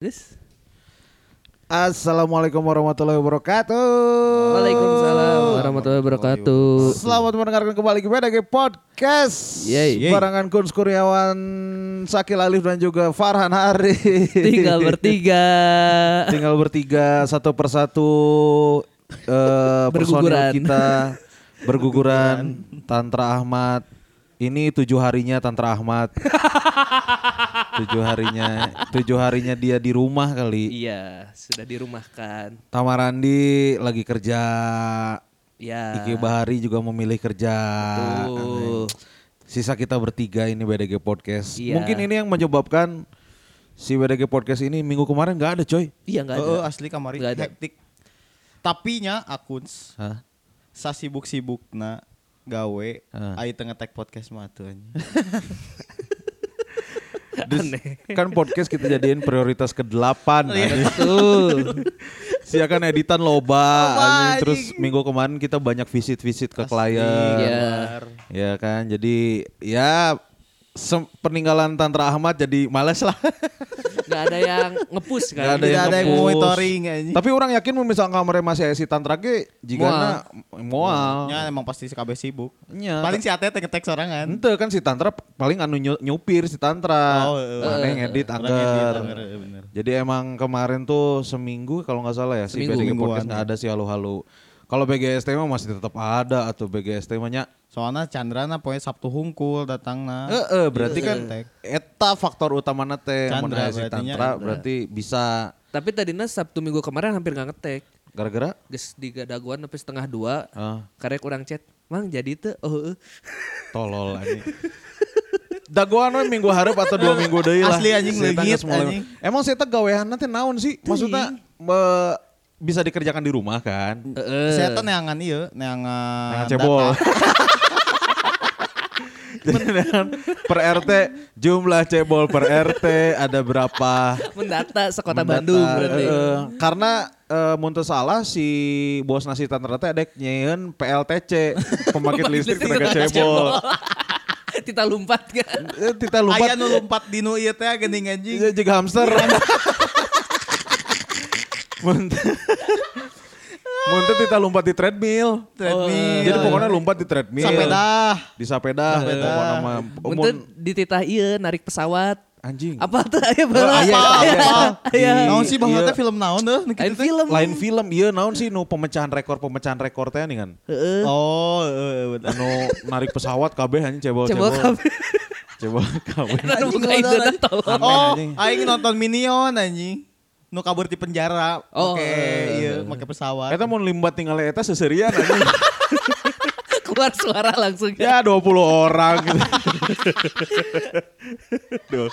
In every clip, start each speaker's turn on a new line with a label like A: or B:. A: Terus?
B: Assalamualaikum warahmatullahi wabarakatuh.
A: Waalaikumsalam
B: Oh.
A: warahmatullahi wabarakatuh.
B: Selamat mendengarkan kembali ke Podcast.
A: Yeay.
C: Yeay.
B: Barangan Kuns Kurniawan, Sakil Alif dan juga Farhan Hari.
A: Tinggal bertiga.
B: Tinggal bertiga satu persatu eh
A: Berguguran.
B: personil kita berguguran Tantra Ahmad. Ini tujuh harinya Tantra Ahmad. tujuh harinya, tujuh harinya dia di rumah kali.
A: iya, sudah dirumahkan.
B: Tamarandi lagi kerja.
A: Ya.
B: Iki Bahari juga memilih kerja.
A: Betul.
B: Sisa kita bertiga ini BDG Podcast.
A: Iya.
B: Mungkin ini yang menyebabkan si BDG Podcast ini minggu kemarin nggak ada coy.
A: Iya enggak
C: Eh,
B: Oh,
A: ada.
C: asli kamari
A: Nggak ada.
C: hektik. Tapi nya akuns
B: Hah?
C: sasibuk sibuk na gawe
B: Heeh.
C: ai teu ngetek podcast mah atuh anjing.
A: Aneh. Iya,
B: Kan podcast kita jadiin prioritas ke-8.
A: Betul.
B: si akan editan loba. anjing. Terus minggu kemarin kita banyak visit-visit ke klien.
A: Iya.
B: Ya kan. Jadi ya sem- peninggalan Tantra Ahmad jadi males lah.
A: Enggak ada yang ngepus kan.
B: Nggak ada
C: Tidak
B: yang
C: ada yang
B: ngepost.
C: monitoring anjing.
B: Tapi orang yakin mun misal kamarnya masih aya si Tantra ge jigana moal.
C: Nya emang pasti si kabeh sibuk.
B: Nya.
C: Paling si Ate teu ngetek sorangan.
B: Ente kan si Tantra paling anu nyu- nyupir si Tantra.
C: Oh, iya.
B: Mana yang edit
C: Orang
B: anggar.
C: edit, anggar, iya, bener.
B: Jadi emang kemarin tuh seminggu kalau nggak salah ya si
A: Seminggu.
B: BDG Podcast
C: Mingguan.
B: nggak ada si halu-halu. Kalau BGST mah masih tetap ada atau BGST mah nya.
C: Soalnya Chandra na poe Sabtu hungkul Iya, datang na.
B: Eh, eh, berarti kan eta faktor utamanya teh mun
C: Tantra
B: aya si
C: berartinya.
B: Tantra berarti bisa
A: Tapi tadinya Sabtu minggu kemarin hampir nggak ngetek.
B: gara-gara
A: Geus digadaguan sampai setengah dua.
B: ah,
A: Karek orang chat, "Mang, jadi teu?" Oh, eh."
B: tolol anjing. Dagoan we minggu harap atau dua minggu deui lah.
C: Asli anjing,
B: Seta
C: leungit
B: geus mulai-
C: anjing.
B: Emang saya gawean nanti naon sih? Maksudnya me- bisa dikerjakan di rumah kan?
C: Eh,
A: Heeh.
C: Saya teh neangan ieu,
B: Jangan
C: neangan
B: cebol.
C: data.
B: Dengan kan, per RT jumlah cebol per RT ada berapa?
A: Mendata sekota
B: Mendata,
A: Bandung berarti.
B: eh, karena eh mun teu salah si bos nasi tantra teh adek nyeun PLTC, pembangkit listrik tenaga cebol.
A: Kita lompat kan.
B: Eh, Tita
C: Aya
B: lupa
C: nu lompat dinu ieu teh geuning anjing.
B: Iya juga hamster. Munt- Muntah kita lompat di treadmill.
C: Treadmill.
B: Jadi pokoknya lompat di treadmill.
C: Sapedah.
B: Di sapeda. Pokoknya mah
A: Muntun dititah iya narik pesawat.
B: anjing.
A: Apa tuh aya
B: Ah,
A: balak?
B: iya,
C: Apa?
B: iya,
C: Apa?
A: iya.
C: Naon
B: Iya.
C: sih bahwa teh film naon deh?
A: Lain film.
B: Lain film iya naon sih nu pemecahan rekor pemecahan rekor teh nih kan.
A: Heeh.
C: Oh, eh, betul.
B: Anu narik pesawat kabeh anjing cebol
A: Coba
B: cebol.
A: kamu.
B: Cebol kabeh.
A: Nah,
C: Anjing,
A: buka
C: udah,
A: itu
C: anjing.
A: tolong.
B: Amin,
C: Oh,
B: anjing.
C: aing nonton Minion anjing. Nu kabur di penjara,
A: Oh,
C: oke,
A: eh,
C: iya, pakai pesawat.
B: Eta mau limbat tinggal eta seserian anjing.
A: Keluar suara langsung.
B: Ya 20 orang gitu. Duh,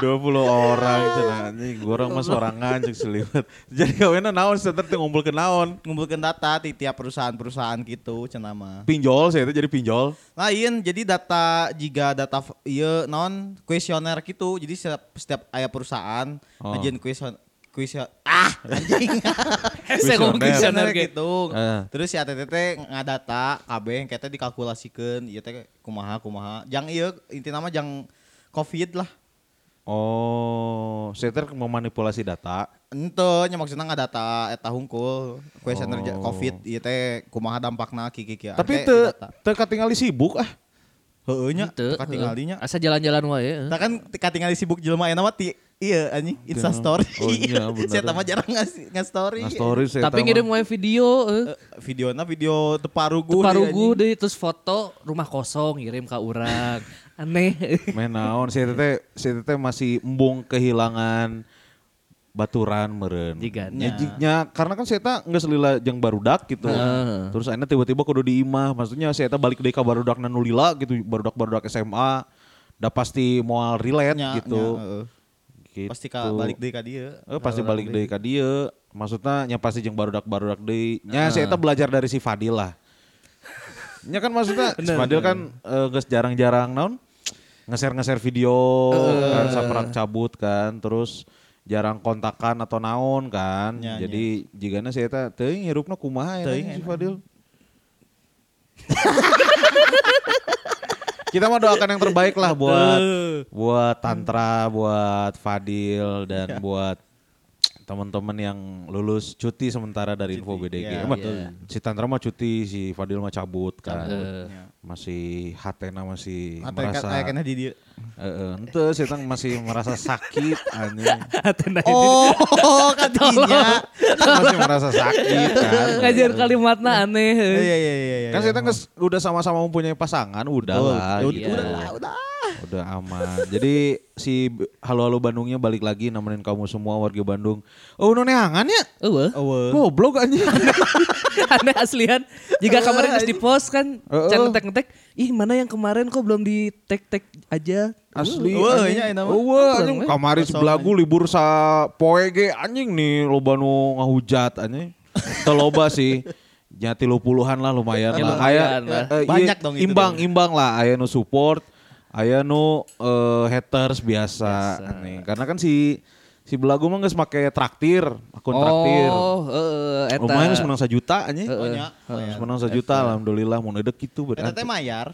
B: 20 orang cenah anjing. Gua orang mah sorangan cek seliwet. Jadi kawena naon seter teu ngumpulkeun naon.
C: Ngumpulkan data di tiap perusahaan-perusahaan gitu, cenah mah.
B: Pinjol sih itu jadi pinjol.
C: Lain, jadi data jika data f- iya non kuesioner gitu, jadi setiap, setiap ayah perusahaan
B: Oh.
C: ngajian kuesion kuesion ah anjing
A: Saya ngomong kuesioner
C: kuesioner
A: gitu.
C: gitu.
B: Eh.
C: Terus si ATTT ngadata kabeh yang kita dikalkulasikeun ieu teh kumaha kumaha. Jang ieu intina mah jang Covid lah.
B: Oh, seter memanipulasi data.
C: Ente nya maksudnya nggak data eta hungkul kuesioner ja-
B: Oh.
C: covid ieu teh kumaha dampakna ki ki ki.
B: Tapi teu teu katingali sibuk ah.
C: heueuh nya
A: Henteu,
C: katingali nya.
A: heueuh. Asa jalan-jalan wae. eh.
C: Tah kan te- katingali sibuk jelema eta mah ti iya anjing Insta story.
B: Oh, iya, bener.
C: Saya mah jarang ngasih story.
B: Nah, story saya
A: Tapi ngirim wae video eh.
C: Videona video teparugu.
A: Parugu deh
C: deh,
A: terus foto rumah kosong ngirim ke urang. Aneh.
B: Meh naon si tete si tete masih embung kehilangan baturan meren.
A: Jigan.
B: Ya, jignya, karena kan si eta geus lila jeung barudak gitu.
A: Heeh.
B: Terus akhirnya tiba-tiba kudu di imah, maksudnya si eta balik deui ka barudak nu lila gitu, barudak-barudak SMA. Da pasti moal relate
C: Nya,
B: gitu.
C: nya, heeh.
B: gitu.
C: Pasti ka balik deui ka dieu.
B: Eh, pasti balik deui ka dieu. Maksudnya nya pasti jeung barudak-barudak deui.
C: Ah.
B: Nya si eta belajar dari si Fadil lah. Nya kan maksudnya si Fadil kan eh, geus jarang-jarang naon ngeser-ngeser video
C: Eh.
B: kan saprak cabut kan terus jarang kontakan atau naon kan.
C: Nya,
B: Jadi jigana si eta teuing hirupna kumaha eta
C: Teuing
B: si
C: enak.
B: Fadil. Kita mah doakan yang terbaik lah buat buat Tantra, buat Fadil dan buat teman-teman yang lulus cuti sementara dari info BDG.
C: iya,
B: Emang
A: iya.
B: Si Tantra mah cuti, si Fadil mah cabut kan.
A: Cabut,
C: iya.
B: Masih Hatena masih
C: Atau
B: merasa
C: kayak kena di dia.
B: Heeh, ente si Tang masih merasa sakit anjing.
C: Oh, katinya.
B: masih merasa sakit kan.
A: Ngajar kalimatnya aneh.
C: Iya iya iya iya.
B: Kan saya udah sama-sama mempunyai pasangan, udah
C: Betul.
B: lah.
C: Ya
B: gitu.
A: udah
C: Ah, udah.
B: Udah aman. Jadi si B- halo-halo Bandungnya balik lagi nemenin kamu semua warga Bandung. Oh, nu neangan ya?
A: Eueuh.
C: Eueuh.
B: Goblok anjing.
A: aneh aslian. Jika kemarin harus di post kan,
B: Heeh.
A: can ngetek-ngetek, ih mana yang kemarin kok belum di tag-tag aja.
B: Asli.
C: Wah,
B: anjing. Oh,
C: iya, iya, nama.
B: Wah, anjing kamari
C: Kosong,
B: sebelah gue libur sa poe ge anjing nih loba nu ngahujat anjing. Teu loba sih. Nya tilu puluhan lah lumayan
A: Ya,
B: lah.
A: lumayan
B: Aya-
A: lah.
B: eh, iya,
C: Banyak dong itu
B: Imbang
C: dong.
B: imbang lah aya nu support, aya nu eh, haters biasa, anjing. Karena kan si si belagu mah geus make traktir, akun traktir.
A: Oh, heeh, eta.
B: Lumayan geus menang sajuta anjing.
A: Heeh.
C: Pokoknya,
B: Geus menang sajuta alhamdulillah mun eudek kitu
C: Eta teh
B: berarti.
C: mayar.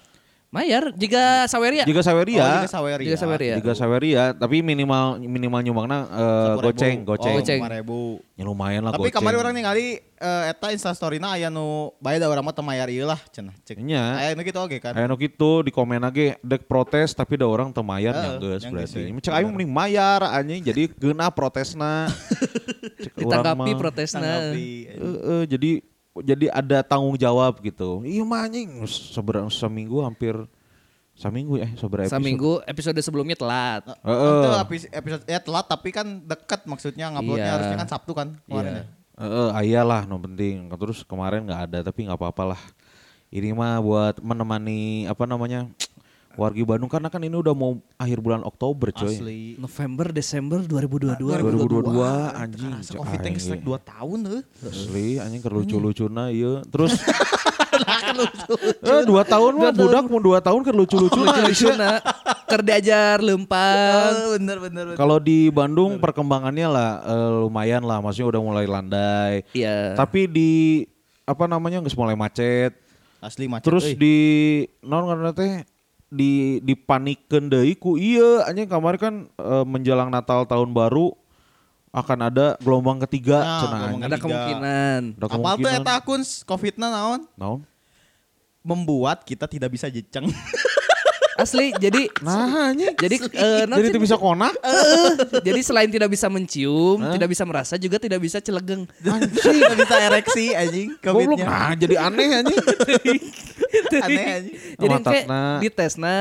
A: Mayar, jika Saweria.
B: Jika
C: Oh,
B: Saweria,
C: juga Saweria.
A: Juga Saweria.
B: Tiga Saweria, tapi minimal minimal nyumbangna eh, goceng, goceng.
A: Oh, goceng.
C: ribu.
B: Ya lumayan lah
C: Tapi
B: goceng.
C: kemarin orang ningali eh, eta instastoryna aya nu bae da urang mah teu mayar ieu lah cenah. Cek.
B: Nya.
C: Aya nu kitu oge kan.
B: Aya Iya. nu kitu di komen lagi dek protes tapi da orang teu mayar
A: Eh,
C: Heeh,
B: nya geus
C: yang
A: gitu
B: berarti.
C: geus.
B: Cek aing mending mayar anjing jadi geuna protesna. Cek urang
A: ditanggapi
B: mah.
A: protesnya.
C: Tanggapi.
B: Eh, eh, jadi jadi ada tanggung jawab gitu. Iya mah anjing seberapa seminggu hampir seminggu eh seberapa episode.
A: Saminggu episode sebelumnya telat.
B: Heeh.
C: Itu episode, Kan episode ya telat tapi kan deket maksudnya nguploadnya
A: Iya.
C: harusnya kan Sabtu kan kemarin.
A: Iya.
C: ya.
B: Eh, ayalah, no penting. Terus kemarin nggak ada, tapi nggak apa-apa lah. Ini mah buat menemani apa namanya wargi Bandung karena kan ini udah mau akhir bulan Oktober, coy.
C: Asli.
A: November Desember 2022.
B: 2022, anjing.
C: Rasa
B: cek
C: covid teh
B: aing.
C: geus rek 2 tahun heuh.
B: Asli, anjing kerlucu-lucuna iya. Terus Eh, dua tahun mah budak mau dua tahun kan
A: Oh,
B: kerlucu-lucuna.
A: Lucu-lucuna. Keur diajar lempang.
C: Ah, bener bener. bener.
B: Kalau di Bandung perkembangannya lah eh, lumayan lah, maksudnya udah mulai landai.
A: Iya.
B: Tapi di apa namanya nggak mulai macet.
C: Asli macet.
B: Terus
C: euy.
B: di non karena teh di dipanikeun deui ku ieu anjing kemarin kan eh, menjelang Natal tahun baru akan ada gelombang ketiga
C: Nah,
B: cenah
C: gelombang
B: anjing.
A: Ada
C: Tiga.
A: kemungkinan.
B: Ada
C: Apal tuh
B: kemungkinan.
C: eta akun Covid-na naon?
B: Naon?
C: Membuat kita tidak bisa jeceng.
A: Asli, jadi
B: Nah, anjing.
A: jadi eh, non-
B: Jadi teu bisa konak.
A: Eh, jadi selain tidak bisa mencium, tidak bisa merasa juga tidak bisa celegeng.
C: Anjing, gak bisa ereksi anjing
B: Goblok.
C: Covid-nya.
B: Nah, jadi aneh anjing.
C: Aneh anjing.
A: Jadi
B: Sama
A: kayak
B: tatna.
A: di tesna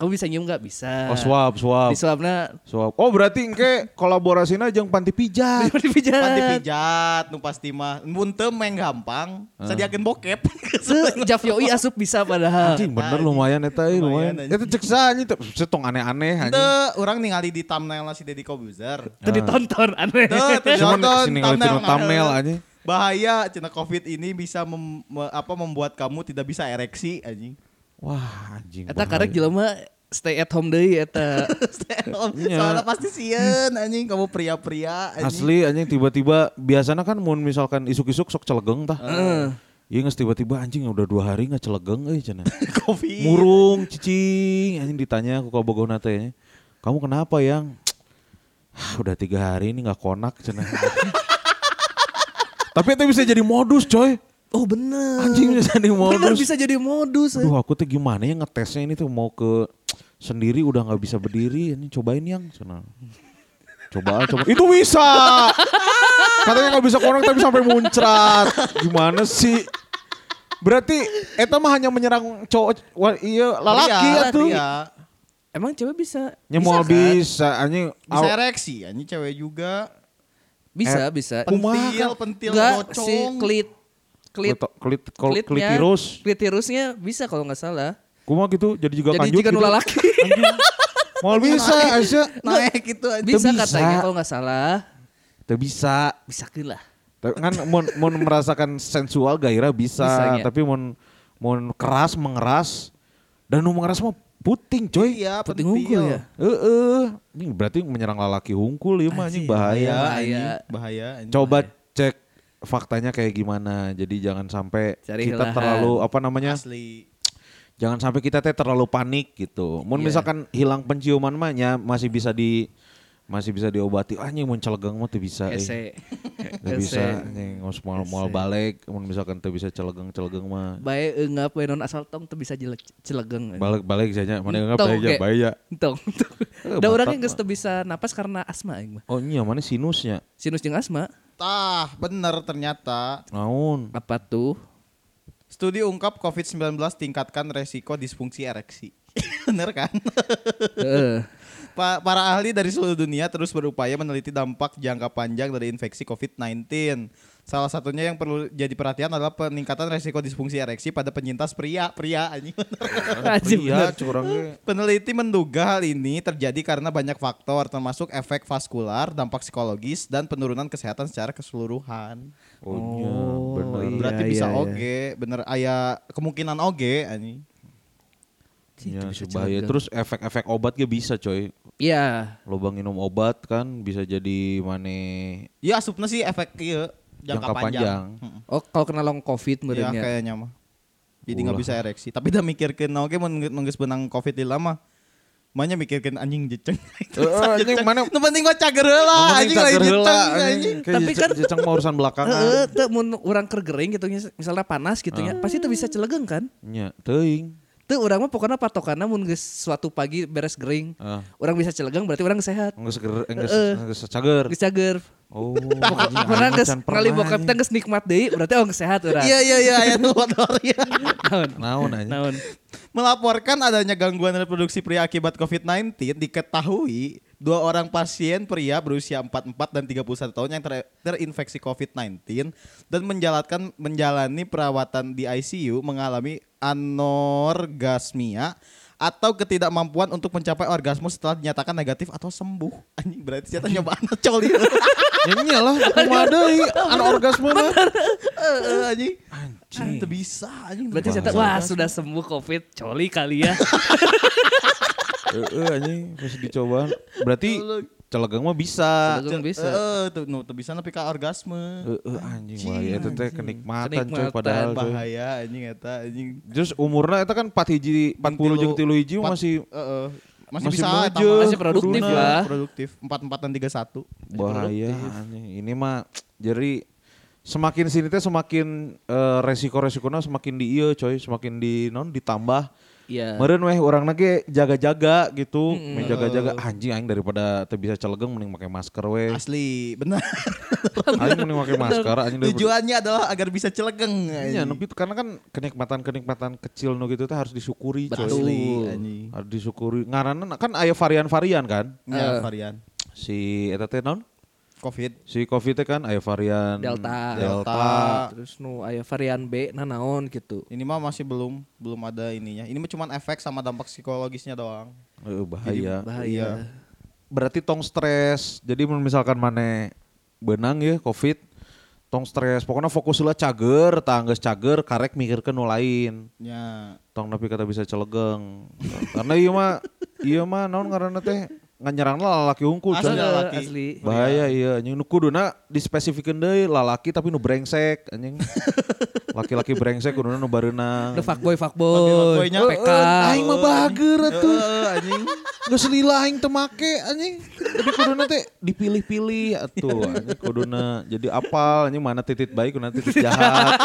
A: kamu bisa nyium nggak bisa.
B: Oh, swab, swab.
A: Di swabna
B: Swab. Oh, berarti engke kolaborasinya jeung panti
A: Iya.
B: pijat.
A: dipijat.
C: Panti pijat, nu pasti mah. Mun teu meng gampang,
B: Eh.
C: sadiakeun bokep.
A: Se Jav Yoi asup bisa padahal.
B: Anjing bener lumayan eta euy,
C: Lumayan,
B: lumayan.
C: anjing.
B: Eta cek sa anjing teu- setong aneh-aneh anjing.
C: Teu orang ningali di thumbnail si Deddy Kobuzer.
B: Ah.
A: Itu ditonton aneh.
C: Teu
B: Ya.
C: teu
B: Cuman
C: ditonton
B: sini ningali tina thumbnail, anjing.
C: Bahaya cina Covid ini bisa mem- me- apa membuat kamu tidak bisa ereksi anjing.
B: Wah, anjing.
A: Eta
B: bahaya.
A: karek jelema stay at home deui eta.
B: Iya.
C: Soalnya pasti sieun anjing kamu pria-pria anjing.
B: Asli anjing tiba-tiba biasanya kan mun misalkan isuk-isuk sok celegeng tah. Iya nges tiba-tiba anjing udah dua hari nggak celegeng euy cenah.
C: Covid.
B: Murung cicing anjing ditanya aku ka Bogor teh. Kamu kenapa yang "Hah, udah tiga hari ini nggak konak cenah. Tapi itu bisa jadi modus coy.
A: Oh bener.
B: Anjing bisa jadi
A: Bener
B: modus.
A: bisa jadi modus. eh.
B: Aduh aku tuh gimana ya ngetesnya ini tuh mau ke sendiri udah nggak bisa berdiri ini cobain yang sana. Coba coba. Itu bisa. Katanya nggak bisa korang tapi sampai muncrat. Gimana sih? Berarti eta mah hanya menyerang cowok wa- iya lalaki
C: Pria,
B: atuh.
C: pria.
A: Emang cewek bisa?
B: Nyemual
A: kan?
B: bisa anjing.
C: Bisa
B: Aw-
C: ereksi anjing cewek juga.
A: Bisa,
B: Eh,
A: bisa.
B: kumaha
C: Pentil,
B: kan?
C: pentil,
A: Enggak
C: kocong.
A: si klit klit
B: Kleto- Klit kol-
A: klitnya-
B: klitirus.
A: Klitirusnya bisa kalau nggak salah.
B: Kumaha gitu jadi juga
A: Jadi
B: kanjut.
A: jika
B: gitu.
A: nula laki
B: Mau bisa Aisyah.
C: Naik gitu anjing.
A: bisa
B: Itu bisa.
A: katanya kalau nggak salah
B: Teu bisa.
A: bisa gila.
B: Tapi kan mun mun merasakan sensual gairah bisa,
A: Bisanya.
B: tapi mun mun keras mengeras dan nu mengeras mah puting coy.
C: Iya,
A: Penting
C: pentil.
A: unggul ya.
B: Heeh. Ini berarti menyerang lelaki hungkul ya mah anjing bahaya.
C: Bahaya,
A: Bahaya.
C: anjing. Bahaya. anjing.
B: Coba cek faktanya kayak gimana. Jadi jangan sampai
A: Cari
B: kita
A: hilahan.
B: terlalu apa namanya?
C: asli.
B: Jangan sampai kita teh terlalu panik gitu. Mun
A: Iya.
B: misalkan hilang penciuman mah nya masih bisa di masih bisa diobati anjing mun celegeng mah teu bisa eh. euy.
A: Ese. Iya
B: Teu bisa anjing ngos moal-moal balik mun misalkan teu bisa celegeng-celegeng mah
A: Bae enggak bae non asal tong teu bisa jelek celegeng.
B: balik-balik saja mana enggak
A: Entong,
B: bae
A: ge.
B: bae
A: Entong.
B: Eh,
A: Da urang
B: batak
A: geus teu bisa napas karena asma aing mah.
B: Oh iya mana sinusnya?
A: Sinus jeung asma
C: Tah, bener ternyata.
B: Naon?
A: apa tuh?
C: Studi ungkap COVID-19 tingkatkan resiko disfungsi ereksi. bener kan?
A: Heeh.
C: Pa- Para ahli dari seluruh dunia terus berupaya meneliti dampak jangka panjang dari infeksi COVID-19. Salah satunya yang perlu jadi perhatian adalah peningkatan resiko disfungsi ereksi pada penyintas pria. Pria anjing.
A: Anjing,
B: Iya,
A: bener.
B: curangnya.
C: Peneliti menduga hal ini terjadi karena banyak faktor termasuk efek vaskular, dampak psikologis, dan penurunan kesehatan secara keseluruhan.
B: Oh, iya, bener.
C: Berarti
A: Iya,
C: bisa
A: iya,
C: oge, bener aya kemungkinan oge anjing.
A: Itu
B: Iya,
A: bisa
B: sebahaya.
A: celegeng.
B: Terus efek-efek obat ge bisa coy.
A: Iya.
B: Lobang minum obat kan bisa jadi mana
C: Ya asupna sih efek ieu jangka,
B: Jangka panjang.
C: panjang. Heeh.
A: Oh, kalau kena long
B: Iya,
A: covid
C: Ya
A: meureunnya.
C: kayaknya mah. Jadi nggak
B: Ulah.
C: bisa ereksi. Tapi udah mikirkeun oge mun mun geus benang covid di lama. Mahnya mikirkeun anjing jeceng.
B: Eh, eh, anjing mana-
C: Nu penting gua cager heula, Ah, anjing lain jeceng anjing.
A: Tapi
B: Tapi kan
A: kan- Eh,
B: jeceng mah urusan belakangan.
A: Heeh, teu mun urang kergering gitu misalnya panas gitu
B: Ah.
A: nya, pasti teu bisa celegeng kan?
B: Nya, teuing.
A: Teu urang mah pokoknya patokanna mun geus suatu pagi beres gering,
B: Ah.
A: urang bisa celegeng berarti urang sehat.
B: Enggak seger, enggak
A: Heeh.
B: enggak secager.
A: Geus cager.
B: Oh,
A: Pokoknya geus ngali bokep teh geus nikmat deui, berarti orang sehat urang.
C: Iya iya iya aya nu kotor ya.
A: Naon?
B: Naon aja.
A: Naon?
C: Melaporkan adanya gangguan reproduksi pria akibat COVID-19 diketahui dua orang pasien pria berusia 44 dan 31 tahun yang ter- terinfeksi COVID-19 dan menjalankan menjalani perawatan di ICU mengalami anorgasmia atau ketidakmampuan untuk mencapai orgasme setelah dinyatakan negatif atau sembuh. Anjing berarti ternyata nyobaan coli.
B: Ya iyalah, kumaha deui anorgasme mah.
C: Eh, anjing. Anjing. Teu bisa anjing.
A: Berarti saya tahu, wah sudah sembuh covid, coli kali ya.
B: Heeh Eh, anjing, pas dicoba. Berarti celegeng mah bisa.
A: Celegeng bisa.
C: Heeh, tuh nu teu bisa nepi ka orgasme.
B: Heeh eh, anjing bahaya itu teh kenikmatan coy
A: Kenikmatan,
B: padahal coy.
C: Kan bahaya anjing eta anjing
B: Terus umurna eta kan 4 hiji 40 jeung 3 hiji mah
C: Pat-
B: masih
C: Heeh. masih,
B: masih
C: bisa eta
B: maju.
C: mah.
A: Masih produktif
C: Kuruna,
A: lah.
C: produktif 44 dan 31
B: bahaya Nah, anjing. Ini mah jadi semakin sini teh semakin eh, resiko-resikonya semakin di ieu coy, semakin di non ditambah.
A: Iya.
B: Meren weh orang lagi jaga-jaga gitu, main jaga-jaga anjing aing daripada teu bisa celegeng mending pakai masker weh.
C: asli benar
B: Aing mending pakai masker anjing daripada
C: tujuannya adalah agar bisa celegeng
B: Iya,
C: anjing.
B: nu gitu karena kan kenikmatan-kenikmatan kecil nu gitu teh harus disyukuri coy.
A: Betul.
C: anjing
B: Harus disyukuri. Ngaranna kan aya varian-varian kan.
A: Iya.
C: ya varian
B: Si eta teh naon?
C: covid
B: Si Covid teh kan aya varian
A: Delta.
B: Delta.
A: Terus nu aya varian B nah naon gitu.
C: ini mah masih belum belum ada ininya ini mah cuman efek sama dampak psikologisnya doang
B: Heueuh, bahaya.
C: Iya.
A: Bahaya.
B: Berarti tong stres. Jadi mun misalkan mana benang ya Covid tong stres pokoknya fokuslah cager tangges cager karek mikirkeun nu lain
C: ya
B: tong tapi kata bisa celegeng karena iya mah iya mah naon ngaranna teh nganyerang lalaki unggul
C: Asli.
B: coy.
C: lelaki.
A: Asli.
B: bahaya iya anjing nu kuduna dispesifikeun deui lalaki tapi nu brengsek anjing laki-laki brengsek kuduna nu bareunang
A: The fuckboy Uhuh, fuckboy.
C: Fuckboy-nya
A: PK.
B: aing mah bager atuh
C: Eh, anjing
B: geus lila aing teu make anjing tapi kuduna teh dipilih-pilih atuh anjing kuduna jadi apal anjing mana titik baik kuduna titik jahat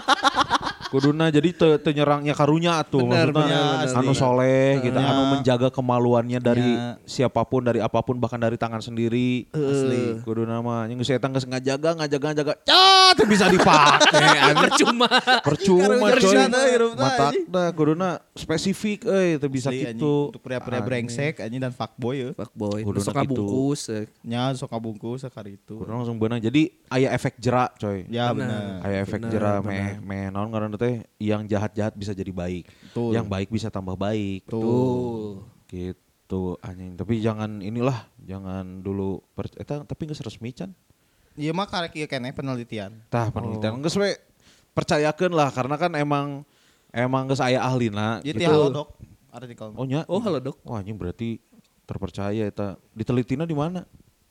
B: kuduna jadi teu teu nyerangnya karunya atuh
A: Bener,
B: maksudnya
C: bener, bener.
B: anu soleh gitu anu menjaga kemaluannya dari
C: Ya.
B: siapapun dari apapun bahkan dari tangan sendiri
A: Asli.
B: kuduna mah anjing geus eta geus ngajaga ngajaga ngajaga cah teu bisa dipake anjing
A: Percuma.
B: percuma
C: Iya, Karunya
B: coy
C: deui, hirupna, anjing.
B: matakna kuduna spesifik euy teu bisa gitu.
C: Asli, anjing.
B: kitu
C: untuk pria-pria brengsek anjing dan fuckboy ya
A: Fuckboy.
B: Kudu
A: Besok
B: na gitu.
A: bungkus. eh.
C: nya sok kabungkus sekali itu
B: Kurang langsung benang. Jadi aya efek jerak coy.
C: ya benar
B: Aya efek jerak meh meh naon ngaranna teh yang jahat-jahat bisa jadi baik.
C: Betul.
B: Yang baik bisa tambah baik.
A: Tuh.
B: Gitu anjing. Tapi jangan inilah, jangan dulu per, eta tapi geus resmi can.
C: iya mah karek ieu keneh penelitian
B: Tah
C: Oh.
B: penelitian geus we percayakeun lah karena kan emang emang geus aya ahlina
C: Iya
B: gitu.
C: gitu. halo dok, ada di kolom.
B: Oh nya.
A: Oh, halo, Dok.
B: Wah anjing berarti terpercaya eta. Ditelitina di mana?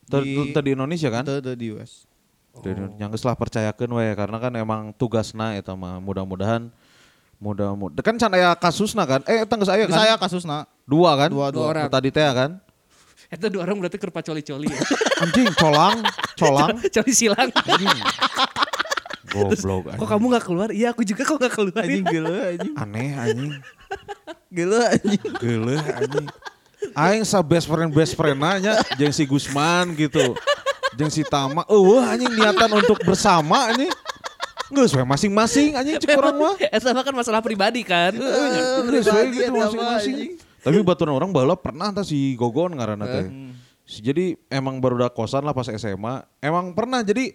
C: Di-
B: Di, di Indonesia kan?
C: Itu di US.
B: Dan yang geus lah percayakeun we karena kan emang tugasna eta mah mudah-mudahan mudah-mudahan kan can aya kasusna kan eh eta geus aya kan
C: Saya kasusna
B: dua kan
C: Dua, dua
B: Nu
A: orang.
B: tadi teh kan
A: Eh, Itu dua orang berarti kerpa coli-coli ya.
B: Anjing colang, colang.
A: Cari silang.
B: Anjing. Goblok
A: Kok
B: anjing.
A: kamu nggak keluar? Iya aku juga kok nggak keluar.
C: Anjing gelo anjing.
B: Aneh anjing.
C: Gelo anjing.
B: Geuleuh anjing. Aing sa best friend best friend nanya jeung si Gusman gitu. Jeung si Tama, eueuh anjing niatan untuk bersama anjing. Geus we masing-masing anjing cek urang mah.
A: Eta mah kan masalah pribadi kan.
B: Geus we
C: Berbagi
B: Iya, gitu
C: eta mah,
B: masing-masing.
C: anjing.
B: Tapi baturan orang bala pernah tah si Gogon ngaranna teh. Si- Jadi emang baru udah kosan lah pas SMA. Emang pernah jadi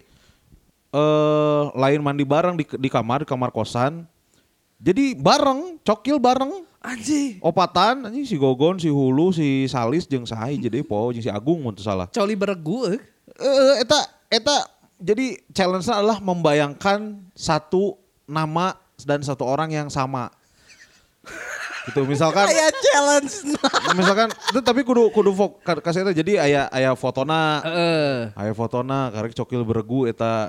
B: eh lain mandi bareng di, di kamar, di kamar kosan. Jadi bareng, cokil bareng
A: Anjing.
B: opatan anjing si Gogon, si Hulu, si Salis jeung saha hiji deui po jeung si Agung mun teu salah.
A: Coli beregu. eh.
B: Eh eta eta jadi challenge-nya adalah membayangkan satu nama dan satu orang yang sama. Gitu misalkan
C: Kayak challenge.
B: misalkan itu tapi kudu kudu fok ka- kasih eta jadi aya aya
A: Eh.
B: fotona
A: Heeh.
B: aya fotona karek cokil beregu eta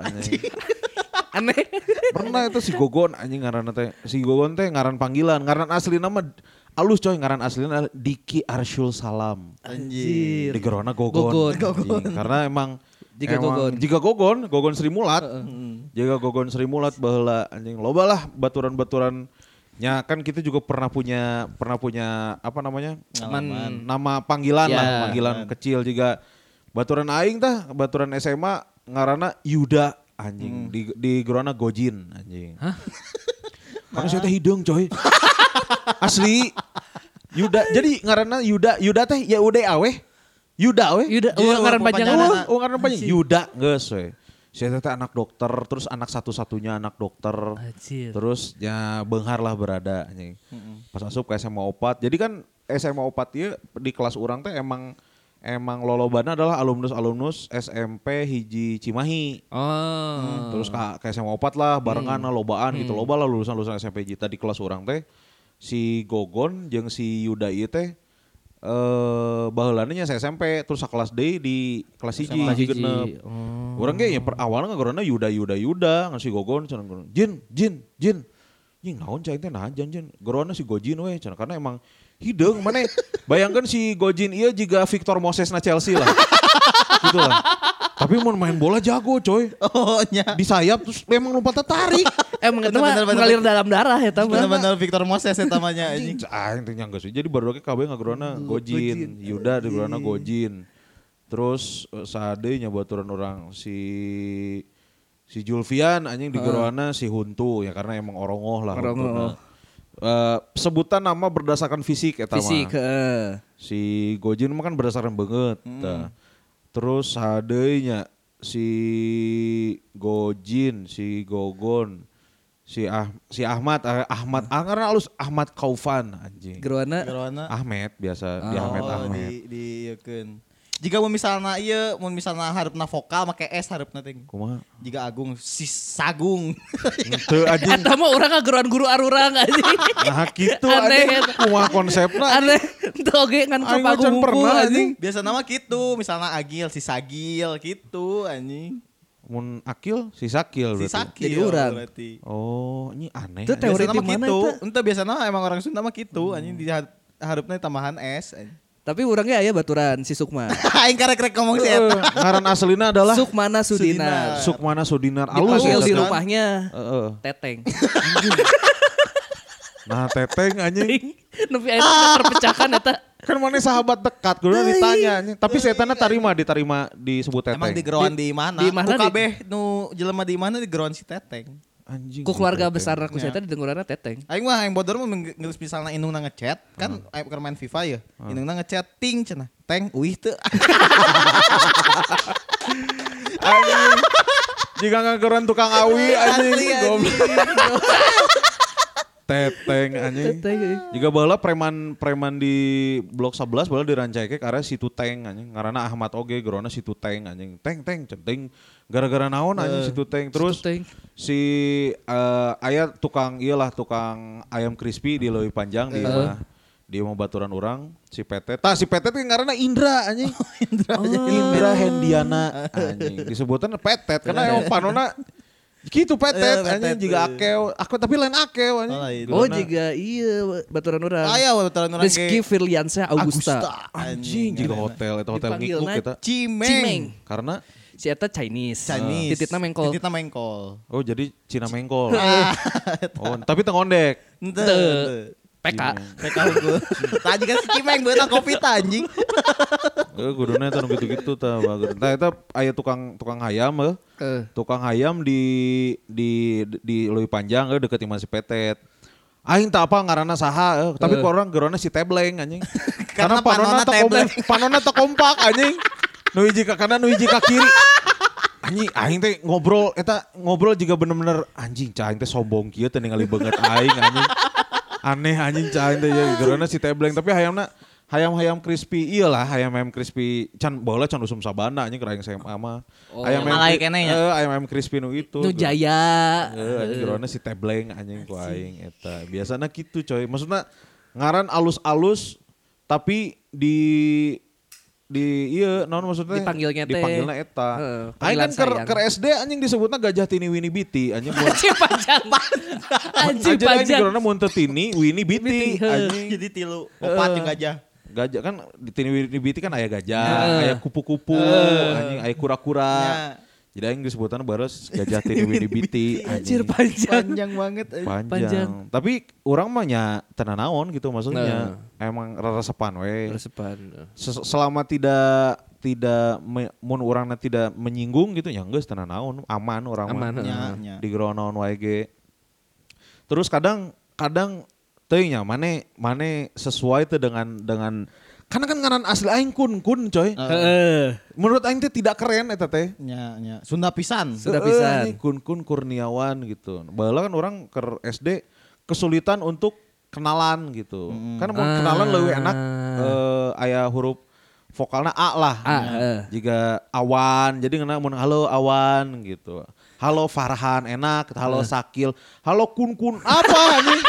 A: Aneh.
B: pernah itu si Gogon anjing ngaran teh si Gogon teh ngaran panggilan ngaran asli nama alus coy ngaran aslinya Diki Arsyul Salam
C: Anjing.
B: di Gerona Gogon.
A: Gogon.
B: Anjing, Karena emang
A: Jika Gogon.
B: emang- Jika Gogon, Gogon Sri Mulat. Jika Gogon Sri Mulat baheula anjing loba lah baturan-baturan nya kan kita juga pernah punya pernah punya apa namanya?
A: Teman.
B: Nama panggilan lah,
A: Ya.
B: panggilan kecil juga. Baturan aing tah, baturan SMA ngaranna Yuda
A: Hmm.
B: anjing di di Gerona Gojin anjing. Hah? Karena saya teh hidung coy. Asli. Yuda. Jadi ngaranna Yuda, Yuda teh ya udah aweh. Yuda aweh.
A: Yuda,
C: Jadi
A: uang ngaran
C: orang
A: panjang.
C: papanjang.
A: Wah,
B: Wah, oh, ngaran banyak. Yuda geus we. Si Eta teh anak dokter, terus anak satu-satunya anak dokter.
A: Anjir.
B: Terus ya benghar lah berada anjing. Pas asup ke SMA Opat. Jadi kan SMA Opat ieu di kelas urang teh emang emang lolobana adalah alumnus-alumnus SMP hiji Cimahi.
A: Oh.
B: Terus ke, ke SMA 4 lah barengan
A: Hmm.
B: lah, lobaan gitu loba lah lulusan-lulusan SMP Jita di kelas orang teh si Gogon jeung si Yuda ieu teh eh baheulana nya sa SMP terus sa kelas D di kelas hiji
A: Kelas hiji.
B: genep.
A: Oh.
B: Urang ge ya per awalna ngagorana Yuda Yuda Yuda ngan si Gogon cenah gorona, Jin Jin Jin. Jing naon cai teh nahan Jin Jin. Gorona si Gojin we cenah karena emang hideung mana bayangkan si Gojin ieu jiga Victor Moses na Chelsea lah. gitu lah. Tapi mau main bola jago coy
C: Oh nya.
B: di sayap terus memang lompat tertarik.
A: Emang itu Eh, mah
C: Bener, bener,
A: mengalir dalam darah ya tahu.
C: Benar-benar Victor Moses ya tamanya anjing.
B: Ah, intinya enggak sih. Jadi baru ke KB ngagorona Hmm, Gojin, Yuda di gorona Gojin. Terus eh, Sade nya baturan orang si si Julfian anjing di gorona si Huntu ya karena emang Ah. orongoh lah
A: Orongoh.
B: Huntuna. Eh, sebutan nama berdasarkan fisik ya, eta mah.
A: Fisik. eh. heeh.
B: Si Gojin mah kan berdasarkan banget. Tah. Terus sadenya si Gojin, si Gogon, si ah si Ahmad ah- Ahmad
A: Mm.
B: ah, karena alus Ahmad Kaufan anjing.
A: Gerwana.
C: Gerwana.
B: Ahmed biasa di Ahmed
A: iya.
C: Oh,
B: Ahmed.
C: di di ieukeun. Jika mau misalnya iya, mau misalnya harapna vokal make S harapna teh.
B: Kumaha?
C: Jika Agung si Sagung.
B: Henteu anjing.
A: Eta Eh, mah orang ngageruan guru arurang anjing.
B: Nah kitu
A: Aneh.
B: anjing. Kumaha konsepna?
A: Aneh. Itu oge ngan
B: Aing
A: kepaku
B: macan
A: hukum
B: pernah,
A: anjing.
C: Biasa nama gitu, misalnya Agil si Sagil gitu anjing.
B: Mun Akil si Sakil
C: Si
B: berarti.
C: Sakil
A: Jadi urang.
C: berarti.
B: Oh, ini aneh.
A: Itu
B: anjing.
A: Teori
C: biasanya mah
A: di mana
C: gitu.
A: itu?
C: Ente biasanya emang orang Sunda mah gitu anjing di harapna tambahan S. anjing.
A: Tapi orangnya ayah baturan si Sukma.
C: Aing karek-karek ngomong si eta.
B: Ngaran aslina adalah
A: Sukmana
C: Sudina.
A: Sudina.
B: Sukmana Sudinar Alus. ya
A: Dipanggil di
B: kan? eta teh.
A: rumahnya.
B: Heeh.
A: Teteng.
B: Nah teteng anjing
A: Nepi ayeuna teh terpecahkan eta.
B: Kan mana sahabat dekat gue udah
A: Iya,
B: ditanya anjing. Tapi setannya tarima ditarima disebut teteng
C: eh, Emang di geroan di, mana?
A: di mana
C: Ku
A: di-
C: kabeh nu jelema di mana di geroan si Teteng.
B: Anjing
A: Ku keluarga
B: teteng.
A: besar aku saya di dengkuranna Teteng.
C: Aing mah aing bodor mah meng- geus misalna indungna ngechat, kan
B: Ah.
C: aing keur main FIFA ya. Indungna ngechat ting cenah. Teng uih teu.
B: Anjing Jika ngageran tukang awi anjing
C: Asli, anjing.
B: Goblok. Teteng anjing
A: Teteng. eh.
B: Jika bala preman preman di blok 11 bala dirancake karena si Tuteng anjing karena Ahmad Oge gerona si Tuteng anjing teng teng centing gara-gara naon
A: Eh,
B: anjing si Tuteng terus
A: Tuteng.
B: si eh, aya tukang iyalah tukang ayam crispy di Leuwi Panjang di mah di mah Iya. baturan orang si Petet tah si Petet kan karena Indra anjing
C: Oh,
B: Oh. Indra Hendiana anjing disebutan Petet karena emang panona Gitu
C: Eh,
B: petet,
C: Iya. petet,
B: anjing juga
C: eh.
B: akeo. Aku tapi lain akeo anjing.
C: Oh, lain.
A: Oh
B: Gimana?
A: jika iya baturan orang.
C: Ah, iya, baturan orang
A: Rizky
C: ge.
A: Firliansyah Augusta.
B: Anjing juga hotel, itu hotel
A: Dipanggil
B: ngikuk
A: naik.
B: kita.
C: Cimeng.
A: Cimeng.
B: Karena
A: Si Eta Chinese.
C: Chinese.
A: Tititna mengkol.
C: Tititna mengkol.
B: oh jadi Cina mengkol.
C: Iya.
B: oh, tapi tengondek.
C: Ente.
A: Ente. PK.
B: Cimeng.
C: PK unggul. Tadi kan si Cimeng beunang kopi ta, anjing.
B: Eh, guduna eta nu gitu-gitu tah bager. Tah eta aya tukang tukang hayam eh.
A: Eh.
B: Tukang hayam di di di Leuwi Panjang eh deket imah si Petet. Aing tak apa ngaranna saha eh. tapi
A: Eh.
B: ku orang gerona si Tebleng anjing.
C: Karena panonna
B: teu
C: Tebleng.
B: komplek- panonna teu kompak anjing. Nu hiji ka kanan, nu hiji ka kiri. Anjing aing teh ngobrol eta ngobrol juga bener-bener anjing cah aing teh sombong kieu teh ningali banget aing anjing. Aneh anjing cah aing teh ya gerona si Tebleng tapi hayamna hayam-hayam crispy iyalah hayam-hayam crispy can bola can usum sabana anjing keraing SMA mah.
A: Oh.
C: Malai kene nya.
B: Eh, ayam-ayam crispy nu itu.
A: Nu Jaya.
B: Heeh, anjing
A: iya.
B: gerona si tebleng anjing ku aing eta. Biasana gitu coy. Maksudna ngaran alus-alus tapi di di iya naon maksudnya
A: Dipanggilnya teh.
B: dipanggilna eta.
A: Heeh,
B: Aing
A: panggilan
B: kan ker,
A: sayang.
B: ker SD anjing disebutna gajah tini wini biti anjing. mun-
A: Anjing panjang. Anjing
B: anjing anjing
A: panjang.
B: gerona mun teu tini wini biti
A: Biti, heeh.
B: anjing.
C: Jadi tilu. Opat jeung gajah.
B: Gajah kan di tini wini biti kan aya gajah,
A: Heeh.
B: aya kupu-kupu, anjing aya kura-kura.
C: Ya.
B: Jadi aing disebutan baras gajah tini wini biti
A: Anjir
B: anjing.
A: panjang.
C: Panjang banget. eh.
B: panjang.
A: Panjang.
B: Tapi orang mah nya tenan naon gitu
A: Nah.
B: maksudnya. Emang resepan we.
A: Resepan.
B: Ses- Selama tidak tidak me, mun urangna tidak menyinggung gitu ya geus tenan naon, aman orang
A: Aman,
B: mah.
A: heeh.
C: Ya, ya.
B: Di naon wae ge. Terus kadang kadang teuing nya mane mane sesuai teh dengan dengan karena kan ngaran asli aing kun kun coy.
A: Heeh.
B: Menurut aing teh tidak keren eta teh.
C: Ya, ya. Sunda pisan.
A: Sudah
B: Heeh,
A: pisan.
B: anjing, Kun-kun Kurniawan gitu. Bala kan orang ke SD kesulitan untuk kenalan gitu. Kan mau
A: Ah.
B: kenalan lebih enak eh, ayah huruf vokalnya A lah.
A: A, heeh.
B: Jika awan, jadi ngena mun halo awan gitu. Halo Farhan enak, halo Sakil, halo kun-kun apa nih?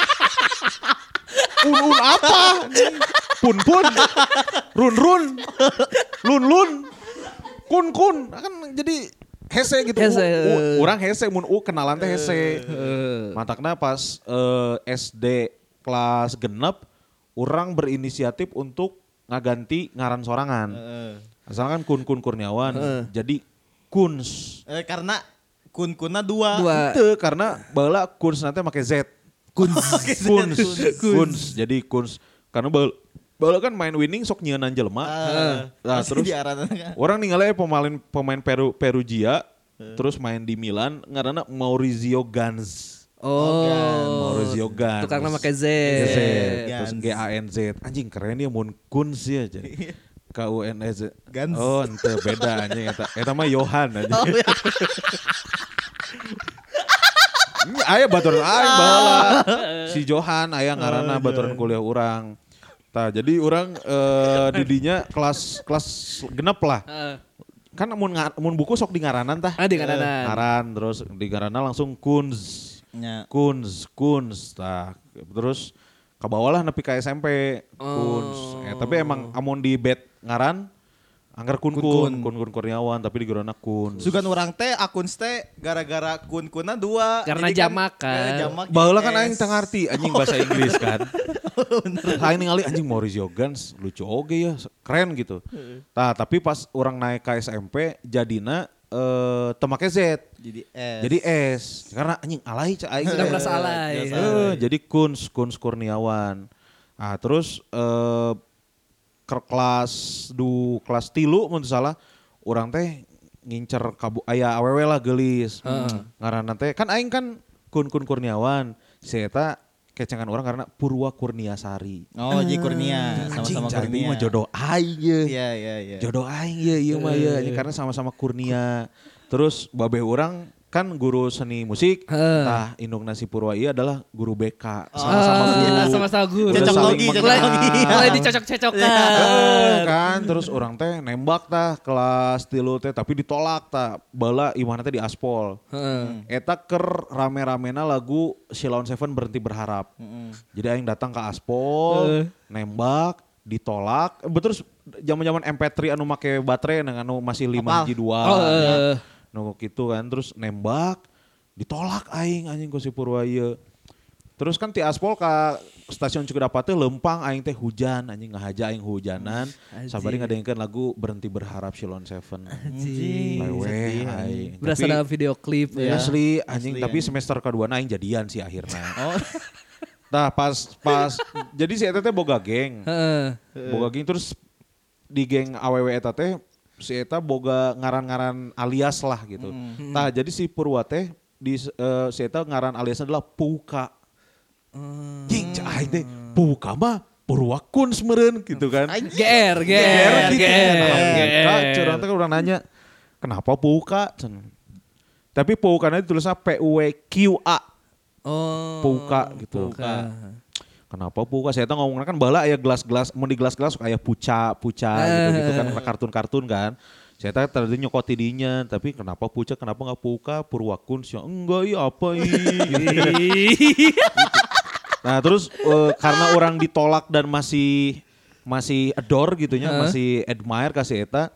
B: Un-un apa? Pun-pun, run-run, lun-lun, kun-kun. Kan jadi hese gitu.
A: Hese,
B: U- u-
A: heeh.
B: Orang hese, mun u kenalan teh hese. Matakna pas eh, SD kelas genep, orang berinisiatif untuk ngaganti ngaran sorangan.
C: Heeh.
B: Asalkan kun-kun Kurniawan, jadi kuns.
C: Eh, karena kun-kunna dua.
A: Dua.
B: Itu karena bala kuns nanti pakai Z. Kuns. kuns. kuns. Jadi kuns. Karena bala, bala kan main winning sok nyeunan
C: Eh,
B: jelema. Nah, terus orang ninggalnya pemain pemain Peru Perugia terus main di Milan ngaranna Maurizio Gans.
A: Oh.
B: Maurizio Gans.
A: Tukangna make Z.
B: Z.
C: Gans.
B: Terus G A N Z. Anjing keren ya mun kuns ya jadi. K U N S.
C: Gans.
B: Oh, ente beda anjing eta. Eta mah Johan anjing. Ini aya baturan aing bala. Si Johan aya ngaranna baturan kuliah urang. Tah, jadi urang eh, didinya kelas kelas genep lah.
A: Heeh.
B: Kan mun nga- mun buku sok di ngaranan tah.
A: Ah, di ngaranan.
B: Eh, Ngaran terus di ngaranan langsung kunz.
C: Nya.
B: Kunz, kunz. Tah, terus ke bawah lah nepi ke SMP kunz.
A: Oh.
B: Eh, tapi emang amun di bed ngaran angker kun kun kun kun Kurniawan tapi di gerona kunz.
C: Sugan orang teh akun teh gara-gara kun-kunna dua.
A: Karena
C: Jadi
A: jamak kan.
C: eh, jamak
B: Baheula
C: jadi
B: kan aing
C: S.
B: teu ngarti anjing bahasa Inggris kan. Aing ningali anjing Maurizio Gans lucu oge ya, keren gitu. Nah, tapi pas orang naik ke SMP jadina eh teu make Z.
C: Jadi S.
B: Jadi S karena anjing alay cah aing.
A: Sudah merasa alay.
B: Eh, jadi Kuns, Kuns Kurniawan. Ah, terus eh ke kelas du kelas tilu mun teu salah orang teh ngincer kabu aya awewe lah gelis. Ngaranna teh kan aing kan Kun Kun Kurniawan. Si eta kecengan orang karena Purwa Kurniasari.
C: Oh, jadi Kurnia sama-sama
B: Anjing, cai
C: Kurnia.
B: mah jodoh aing ye.
C: Iya, iya, iya.
B: Jodoh aing ya iya mah ya karena sama-sama kurnia. Terus babe orang kan guru seni musik,
A: Heeh.
B: tah indung nasi Purwa ieu adalah guru BK sama-sama
A: Ah,
B: guru.
A: sama-sama guru.
B: Udah
C: Cocok
B: saling
C: logi, cocok
A: Mulai,
B: mengenal.
C: logi.
A: mulai dicocok-cocokan.
B: Heeh, Iya kan terus orang teh nembak tah kelas tilu teh tapi ditolak tah bala imana teh di aspol.
A: Heeh.
B: Eta ker rame-ramena lagu Silaun Seven berhenti berharap. Jadi aing datang ke Aspol, nembak, ditolak. Eh, Betul zaman-zaman MP3 anu make baterai nang anu masih 5
C: Apal.
B: G2.
A: Oh, eh.
B: Nunggu gitu kan terus nembak ditolak aing anjing ku si Purwa ieu. Terus kan ti aspol ka stasiun Cikedapa teh lempang aing teh hujan anjing ngahaja aing hujanan.
A: Anjing.
B: Sabari ngadengkeun lagu Berhenti Berharap Silon Seven.
A: Anjing.
B: Lewe aing.
A: Berasa
B: Tapi-
A: dalam video klip ya.
B: Ya. Asli anjing,
C: Asli,
B: tapi
C: anjing.
B: semester kedua aing jadian sih akhirnya.
A: Oh.
B: Nah pas pas jadi si Eta teh boga geng,
A: Heeh.
B: boga geng terus di geng aww Eta teh si Eta boga ngaran-ngaran alias lah gitu. Nah jadi si Purwa teh di eh, si Eta ngaran aliasnya adalah Puka. Jing cai teh Puka mah Purwa kun semeren gitu kan.
A: GR, GR,
B: Ger, gitu.
A: GR.
B: Kak, curang teh orang nanya, kenapa Puka? Cen. Tapi Puka itu tulisnya P-U-W-Q-A.
A: Oh.
B: Puka gitu. Kenapa Puka? Saya tahu ngomongnya kan bala aya gelas-gelas, mau di gelas-gelas kayak puca, puca gitu-gitu kan, kartun-kartun kan. Saya tahu tadi nyokoti dinya, tapi kenapa puca, kenapa nggak puka, purwakun, sih enggak iya apa iya. Nah terus eh, karena orang ditolak dan masih masih adore gitunya, masih admire kasih eta,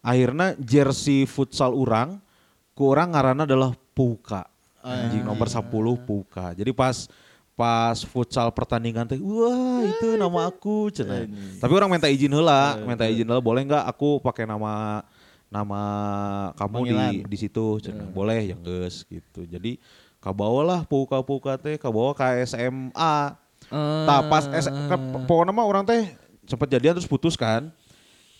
B: akhirnya jersey futsal orang, ku orang ngarana adalah Puka. Anjing nomor 10 Puka. Jadi pas pas futsal pertandingan teh wah itu nama aku cenah. Tapi orang minta izin heula, minta izin heula boleh nggak aku pakai nama nama kamu di
C: Panggilan.
B: di situ cenah. boleh ya geus gitu. Jadi kabawalah puka-puka teh kabawa ka SMA.
A: Eh.
B: Tah pas S ke- pokoknya mah orang teh sempat jadian terus putus kan.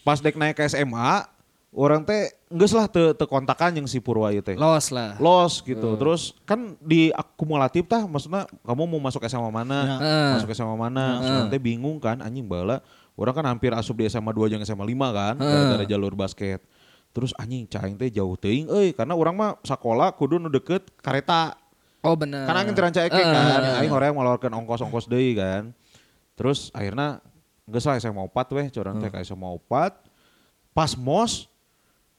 B: Pas dek naik ke SMA, orang teh geus lah teu teu kontakan jeung si Purwa ieu teh.
A: Los lah.
B: Los gitu. Terus kan di akumulatif tah maksudnya kamu mau masuk SMA mana?
A: Heeh.
B: Masuk SMA mana? Terus orang teh bingung kan anjing bala. Orang kan hampir asup di SMA 2 jeung SMA 5 kan gara-gara jalur basket. Terus anjing caing teh jauh teuing euy karena orang mah sekolah kudu nu deket kareta.
A: Oh benar. iya.
B: Karena angin teranca
A: Eh.
B: eke kan, aing hoream ngeluarkan ongkos-ongkos deui kan. Terus akhirnya geus lah SMA 4 weh, curang teh ka SMA 4. Pas MOS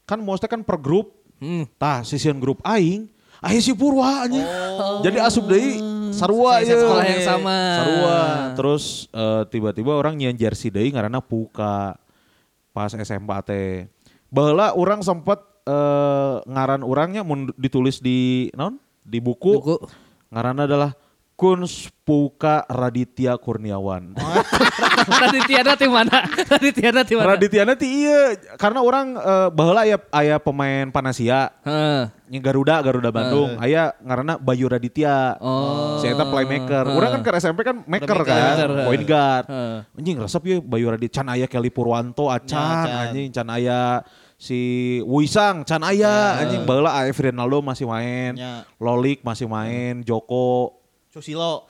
B: kan MOS teh kan per grup.
A: Hmm.
B: Hmm. Tah sisian grup aing, aing si Purwa anjing. Jadi asup deui sarua
A: Saya
B: ieu.
A: Oh. sekolah yang sama.
B: Sarua. Terus eh, tiba-tiba orang nyian jersey deui ngaranna Puka. Pas SMA teh. Baheula orang sempat eh, ngaran orangnya mun ditulis di naon? Di buku.
A: Buku.
B: Ngaranna adalah Kuns Puka Raditya Kurniawan.
A: Oh, Raditya di mana? Raditya di mana?
B: Raditya nanti iya karena orang eh, baheula aya aya pemain Panasia
A: Heeh.
B: Yang Garuda, Garuda Bandung. Aya ngaranna Bayu Raditya.
A: Eh. Oh. Eh.
B: Si eta playmaker. Orang kan ke SMP kan maker kan,
A: Maker. eh.
B: point guard.
A: Heeh.
B: Anjing resep ya Bayu Raditya, can aya Kelly Purwanto,
A: Nah,
B: acan
C: Ya, Can.
B: anjing can aya si Wisang, can
A: Eh.
B: aya anjing baheula AF Rinaldo masih main.
C: Ya.
B: Lolik masih main, Joko
C: Susilo.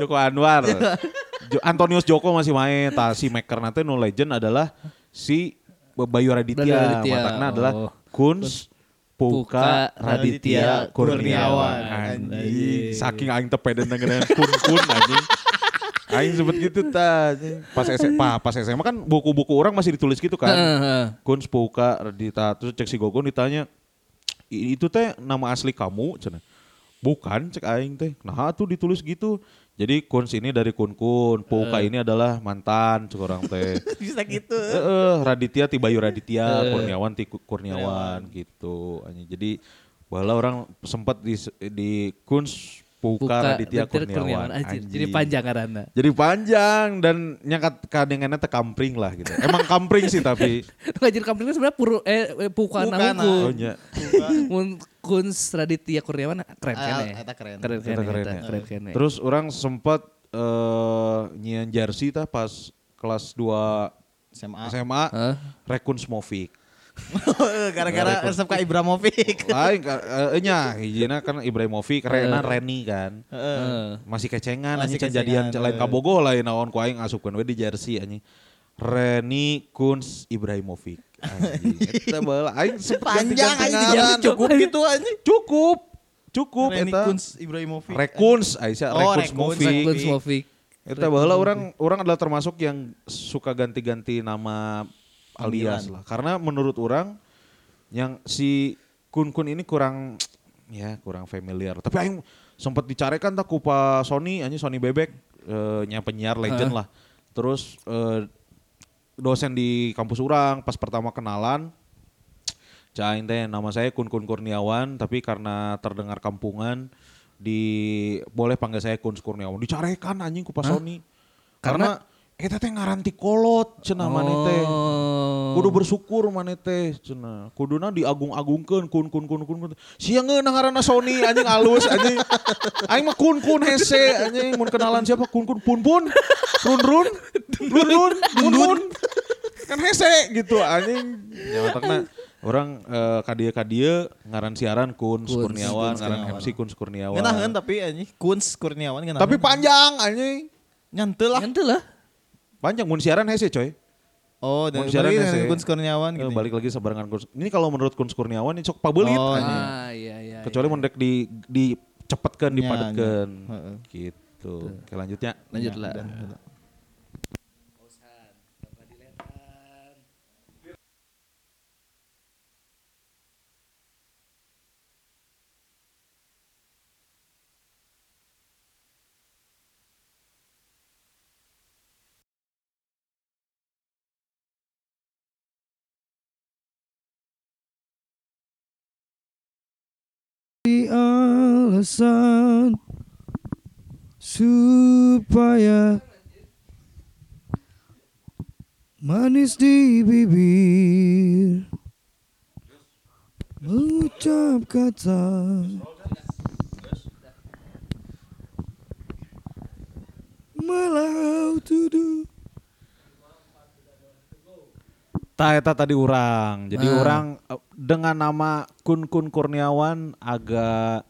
B: Joko Anwar. Jo- Antonius Joko masih main. Tah si maker nanti no legend adalah si Bayu Raditya.
A: Bayu Raditya.
B: Matakna adalah
A: Oh.
B: Kunz Puka
A: Puka
B: Raditya
C: Raditya
B: Kurniawan.
C: Kurniawan.
B: Anjing. Saking aing teu pede dengan kun-kun anjing. Aing sempet gitu ta. anjing. Pas SMA, pas SMA kan buku-buku orang masih ditulis gitu kan.
A: Heeh, heeh.
B: Kun Puka Radita terus cek si Gogon ditanya "I- itu teh nama asli kamu cenah. Bukan cek aing teh. Nah tuh ditulis gitu. Jadi Kuns ini dari Kun Kun, Puka ini adalah mantan cek orang teh.
C: Bisa gitu.
B: Eh, eh, Raditya ti Bayu Raditya, Kurniawan ti Ku- Kurniawan gitu. Anjing. Jadi bala orang sempat di di Kuns Puka, Raditya Kurniawan.
A: anjir. Jadi
B: Anjing.
A: panjang kan, karena.
B: Jadi panjang dan nyakat kadengannya tekampring lah gitu. Emang kampring sih tapi.
A: Ngajar kampungnya sebenarnya puru eh eh, puka
C: Puka
A: nahungkul.
B: Oh, nya.
A: Mun Kuns Raditya Kurniawan keren kan
C: Ah,
A: ya?
C: eta keren.
A: Keren kan
B: Eta keren
A: ya?
B: ya.
A: Keren kan ya?
B: Terus orang sempat eh nyian jersey tah pas kelas 2
C: SMA.
B: SMA
A: Hah?
B: Rekun Smovic.
C: Gara-gara resep Kak Ibramovic.
B: Lain ka- eh, eh, nya hijina kan Ibrahimovic, Rena Reni kan.
A: Heeh.
B: Masih kecengan
C: Eh. Masih
B: anjing can jadian
C: kecengan,
B: lain
C: eh.
B: kabogo lain naon ku aing asupkeun we di jersey anjing. Reni Kunz Ibrahimovic. Anjing. Eta baheula aing sempet
C: Panjang aja
B: ganti-ganti
C: dijalan
B: ngaran.
C: cukup gitu aja.
B: Cukup. Cukup
C: Reni
B: eta.
C: Kunz Ibrahimovic.
B: Rekuns Aisyah,
C: Oh,
B: Rekuns
C: Rekuns.
B: Movie.
A: Kuns Movik.
B: Itu bahwa orang orang adalah termasuk yang suka ganti-ganti nama alias lah. Karena menurut orang yang si Kun Kun ini kurang ya kurang familiar. Tapi aing sempat dicarikan tak kupa Sony, anjing Sony Bebek eh, nya penyiar legend lah. Terus eh, dosen di kampus orang pas pertama kenalan Cain teh nama saya Kun Kun Kurniawan tapi karena terdengar kampungan di boleh panggil saya Kun Kurniawan. Dicarekan anjing ku Pak Sony. Karena, eta teh ngaranti kolot cenah maneh teh.
A: Oh.
B: Kudu bersyukur maneh teh cenah. Kuduna diagung-agungkeun kun kun kun kun. kun. Sia ngeunah ngaranna Sony anjing alus anjing. Aing mah kun kun hese anjing mun kenalan siapa kun kun pun pun. Run run. Run run. Mun mun. Kan hese gitu anjing. Ya matakna orang eh, kadia-kadia ngaran siaran kun Kurniawan, ngaran MC kun Kurniawan.
C: Ngeunaheun kan, tapi anjing Kunz Kurniawan ngeunaheun.
B: Tapi panjang anjing.
C: nyantel lah.
A: Nyantel lah.
B: Panjang mun siaran hese coy.
C: Oh,
B: Mun
C: dan
B: siaran
C: balik
B: hese.
C: dengan Kunz Kurniawan
B: Eh,
C: gitu.
B: balik lagi sabarengan Kunz. Ini kalau menurut Kunz Kurniawan ini sok pabelit
C: Oh,
B: anjing.
A: Ah iya iya.
B: Kecuali mun rek di dicepetkeun,
C: Nya,
B: dipadetkeun.
C: nya. Heeh.
B: Gitu. Oke, lanjutnya.
A: Lanjut lah.
B: Iya.
D: alasan supaya manis di bibir mengucap kata malah tuduh
B: Ta eta Nah, tadi orang. Jadi orang eh, dengan nama Kun Kun Kurniawan agak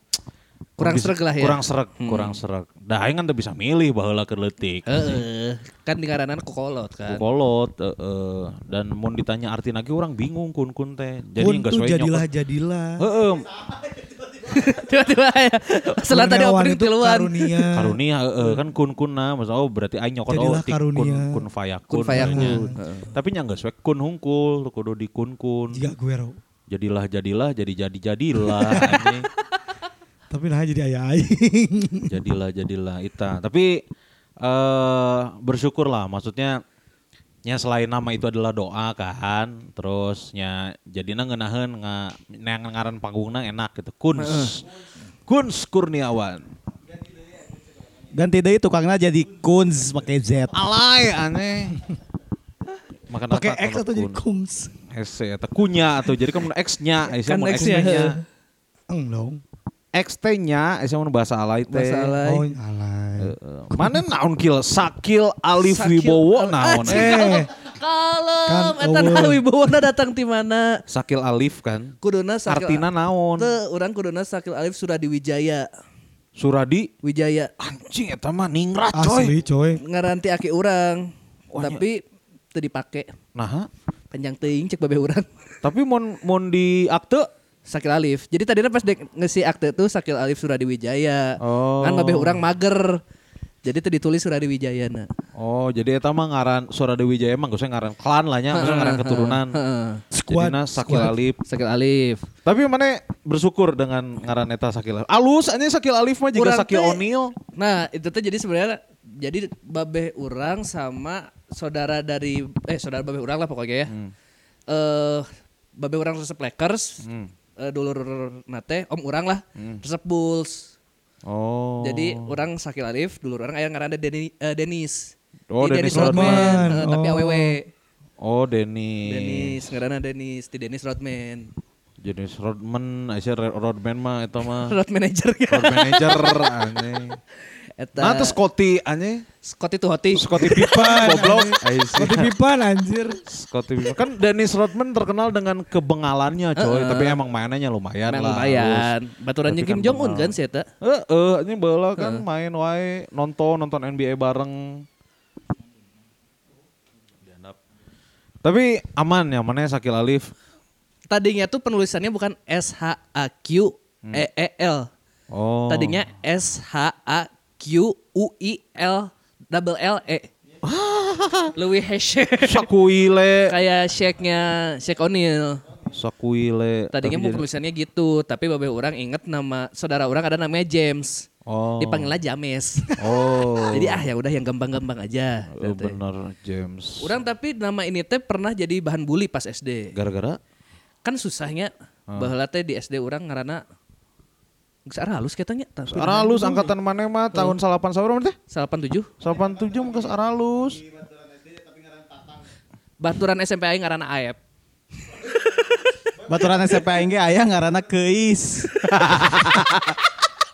A: Kurang
B: bisa-
A: sereg lah ya.
B: Kurang sereg, kurang sereg. Dah aing kan teu bisa milih baheula keur leutik.
A: Eh. Heeh. Kan di ngaranan kokolot kan.
B: Kolot, eh, eh. dan mau ditanya arti lagi orang bingung kun kun teh. Jadi
D: pun
B: nggak
D: tuh
B: sesuai
D: jadilah
B: nyokot.
D: jadilah
B: Heeh,
A: Tiba-tiba ya. Setelah tadi
D: Kurniawan
A: opening
D: itu
A: tiluan.
D: karunia
B: karunia heeh, kan kun kun nah maksud oh berarti aing nyokot oh
D: Jadilah
B: ti
D: karunia.
B: kun kun fayakun.
A: Kun fayakun.
B: nya.
A: Heeh.
B: Tapi nya nggak sesuai kun hungkul kudu di kun kun.
D: jika Guero
B: Jadilah jadilah jadi jadi jadilah anjing.
D: tapi nah jadi ayah aing
B: jadilah jadilah ita. Tapi eh bersyukurlah maksudnya nya selain nama itu adalah doa kan terusnya jadinya ngeunaheun nga neang ngaran panggungna enak gitu kuns kuns kurniawan
C: Ganti deui tukangnya jadi Kunz pakai Z.
B: alay aneh makan
D: pakai
B: otak
D: X
B: kalau
D: atau jadi
B: kun.
D: Kungs
B: hese atau kunya atau jadi kamu X nya
A: Kan
B: kan X
A: X-nya,
B: nya
A: heeh.
D: eng dong
B: X T nya esa mun bahasa alay teh
A: Bahasa alay.
D: oh alay
B: Heeh. mana naon kill sakil alif
A: Sakil
B: wibowo
A: Al-
B: naon
A: Anjing.
B: eh
D: eh
A: Kalem.
D: Kan,
A: Eta
D: eueuh.
A: nah wibawona datang ti mana?
B: sakil alif kan
A: Kuduna sakil.
B: Artina naon?
A: Teu, urang kuduna sakil Alif Suradiwijaya.
B: Suradi
A: Wijaya.
B: anjing eta mah ningrat coy.
D: asli coy
A: Ngaranti aki urang.
B: Wah,
A: Tapi teu dipake.
B: Nah,
A: Panjang teuing cek babeh urang.
B: tapi mon mon di akte
A: Sakil Alif. Jadi tadinya pas dek ngesi akte tuh Sakil Alif Suradiwijaya.
B: Oh.
A: Kan babeh urang mager. Jadi teu ditulis Suradiwijayana.
B: Oh, jadi eta mah ngaran Suradi Wijaya emang gak usah ngaran klan lah nya, gak usah ngaran keturunan.
A: Heeh.
D: Squad,
B: Jadina Sakil Alif.
A: Sakil Alif.
B: Tapi mana bersyukur dengan ngaran eta Sakil Alif. Alus anjing Sakil Alif mah juga
A: Urang
B: Sakil
A: teh-
B: Onil.
A: Nah, itu tuh jadi sebenarnya jadi babeh urang sama saudara dari eh saudara babeh urang lah pokoknya ya. Eh
B: Hmm.
A: babeh urang resep Lakers,
B: Hmm.
A: eh, dulur nate om urang lah, resep Bulls.
B: Oh.
A: Jadi orang Sakil Alif dulur orang aya ngaranna Deni, eh, Denis.
B: Oh,
A: Di
B: Dennis
D: Rodman.
A: eh, tapi
D: Oh.
A: awewe.
B: Oh, Denny.
A: Denis ngaranna Denis, ti Denis Rodman.
B: Jenis Rodman, Aisyah Rodman mah eta mah
A: Road manager
B: Ah. Road
A: kan.
B: manager anjing.
A: Eta
B: Nah, terus Scotty anjing.
A: Scotty tuh hoti.
B: Scotty Pippen goblok. Aisyah.
D: Seperti pipan anjir.
B: Scottie Pippen. Kan Dennis Rodman terkenal dengan kebengalannya coy, tapi emang mainannya lumayan
A: Emang
B: lah.
A: lumayan. Baturannya
B: Tapi kan
A: Kim Jong Un
B: kenal.
A: kan si eta.
B: Heeh, eh, ini bola kan main wae nonton nonton NBA bareng. Tapi aman ya mana Sakil Alif.
A: Tadinya tuh penulisannya bukan S H A Q E E L.
B: Oh.
A: Tadinya S H A Q U I L double L E. Louis Heshe.
B: Sakuile,
A: Kayak Shake-nya Shake O'Neal.
B: Sakuile.
A: Tadinya
B: Tapi
A: mau
B: jadi-
A: penulisannya gitu, tapi babe orang inget nama saudara orang ada namanya James.
B: Oh.
A: Dipanggilnya James.
B: Oh.
A: Jadi ah ya udah yang gampang-gampang aja.
B: Eh, bener James.
A: Orang tapi nama ini teh pernah jadi bahan bully pas SD.
B: Gara-gara
A: kan susahnya
B: Hmm.
A: baheula teh di SD orang ngarana geus arah halus katanya
B: Aralus angkatan mana mah tahun salapan sabar teh?
A: 87
B: Salapan tujuh mungkas aralus.
A: baturan SMP aing ngarana Aep
C: Baturan SMP aing ge aya ngaranna Keis.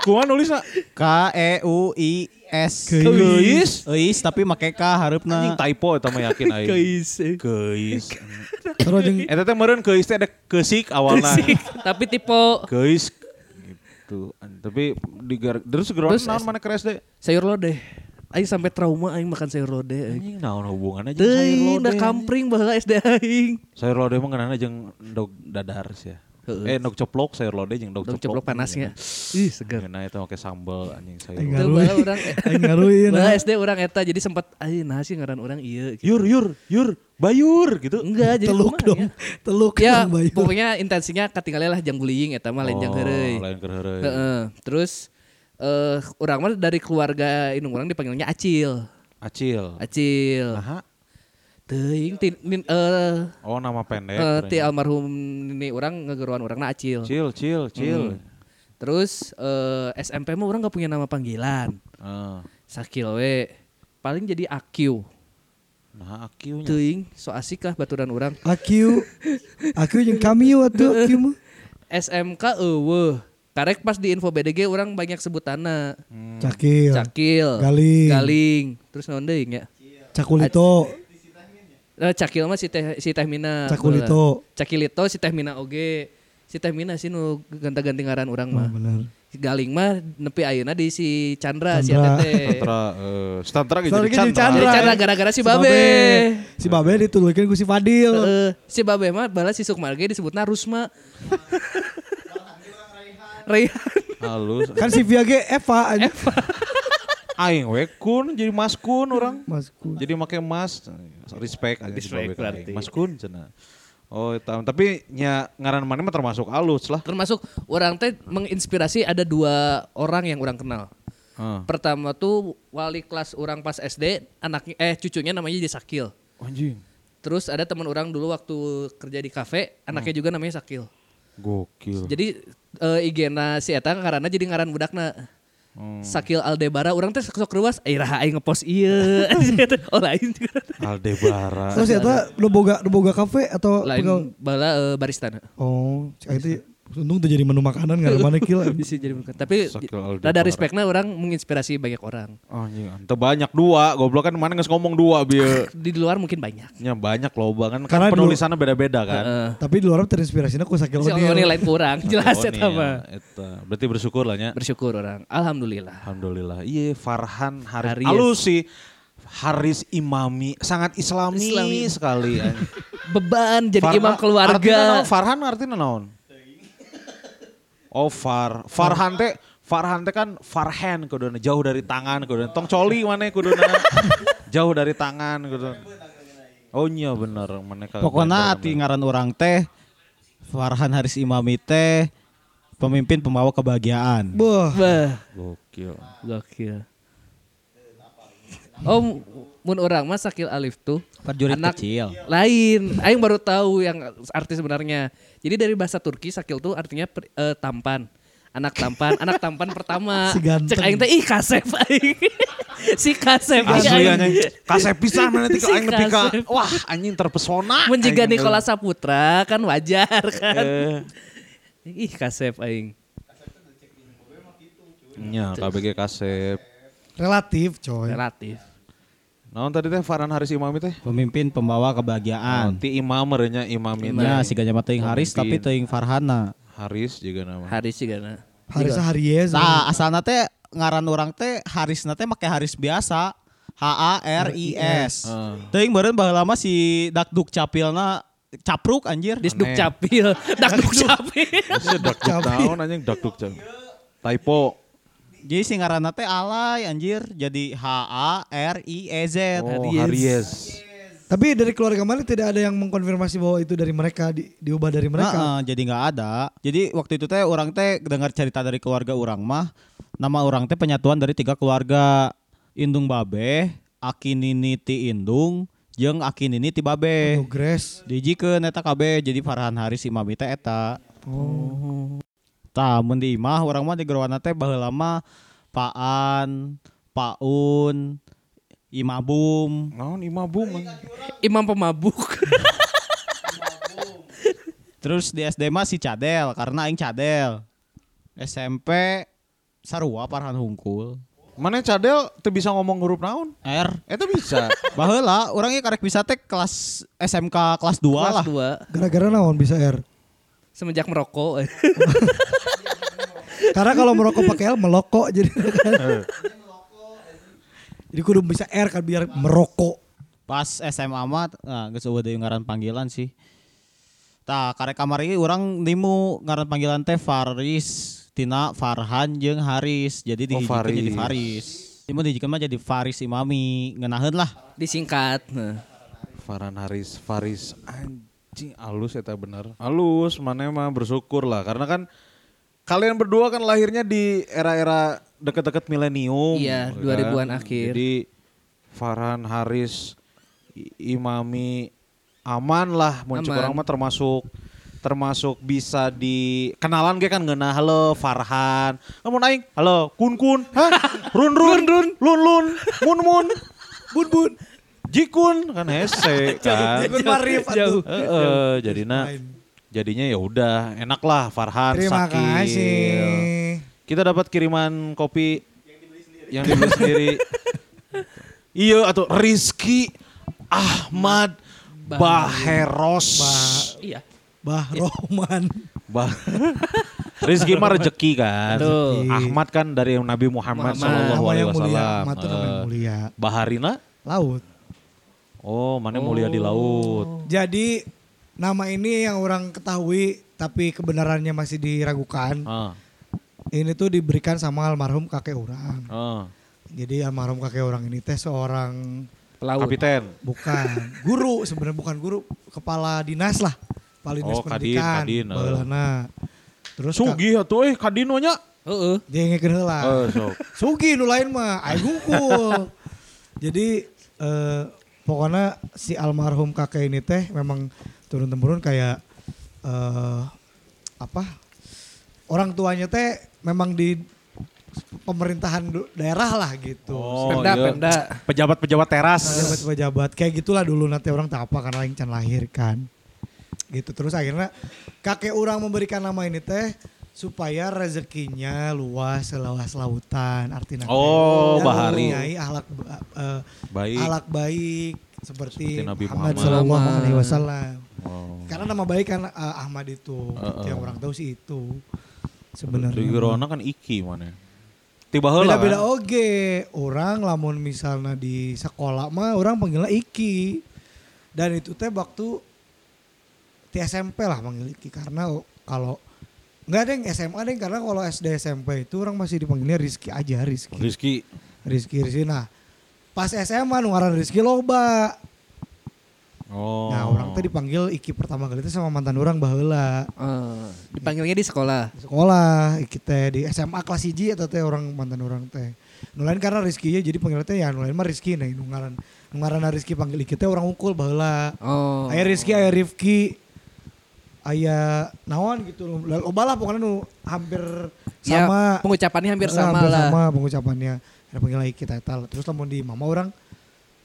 B: Kuan nulis nak?
C: K E U I S.
D: Keis.
B: Keis?
C: Keis tapi make K
B: Anjing
C: hareupna.
B: typo eta mah yakin aing. Keis. Keis.
D: Terus jeung
B: Eta teh meureun keis teh ada kesik awalna.
A: tapi tipe
B: Keis. Gitu. An- Tapi di gar- terus geroan
A: Terus
B: naon
A: es-
B: mana keres deh?
A: sayur lodeh aing sampai trauma aing makan sayur lodeh aing
B: Anjing naon hubunganna jeung sayur
A: Eh, teuing da
B: lodeh.
A: kampring baheula SD aing
B: Sayur lodeh mah ngeunana jeung dog dadar sih ya.
A: Heeh.
B: Eh dog coplok sayur lodeh jeung dog Iya, nah,
A: Dong ceplok
B: coplok.
A: ya. panasnya ih segar
B: Ngeunana eta make sambal anjing sayur.
D: Aing
B: lodeh.
A: Tuh,
D: ngaruin.
A: baheula orang
D: Aing ngaruin.
A: Baheula
D: ah.
A: SD orang eta jadi sempat aing nah sih ngaran orang ieu gitu.
B: Yur yur yur bayur gitu.
A: enggak jadi
D: Teluk
A: kumaha
D: dong.
A: ya?
D: Teluk
A: ya
D: dong, Bayu.
A: pokoknya intensinya ketinggalan lah jam guling eta mah lain jang heureuy.
B: Oh, Lain keur heureuy.
A: Heeh. Terus eh orang mah dari keluarga indung orang dipanggilnya Acil.
B: Acil.
A: Acil.
B: Aha.
A: Teuing tin nin- eh
B: Oh nama pendek.
A: eh, ti
B: ternyata.
A: almarhum ini orang ngegeruan orangna Acil.
B: Cil, cil, cil.
A: Terus eh, SMP mah orang gak punya nama panggilan.
B: Ah,
A: Sakil we. Paling jadi Akyu.
B: Nah, akiunya.
A: Teuing so asik lah baturan orang.
D: Akiu. Akiu jeung kami atuh Akiu mah.
A: SMK eueuh. Karek pas di info BDG orang banyak sebutanna.
D: Cakil.
A: Cakil.
D: Hmm. Iya. Galing.
A: Galing. Terus naon deui ya?
D: Cakulito.
A: Eh, Cakil mah si teh si teh Mina.
D: Cakulito.
A: Cakilito si teh Mina oge. Si teh Mina sih nu ganta-ganti ngaran urang
D: Oh,
A: mah.
D: benar.
A: Si Galing mah nepi ayeuna di si Chandra, si
D: Chandra.
A: Atete.
B: Tantra, eh, Tantra gitu.
D: Soalnya
B: Jadi
D: jadi
B: Chandra.
A: Jadi Chandra gara-gara si Babe.
D: Si Babe ditulukin ku si Fadil.
A: Heeh. si Babe mah balas si Sukma ge disebutna Rusma. Raihan.
B: Halus.
D: Kan si Viage Eva anjing.
B: Aing we kun jadi mas kun orang.
D: Mas ku.
B: Jadi make mas. Respect aja
A: Respect
B: Respect
A: berarti.
B: Mas kun cenah. Oh, tam- tapi nya ngaran mana mah termasuk alus lah.
A: Termasuk orang teh menginspirasi ada dua orang yang orang kenal.
B: Ah.
A: Pertama tuh wali kelas orang pas SD, anaknya eh cucunya namanya jadi Sakil.
B: Anjing.
A: Terus ada teman orang dulu waktu kerja di kafe, anaknya
B: Hmm.
A: juga namanya Sakil.
B: Gokil.
A: Jadi eh IG-na si Eta karena jadi ngaran budakna.
B: Hmm.
A: Sakil Aldebara, orang teh sok ruas, eh raha aing ngepost iya. oh lain juga.
B: Aldebara.
D: Terus eta lu boga lu boga kafe
B: Oh,
D: atau pegal-
A: Ah, Lain bala eh, barista. na.
D: Oh, cek itu untung tuh jadi menu makanan nggak ada mana kill.
A: Bisa jadi bukan. Tapi
B: Sakil
A: rada
B: Aldebara.
A: respectna orang menginspirasi banyak orang.
B: Anjing, teu banyak dua. Goblok kan mana geus ngomong dua bieu.
A: Di luar mungkin banyak.
B: Ya banyak loh kan, kan
D: Karena dulu-
B: penulisannya beda-beda kan.
A: Heeh.
D: Tapi di luar terinspirasinya ku sakil
A: Si Oni lain kurang, jelas
B: Oh, nih,
A: Eta mah.
B: ya, eta. Berarti bersyukur lah nya.
A: Bersyukur orang. Alhamdulillah.
B: Alhamdulillah. Iya Farhan Haris.
A: Haris.
B: Halus sih. Haris Imami sangat Islami,
A: Islami.
B: sekali.
A: Beban jadi
B: Farhan-
A: imam
B: Artinya
A: keluarga.
B: naon? Farhan artinya naon? Oh Far Farhan teh Farhan teh kan Farhan kuduna jauh dari tangan kuduna tong coli mana kuduna jauh dari tangan kuduna. Oh iya bener mana kagak bener.
C: Pokoknya ati ngaran orang teh Farhan Haris Imami teh pemimpin pembawa kebahagiaan.
D: Wah,
A: Bah,
B: Gokil.
A: gokil. Oh, mu- mun orang mah Sakil Alif tuh
C: Prajurit kecil.
A: lain. Aing baru tahu yang arti sebenarnya. Jadi dari bahasa Turki Sakil tuh artinya per- eh, tampan. Anak tampan, anak tampan pertama.
D: Si ganteng.
A: Cek aing teh ih kasep aing. si kasep
B: Asli
A: aing.
B: anjing. Kasep pisan mana
A: Si
B: tika aing nepi ka
A: Iya. kasep.
B: wah anjing terpesona.
A: Mun jiga
B: Aing-
A: Nikola Saputra kan wajar kan.
B: Eh,
A: Ih kasep aing.
B: Nya Iya, KBG Kasep.
D: relatif coy.
A: Relatif.
B: Naon tadi teh Farhan Haris Imami teh?
C: Pemimpin pembawa kebahagiaan.
B: Nanti imamer nya imamina
C: Nah, si gajah mata Haris tapi teuing Farhana.
B: Haris juga nama.
A: Haris juga na.
D: Harisa Haries.
C: Nah, asalna teh ngaran orang teh Harisna teh make Haris biasa. H A R I S. ah. Teuing meureun baheula mah si Dakduk Capilna capruk anjir.
A: Disduk capil, dakduk capil.
B: Masih dakduk naon anjing dakduk jam. Typo.
C: Jadi si ngaranna teh alay anjir. Jadi H A R I E Z.
B: Oh, Haries.
D: Tapi dari keluarga mana tidak ada yang mengkonfirmasi bahwa itu dari mereka di- diubah
A: Nah,
D: dari mereka.
C: Heeh, jadi nggak ada. Jadi waktu itu teh orang teh dengar cerita dari keluarga orang mah nama orang teh penyatuan dari tiga keluarga Indung Babe, Akinini Ti Indung, Jeung Akin ini tiba
A: eh.
C: be.
D: Progres.
C: Dijikeun eta kabeh jadi Farhan Haris imam teh eta. Tah mun di imah urang mah di Gerwana teh baheula mah Paan, Paun, Imabum.
B: Naon imabum.
A: Imam pemabuk.
C: Terus di SD mah si Cadel karena aing Cadel. SMP Sarua Farhan Hungkul.
B: Mana cadel teu bisa ngomong huruf naon?
C: R
B: Eta bisa.
C: Baheula, orangnya karek bisa teh kelas SMK kelas 2
A: Kelas
C: lah.
A: dua
D: Gara-gara naon bisa R.
A: semenjak merokok.
D: Karena kalau merokok pakai L melokok jadi. jadi kudu bisa R kan biar merokok.
C: Pas SMA mah nah geus eueuh deui ngaran panggilan sih. Tah, karek kamari urang nimu ngaran panggilan teh Faris tina Farhan jeung Haris. Jadi
B: Oh,
C: dihijikeun jadi
B: Faris.
C: Faris. Timun dihijikeun mah jadi Faris Imami, ngeunaheun lah.
A: Disingkat. Nah.
B: Farhan Haris, Faris anjing alus eta bener. Alus, mana mah bersyukur lah karena kan kalian berdua kan lahirnya di era-era deket-deket milenium.
A: Iya,
B: kan?
A: 2000-an akhir.
B: Jadi Farhan Haris, I- Imami aman lah muncul
A: Aman.
B: orang mah termasuk termasuk bisa di kenalan ge kan ngeunah halo Farhan. Namun aing halo Kun Kun, hah? Run Run, Run Lun Lun, Mun Mun, Bun Bun. Jikun kan hese kan.
D: Ikut Marif atuh.
B: Heeh, jadinya jadinya ya udah enak lah Farhan
D: Terima
B: Sakil.
D: kasih.
B: Kita dapat kiriman kopi yang dibeli sendiri. iya atau Rizky Ahmad Baheros.
A: Iya.
D: Bah
B: Ya.
D: Rohman.
B: Bah. Rizky mah rezeki kan.
A: Betul.
B: Ahmad kan dari Nabi Muhammad,
A: Muhammad.
B: Shallallahu
D: Nama
B: Alaihi
D: yang mulia,
B: Wasallam.
D: Ahmad tuh nama yang
B: Eh,
D: mulia.
B: Baharina?
D: Laut.
B: Oh, mana mulia di laut.
D: Jadi nama ini yang orang ketahui tapi kebenarannya masih diragukan.
B: Ah,
D: Ini tuh diberikan sama almarhum kakek orang.
B: ah.
D: Jadi almarhum kakek orang ini teh seorang
A: Pelaut.
B: Kapiten.
D: bukan guru sebenarnya bukan guru kepala dinas lah kepala dinas
B: Oh, kadin,
D: pendidikan
B: kadin, eh.
D: baheulana. terus
B: Sugih atuh euy kadinonya.
A: Heeh.
D: jengekeun heula
B: Eh, sok.
D: Sugi nu lain mah aing hungkul. Jadi eh, pokoknya si almarhum kakek ini teh memang turun temurun kayak eh apa? Orang tuanya teh memang di pemerintahan du- daerah lah gitu.
A: Pemda,
B: iya.
A: pemda.
B: Pejabat-pejabat teras.
D: Pejabat-pejabat kayak gitulah dulu nanti orang tak apa karena aing can lahir kan. Gitu terus akhirnya kakek orang memberikan nama ini teh supaya rezekinya luas seluas lautan artinya
B: Oh,
D: dan
B: Bahari.
D: mempunyai ahlak ba- eh,
B: Baik.
D: ahlak baik seperti,
B: Seperti Nabi
D: Muhammad,
B: Muhammad.
D: Shallallahu Alaihi Wasallam.
B: Oh.
D: Karena nama baik kan eh, Ahmad itu,
B: Eh,
D: Gitu yang orang tahu sih itu sebenarnya.
B: Di Gerona kan Iki mana. Tiba heula.
D: ya. Beda-beda
B: kan?
D: oge, orang lamun misalnya di sekolah mah orang panggilnya Iki. Dan itu teh waktu di SMP lah panggil Iki karena kalau nggak ada yang SMA deh karena kalau SD SMP itu orang masih dipanggilnya Rizky aja Rizky.
B: Rizky.
D: Rizky Rizky nah pas SMA nu ngaran Rizky loba
B: Oh.
D: nah orang teh dipanggil Iki pertama kali itu sama mantan orang baheula
A: Eh, dipanggilnya di sekolah.
D: di sekolah Iki teh di SMA kelas hiji eta teh orang mantan orang teh nu lain karena Rizky ya jadi panggilnya teh ya nu lain mah Rizky nah nu ngaran nu ngaranna Rizky panggil Iki teh orang ukul baheula
A: Oh.
D: aya Rizky aya Rifki aya naon gitu loba lah pokoknya nu hampir
A: Ya,
D: sama
A: pengucapannya hampir
D: Eh,
A: sama lah.
D: sama pengucapannya. Ada panggilan kita etal. Terus lamun di mama orang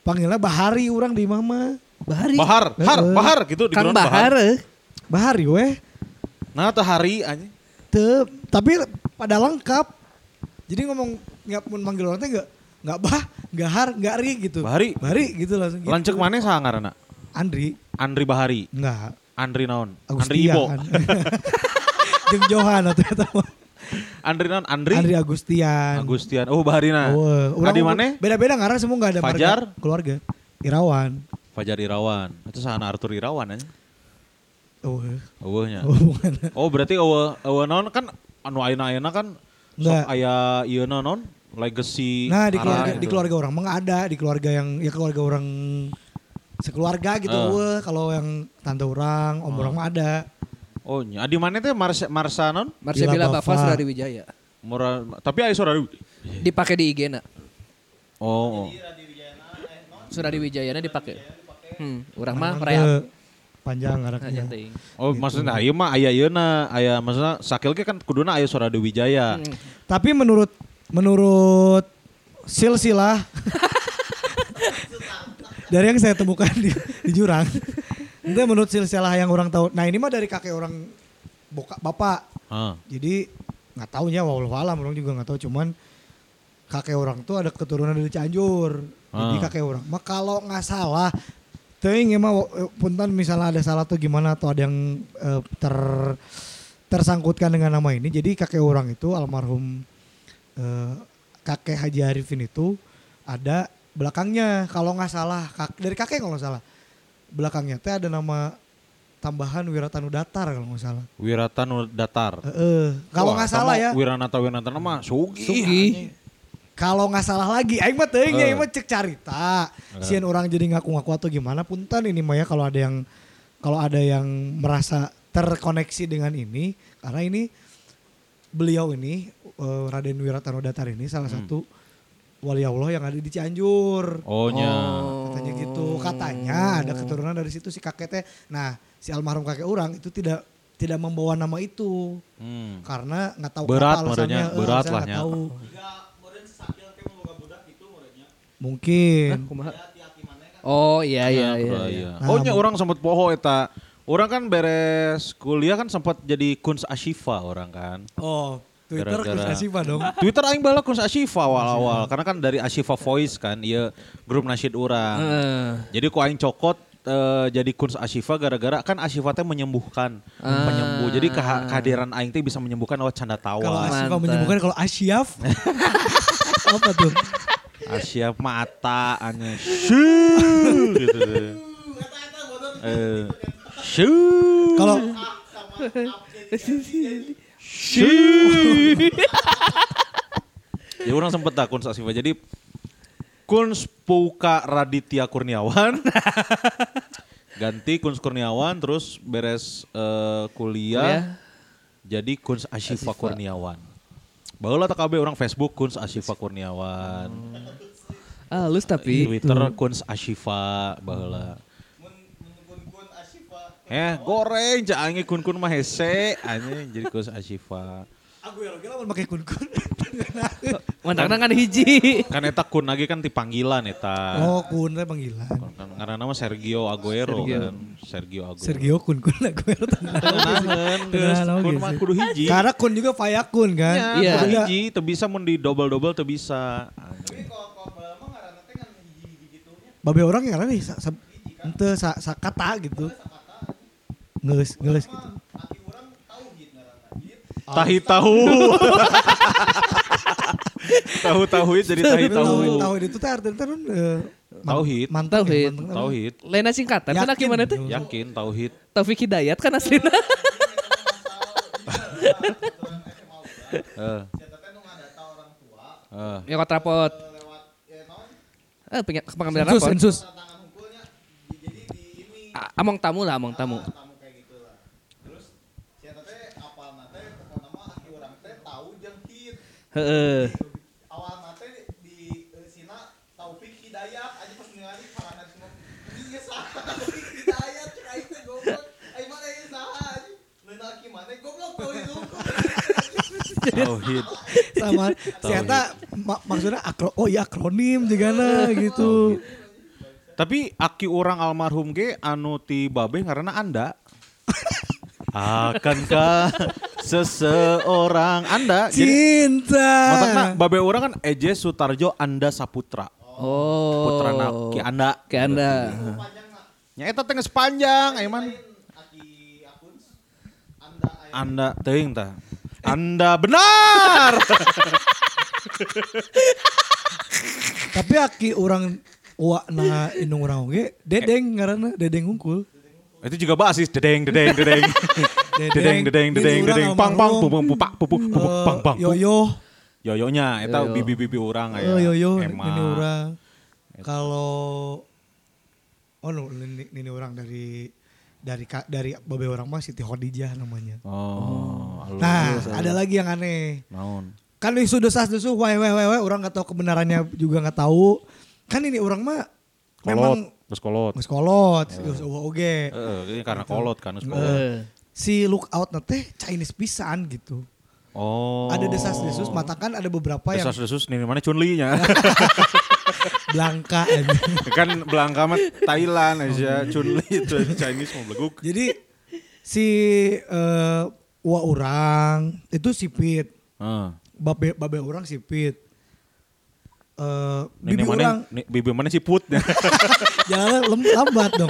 D: panggilnya Bahari orang di mama.
A: Bahari.
B: Bahar, Har,
D: Heeh.
B: Bahar gitu di
A: Kang
B: Gerona
A: Bahar. eh.
D: Bahari weh.
B: Nah, teh hari anjing.
D: Te, tapi pada lengkap. Jadi ngomong nggak pun manggil orang teh nggak nggak bah, nggak har, nggak ri gitu.
B: Bahari.
D: Bahari gitu langsung. Gitu.
B: Lancek mana sah ngaranna?
D: Andri
B: Andri Bahari.
D: nggak.
B: Andri naon? Andri
D: Agustia.
B: Ibo.
D: An- Jeung Johan atau eta mah.
B: Andri naon? Andri.
D: Andri Agustian.
B: Agustian. Oh, Baharina.
D: Weh, urang
B: Adi mana?
D: Beda-beda ngarang semua nggak ada marga
B: Fajar?
D: keluarga. Irawan.
B: Fajar Irawan. Itu sahana Arthur Irawan anjing.
D: Oh,
B: Eueuhnya.
D: hubungan.
B: Oh, berarti eueuh eueuh naon kan anu ayeuna-ayeuna kan
D: Nggak.
B: sok aya ieuna naon? Legacy.
D: Nah
B: Ara
D: di keluarga,
B: gitu.
D: di keluarga orang mah nggak ada di keluarga yang ya keluarga orang sekeluarga gitu.
B: Eh.
D: Weh, kalau yang tante orang, om orang mah ada.
B: Oh, nya di mana teh Mars Marsanon?
A: Marsabila
D: Bila
A: Bafa
D: Bafa.
A: Surari Wijaya.
B: Mora, tapi aya saudara.
A: Dipakai di IG na.
B: Oh. oh.
A: Surari Wijayana dipakai. Hmm, urang mah
D: Emang
A: real.
D: teu Panjang
A: Aja
D: ngaraknya.
A: teuing.
B: Oh, maksudnya ieu mah aya yeuna, aya maksudnya sakil ge kan kuduna aya Sora Dewi Jaya.
D: Tapi menurut menurut silsilah dari yang saya temukan di, di jurang, itu menurut silsilah yang orang tahu. Nah ini mah dari kakek orang boka bapak.
B: Heeh.
D: Jadi nggak tahunya walau alam orang juga nggak tahu cuman kakek orang tuh ada keturunan dari Cianjur. Jadi
B: Ah.
D: kakek orang mah kalau nggak salah teuing emang wa- eh, punten misalnya ada salah tuh gimana atau ada yang eh, ter tersangkutkan dengan nama ini. Jadi kakek orang itu almarhum eh, kakek Haji Arifin itu ada belakangnya kalau nggak salah kak- dari kakek kalau nggak salah belakangnya teh ada nama tambahan Wiratanu Datar kalau nggak salah.
B: Wiratanu Datar.
D: Heeh. Eh, Kalau
B: Wah,
D: nggak salah
B: sama
D: ya.
B: Wiranata Wiranata mah Sugi.
A: Sugi.
D: Kalau nggak salah lagi, aing mah teuing ya,
B: Eh.
D: aing mah cek carita. Sieun orang jadi ngaku-ngaku atau gimana punten ini mah ya kalau ada yang kalau ada yang merasa terkoneksi dengan ini karena ini beliau ini eh, Raden Wiratano Datar ini salah
B: Hmm.
D: satu wali Allah yang ada di Cianjur.
B: Oh nya. Oh.
D: Katanya gitu, katanya ada keturunan dari situ si kakeknya. Nah, si almarhum kakek orang itu tidak tidak membawa nama itu
B: Hmm.
D: karena nggak tahu
B: Berat
D: apa
B: merenya,
D: alasannya, eh,
B: berat lah
D: alasannya nggak
B: nya.
D: tahu.
A: Hah,
D: Mungkin.
A: kumaha? Oh iya iya iya.
B: Nah,
A: iya.
B: Oh nya orang sempat poho eta. Orang kan beres kuliah kan sempat jadi Kunz Ashifa orang kan.
D: Oh, Twitter
B: Gara-gara-
D: Chris Asifa dong.
B: Twitter aing bala Kunz Ashifa awal-awal karena kan dari Ashifa Voice kan ieu grup nasyid urang.
A: Heeh.
B: Jadi ku aing cokot eh, jadi Kunz Ashifa gara-gara kan Ashifa teh menyembuhkan, penyembuh. Jadi keha- kehadiran aing teh bisa menyembuhkan lewat canda
D: Kalau
B: tawa.
D: Asifa
A: Mantap.
D: menyembuhkan kalau Asyaf apa tuh?
B: Asyaf mata aneh. Shoo, gitu deh. Eh, shoo.
D: Kalau
B: Ya orang sempet lah Kuns Asifa. Jadi Kuns Puka Raditya Kurniawan. Ganti Kuns Kurniawan terus beres eh, kuliah. Jadi Kuns Asifa, Kurniawan. Barulah TKB orang Facebook Kuns Asifa Kurniawan.
A: Halus tapi
B: Twitter Kuns Ashifa baheula. Eh, goreng cak anjing kun-kun mah hese anjing jadi Kuns Ashifa.
D: Aguero ge lamun make kun-kun.
A: mantangna kan hiji.
B: Kan eta kun lagi kan dipanggilan eta.
D: Oh, kun teh panggilan.
B: Kan, Karena nama Sergio Aguero kan. Sergio Aguero.
D: Sergio kun kun Aguero.
B: Teunaheun, geus
D: Teunaheun, oge
B: kun mah
D: sih.
B: kudu hiji.
D: Karena kun juga Fayakun kan.
A: Iya.
B: Iya, kudu
D: Ada-
B: hiji teu bisa mun di double-double teu bisa.
D: Ah.
B: Anjing.
D: Babe orang yang nih sa, sa, ente sa, sa kata gitu. Ngeles ngeles gitu.
B: Tahi tahu. Tahu tahu jadi tahi tahu.
D: tahu itu teh artinya teh nun, eh, man-
B: Tauhid.
D: Mantan
A: Tauhid.
D: ya, mantan.
B: Tauhid.
A: Lainnya singkatan kan
D: Yakin.
A: gimana teh?
B: Yakin tauhid.
A: Taufik Hidayat kan aslinya.
B: Heeh.
A: ya kot rapot. Eh, pengen pengambilan
D: Ensus,
A: rapot.
D: ensus.
A: A- Among tamu lah, among tamu. Heeh.
C: eh,
B: Tauhid.
D: sama si Eta ma- maksudnya akro oh iya akronim juga nah gitu
B: Tapi aki orang almarhum ge anu ti babe karena Anda. Akankah seseorang Anda? Jadi
D: cinta
B: maksudnya
D: Eh.
B: babe orang kan Eje Sutarjo Anda Saputra.
A: Oh.
B: Putrana ki Anda.
A: Ki Anda.
B: Nya eta teh geus panjang, Aiman. Anda teuing tah. Anda benar.
D: tapi aki orang wa nah indung orang oge dedeng ngaranna dedeng hungkul
B: Itu juga basis dedeng dedeng dedeng. Dedeng dedeng dedeng
D: Ini
B: dedeng
D: urang
B: pang pang
D: almarhum.
B: pupung pupak pupuk pupuk
D: Eh,
B: pang pang.
D: yoyo
B: Yoyonya eta bibi-bibi urang aya.
D: Eh, yoyo
B: ya, Emang.
D: ini orang kalau oh no, ini, ini orang dari dari ka- dari babe orang mah Siti Khadijah namanya
B: Oh, alus.
D: nah ada lagi yang aneh
B: Naon?
D: kan isu desas desuh wae wae wae wae, orang nggak tahu kebenarannya juga nggak tahu kan ini orang mah memang
B: Geus kolot. Eh.
D: Geus kolot, geus eueuh oge.
B: Heeh, ini karena kolot kan geus kolot.
A: Eh,
D: Si lookout na teh Chinese pisan gitu.
B: Oh.
D: Ada desas-desus, mata kan ada beberapa yang
B: Desas desus nih mana Chunli-nya.
D: Blanka. anjing.
B: kan Belangka mah Thailand aja, Chunli itu Chinese mau beleguk.
D: Jadi si eh Wa orang itu sipit,
B: Heeh.
D: babe babe orang sipit. Eh bibi
B: Ini
D: orang
B: mana nih, bibi mana sih put
D: jalan lem- lambat dong.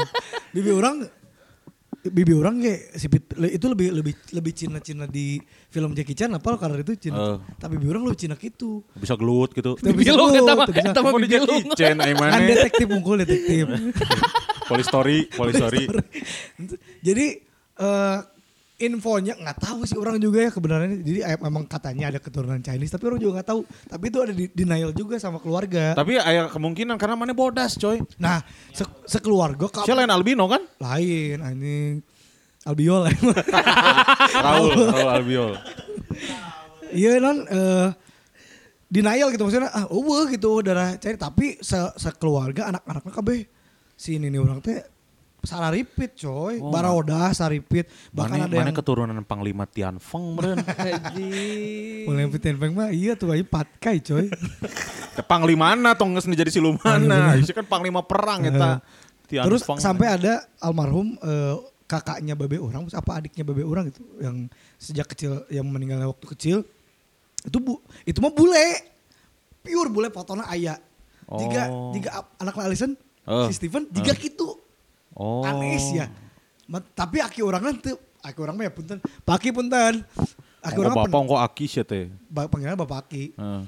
D: Bibi orang bibi orang kayak sipit le- itu lebih lebih lebih Cina-Cina di film Jackie Chan apa karena itu Cina.
B: Eh.
D: Tapi bibi orang lebih Cina gitu.
B: bisa gelut gitu.
D: Tapi
A: Bibi
D: bisa
A: lu,
D: gelut,
A: eta mah-
D: tapi bisa-
A: eta mah
B: Mau di
A: bibi lu.
B: Jackie Chan ai
D: Kan
B: mana?
D: detektif mungkul detektif.
B: Polistory, polistory.
D: Jadi eh, infonya nggak tahu sih orang juga ya kebenarannya. Jadi eh, memang katanya ada keturunan Chinese, tapi orang juga nggak tahu. Tapi itu ada di denial juga sama keluarga.
B: Tapi ada kemungkinan karena mana bodas coy.
D: Nah, se sekeluarga kap-
B: Siapa lain albino kan?
D: lain anjing albiol emang.
B: Raul, Raul Albiol.
D: Iya non eh, denial gitu maksudnya ah eueuh gitu darah cair tapi se sekeluarga anak-anaknya kabeh si ini orang teh sararipit coy, baroda saripit
B: Oh.
D: bahkan
B: Mana,
D: ada
B: mana
D: yang
B: keturunan panglima Tianfeng meren.
A: anjing.
D: Mulai Pitin Peng mah iya tuh aja patkai coy.
B: Ya, panglima mana tong geus nu jadi silumana. Itu kan panglima perang eta.
D: Terus
B: Tianfeng.
D: sampai ada almarhum eh, kakaknya babe orang apa adiknya babe orang gitu yang sejak kecil yang meninggalnya waktu kecil itu bu itu mah bule pure bule potona ayah jika
B: Oh.
D: jika ap- anaknya Alison
B: Eh.
D: si Steven jika gitu
B: Oh.
D: aneh ya Ma- tapi aki orangnya tuh aki orang mah ya punten paki punten aki
B: Ongko
D: orang
B: bapak ongko aki sih teh.
D: panggilan bapak aki
B: Heeh.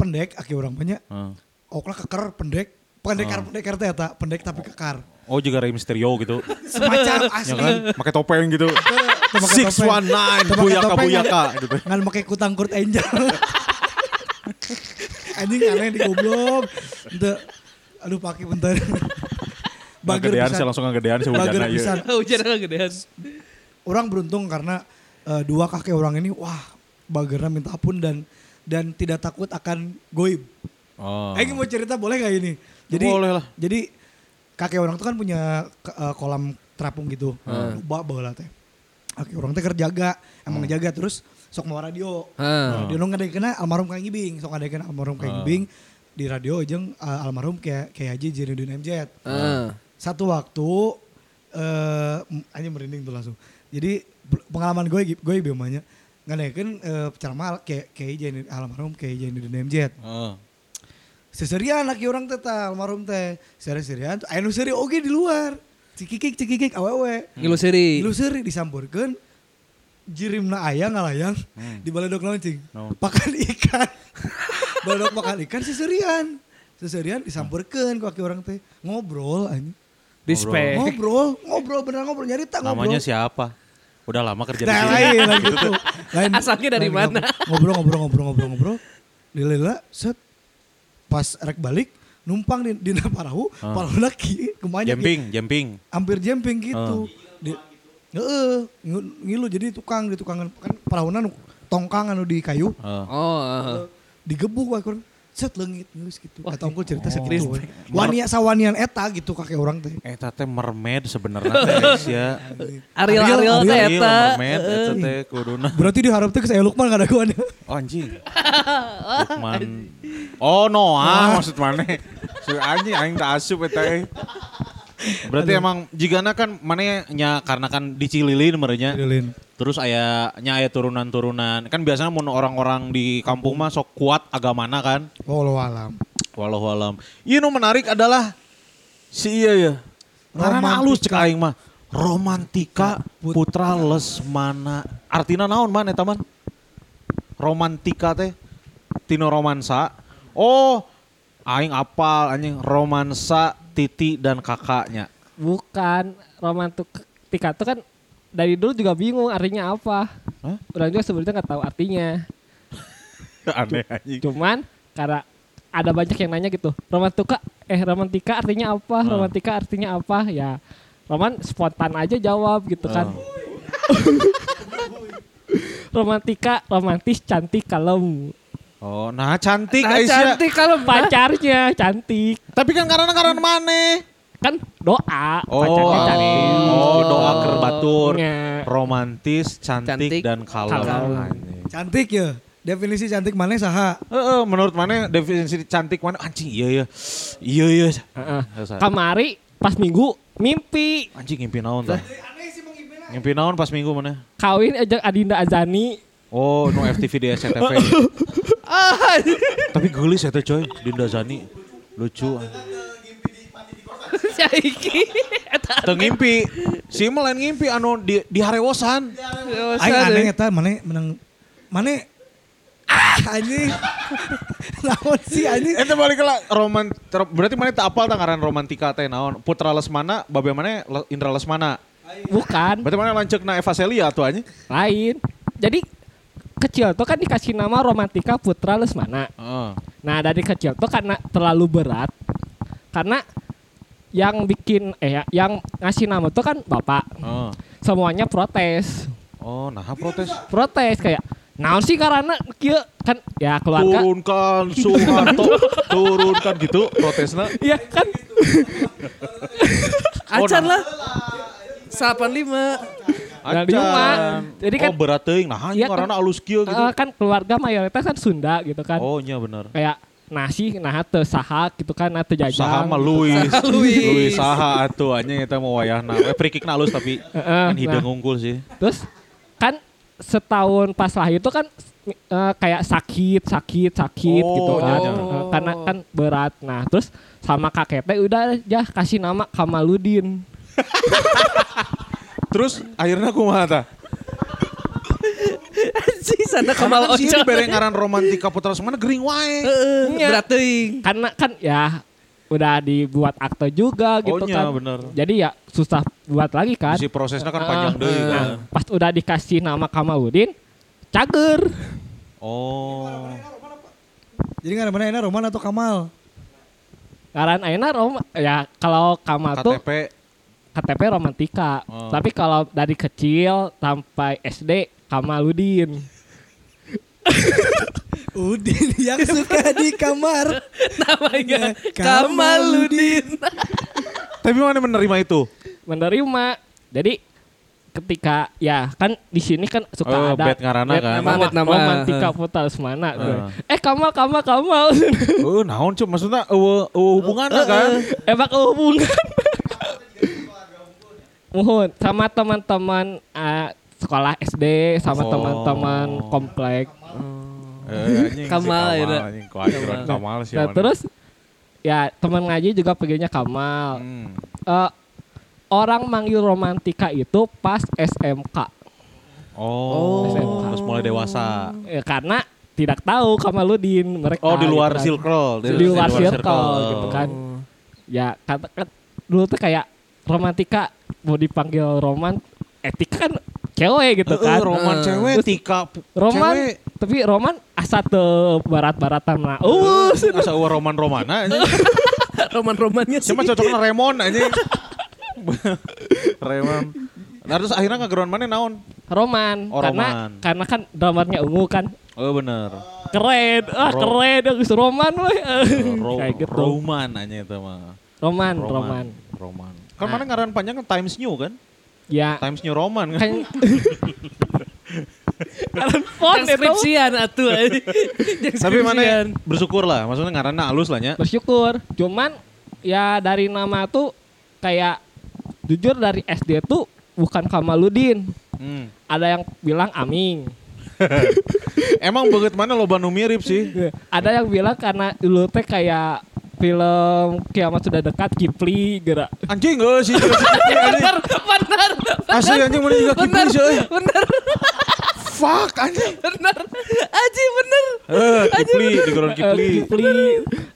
D: pendek aki orang banyak
B: heeh.
D: Okla keker pendek pendekar pendekar teh eta pendek tapi kekar
B: Oh juga Rey Mysterio gitu.
D: semacam
B: ya
D: asli
B: kan? Pakai topeng gitu.
D: Teu make
B: Six
D: topeng.
B: one nine,
D: Teu make
B: buyaka
D: topeng,
B: buyaka. gitu.
D: ngan- ngan make kutang kurt angel anjing aneh di goblok Teu. aduh paki bentar bager
B: Gedean
D: pisan.
B: sih langsung ngegedean sih iya.
D: Bager
B: hujana
D: pisan.
B: ieu.
A: Hujan gedean.
D: orang beruntung karena eh, dua kakek orang ini wah bagernya minta ampun dan dan tidak takut akan goib
B: Oh.
D: Aing mau cerita boleh gak ini? Jadi
B: Boleh lah.
D: Jadi kakek orang tuh kan punya ke- eh, kolam terapung gitu. Ba baheula teh. Kakek orang teh kerjaga,
B: Hmm.
D: emang jaga terus sok mau radio. Nah,
A: Heeh.
D: Radio nu ngadegena almarhum Kang Ibing, sok ngadegena almarhum Kang Ibing di radio jeung eh, almarhum kayak kayak Haji Jainuddin MZ.
A: Heeh.
D: Satu waktu eh hanya merinding tuh langsung. Jadi ber- pengalaman gue gue biomanya ngadekeun eh ceramah kayak kayak Jainuddin almarhum kayak Jainuddin MZ.
B: Heeh.
D: Seserian laki orang teh tah, almarhum teh. Seri-serian tuh anu seri oge di luar. Cikikik cikikik awewe.
A: Hmm. Ngilu seri.
D: Lu seri disamburkeun jirimna aya ngalayang di baledok launching.
B: Naon?
D: Pakan ikan. baledok makan ikan seserian. Seserian disamburkeun ku aki orang teh ngobrol anjing.
A: Respect.
D: Ngobrol, ngobrol beneran ngobrol nyarita ngobrol.
B: Namanya siapa? Udah lama kerja di
D: Nah,
B: sini.
D: lain lain gitu. Lain,
A: Asalnya dari
D: lain
A: mana?
D: Ngobrol ngobrol ngobrol ngobrol ngobrol. Lila lila set pas rek balik numpang di di parahu, parahu lagi kemana
B: Jemping, jemping.
D: hampir jemping gitu. Di, Heeh, ngilu- ngilu jadi tukang di tukangan kan parahuna nu tongkang anu di kayu
B: Heeh.
A: Oh, heeh.
D: digebuk wae kurang set leungit geus gitu. Kata unggul cerita
A: iya. Respect.
D: sekitu. we. Wania sawanian eta gitu kakek orang teh.
B: Eh tete mermaid sebenarnya teh guys, ya.
A: Ariel Ariel teh
B: Ariel,
A: eta.
B: mermaid eta teh kuduna.
D: Berarti diharapkan ke saya Lukman kada gua.
B: Oh, anjing. Lukman. Oh Noah maksud mana? Si anjing aing tak asup eta eh. Berarti emang jigana kan mana nya karena kan dicililin merenya.
D: Dilin.
B: Terus aya nya aya turunan-turunan. Kan biasanya mun orang-orang di kampung mah sok kuat agamana kan.
D: Wallahu Oh, alam.
B: Walau alam. Ini Iya, nu menarik adalah si iya ya. Karena halus cek aing mah. Romantika Putra Lesmana. Artina naon man eta man? Romantika teh tino romansa. Oh, aing apal anjing romansa Titi dan kakaknya.
E: Bukan romantik tika tuh kan dari dulu juga bingung artinya apa.
B: Hah?
E: Orang juga sebenarnya nggak tahu artinya.
B: Aneh anjing.
E: Cuman karena ada banyak yang nanya gitu. Romantika eh romantika artinya apa?
B: Nah.
E: Romantika artinya apa? Ya Roman spontan aja jawab gitu kan.
B: Nah.
E: romantika romantis cantik kalem.
B: Oh, nah cantik
A: Nah,
B: Aisyah.
A: cantik kalau
E: Pacarnya cantik.
B: Tapi kan karena karena mana?
E: kan doa
B: Oh,
E: pacarnya cari
B: oh doa kerbatur,
E: Iya.
B: romantis,
A: Cantik,
B: cantik, dan kalau.
E: kalau.
D: Cantik ya. Definisi cantik mana saha?
B: Heeh, menurut mana definisi cantik mana anjing iya ya. Iya iya.
E: Heeh.
B: Sa-
E: kamari pas minggu mimpi
B: Anjing ngimpi naon tah? Ngimpi naon pas minggu mana?
E: kawin aja Adinda Azani
B: Oh, no FTV di SCTV. Tapi gelis ya teh coy, Dinda Zani. Lucu.
A: Si Aiki. Eta
B: Teu ngimpi. Si Imel lain ngimpi anu di di harewosan.
D: Aing
A: sadar.
D: aneh eta mana menang mana ah anjing. Naon sih anjing?
B: Eta balik lah roman ter- berarti mana tak apal tangaran romantika teh naon? Putra Lesmana, babe mana Le- Indra Lesmana.
E: bukan
B: Berarti mana lanceukna Eva Celia tuh anjing.
E: lain jadi kecil tuh kan dikasih nama Romantika Putra Lesmana
B: Heeh.
E: Nah dari kecil tuh karena terlalu berat karena yang bikin eh ya, yang ngasih nama tuh kan bapak
B: Heeh.
E: semuanya protes
B: Oh, nah protes.
E: protes kayak naon sih karena kieu kan ya
B: Oh.
E: keluarga
B: Turunkan Soeharto, turunkan gitu protesnya.
E: Iya kan
B: Gitu,
A: Acan lah. 85.
E: Dari Nah, rumah. Jadi kan-
B: oh, berat teuing nah anjing
E: Iya kan-
B: karena alus kieu gitu.
E: eh, kan keluarga mayoritas kan Sunda gitu kan
B: oh, nya bener.
E: kayak nasi nah teu saha gitu kan nah teu jajang
B: Saha mah Luis.
A: Luis.
B: Luis saha atuh anjing eta mah wayahna. Eh free kickna alus tapi
E: Heeh,
B: kan hidung
E: nah.
B: unggul sih.
E: Terus kan setahun pas lahir tuh kan eh, kayak sakit, sakit, sakit
B: Oh,
E: gitu kan.
B: iya, iya.
E: Eh, karena kan berat. Nah, terus sama kakek teh udah aja kasih nama Kamaludin.
B: Terus akhirnya kumaha tah?
A: Si sana
B: Kamal
A: Kamal
B: kan sih
A: Oca.
B: bere ngaran romantika putra semana gering wae.
A: Heeh,
E: Nya.
A: Berat teuing.
E: Karena kan ya udah dibuat akte juga
B: Oh,
E: gitu
B: iya,
E: kan.
B: bener.
E: Jadi ya susah buat lagi kan.
B: Si prosesnya kan
E: Ah,
B: panjang deui
E: nah,
B: kan.
E: pas udah dikasih nama Kamaludin, cager.
B: Oh.
D: Jadi nggak ada mana enak Roman atau Kamal?
E: Karena Aina Rom ya kalau Kamal tuh
B: KTP
E: KTP romantika.
B: Oh.
E: Tapi kalau dari kecil sampai SD Kamaludin.
D: Udin yang suka di kamar.
B: Oh
A: Namanya
D: Kamaludin.
A: Kamaludin.
B: Tapi mana menerima itu?
E: Menerima. Jadi ketika ya kan di sini kan
B: Oh,
E: suka ada
B: bed ngarana
E: bed
B: kan. Ah.
E: nama,
A: Bed nama.
E: romantika putar semana. Eh Kamal Kamal Kamal.
B: Eh naon cuy maksudnya eueuh eueuh hubunganna kan.
E: Emang Eh, hubungan. Mohon sama teman-teman eh, sekolah SD sama
B: Oh.
E: teman-teman komplek.
B: Eh, anjing, si
A: Kamal, ya, Dak.
B: anjing, kekhawatiran Kamal sih.
E: Nah,
B: mana.
E: terus ya teman ngaji juga panggilnya Kamal.
B: Hmm.
E: Eh, orang manggil romantika itu pas SMK
B: Oh,
E: SMK.
B: terus mulai dewasa.
E: Eh, karena tidak tahu Kamaludin mereka
B: Oh, di luar
E: gitu kan.
B: circle,
E: di, luar circle, gitu
B: Eh,
E: kan
B: Oh.
E: ya kata kan dulu tuh kayak romantika mau dipanggil roman etika kan cewek gitu
B: Heeh,
E: kan
B: eh, roman
A: Heeh.
B: cewek, tika p-
E: roman
B: cewek.
E: tapi roman asa tuh barat-baratan lah uh
B: Asa eueuh roman-romana anjing.
A: Roman-romannya sih.
B: Siapa cocokna Remon anjing. Remon. Nah, terus akhirnya ngageron mana naon?
E: roman
B: Oh, Roman.
E: karena karena kan dramarnya ungu kan
B: Oh, bener.
E: keren ah
B: Ro-
E: keren Geus roman weh
B: Ro-
E: kayak gitu
B: Roman anjing itu mah.
E: roman, roman.
B: Roman. Kan
E: Nah.
B: mana ngaran panjang kan Times New kan?
E: Ya,
B: Times New Roman kan.
E: kan Alan Fon itu
A: Transkripsian atuh. eh.
B: Tapi mana ya? bersyukur lah, maksudnya ngaranna alus lah nya.
E: bersyukur. Cuman ya dari nama tuh kayak jujur dari SD tuh bukan Kamaludin.
B: Hmm.
E: Ada yang bilang Aming.
B: Emang banget mana loba nu mirip sih?
E: Ada yang bilang karena dulu teh kayak film kiamat sudah dekat Kipli gerak.
B: Anjing eh, gak sih? Bener, bener. Asli anjing mana juga kipis ya. eh.
A: Bener,
B: Fuck anjing.
A: bener. Aji bener.
B: Eh, Kipli, di Goron Kipli.
E: Eh, Kipli,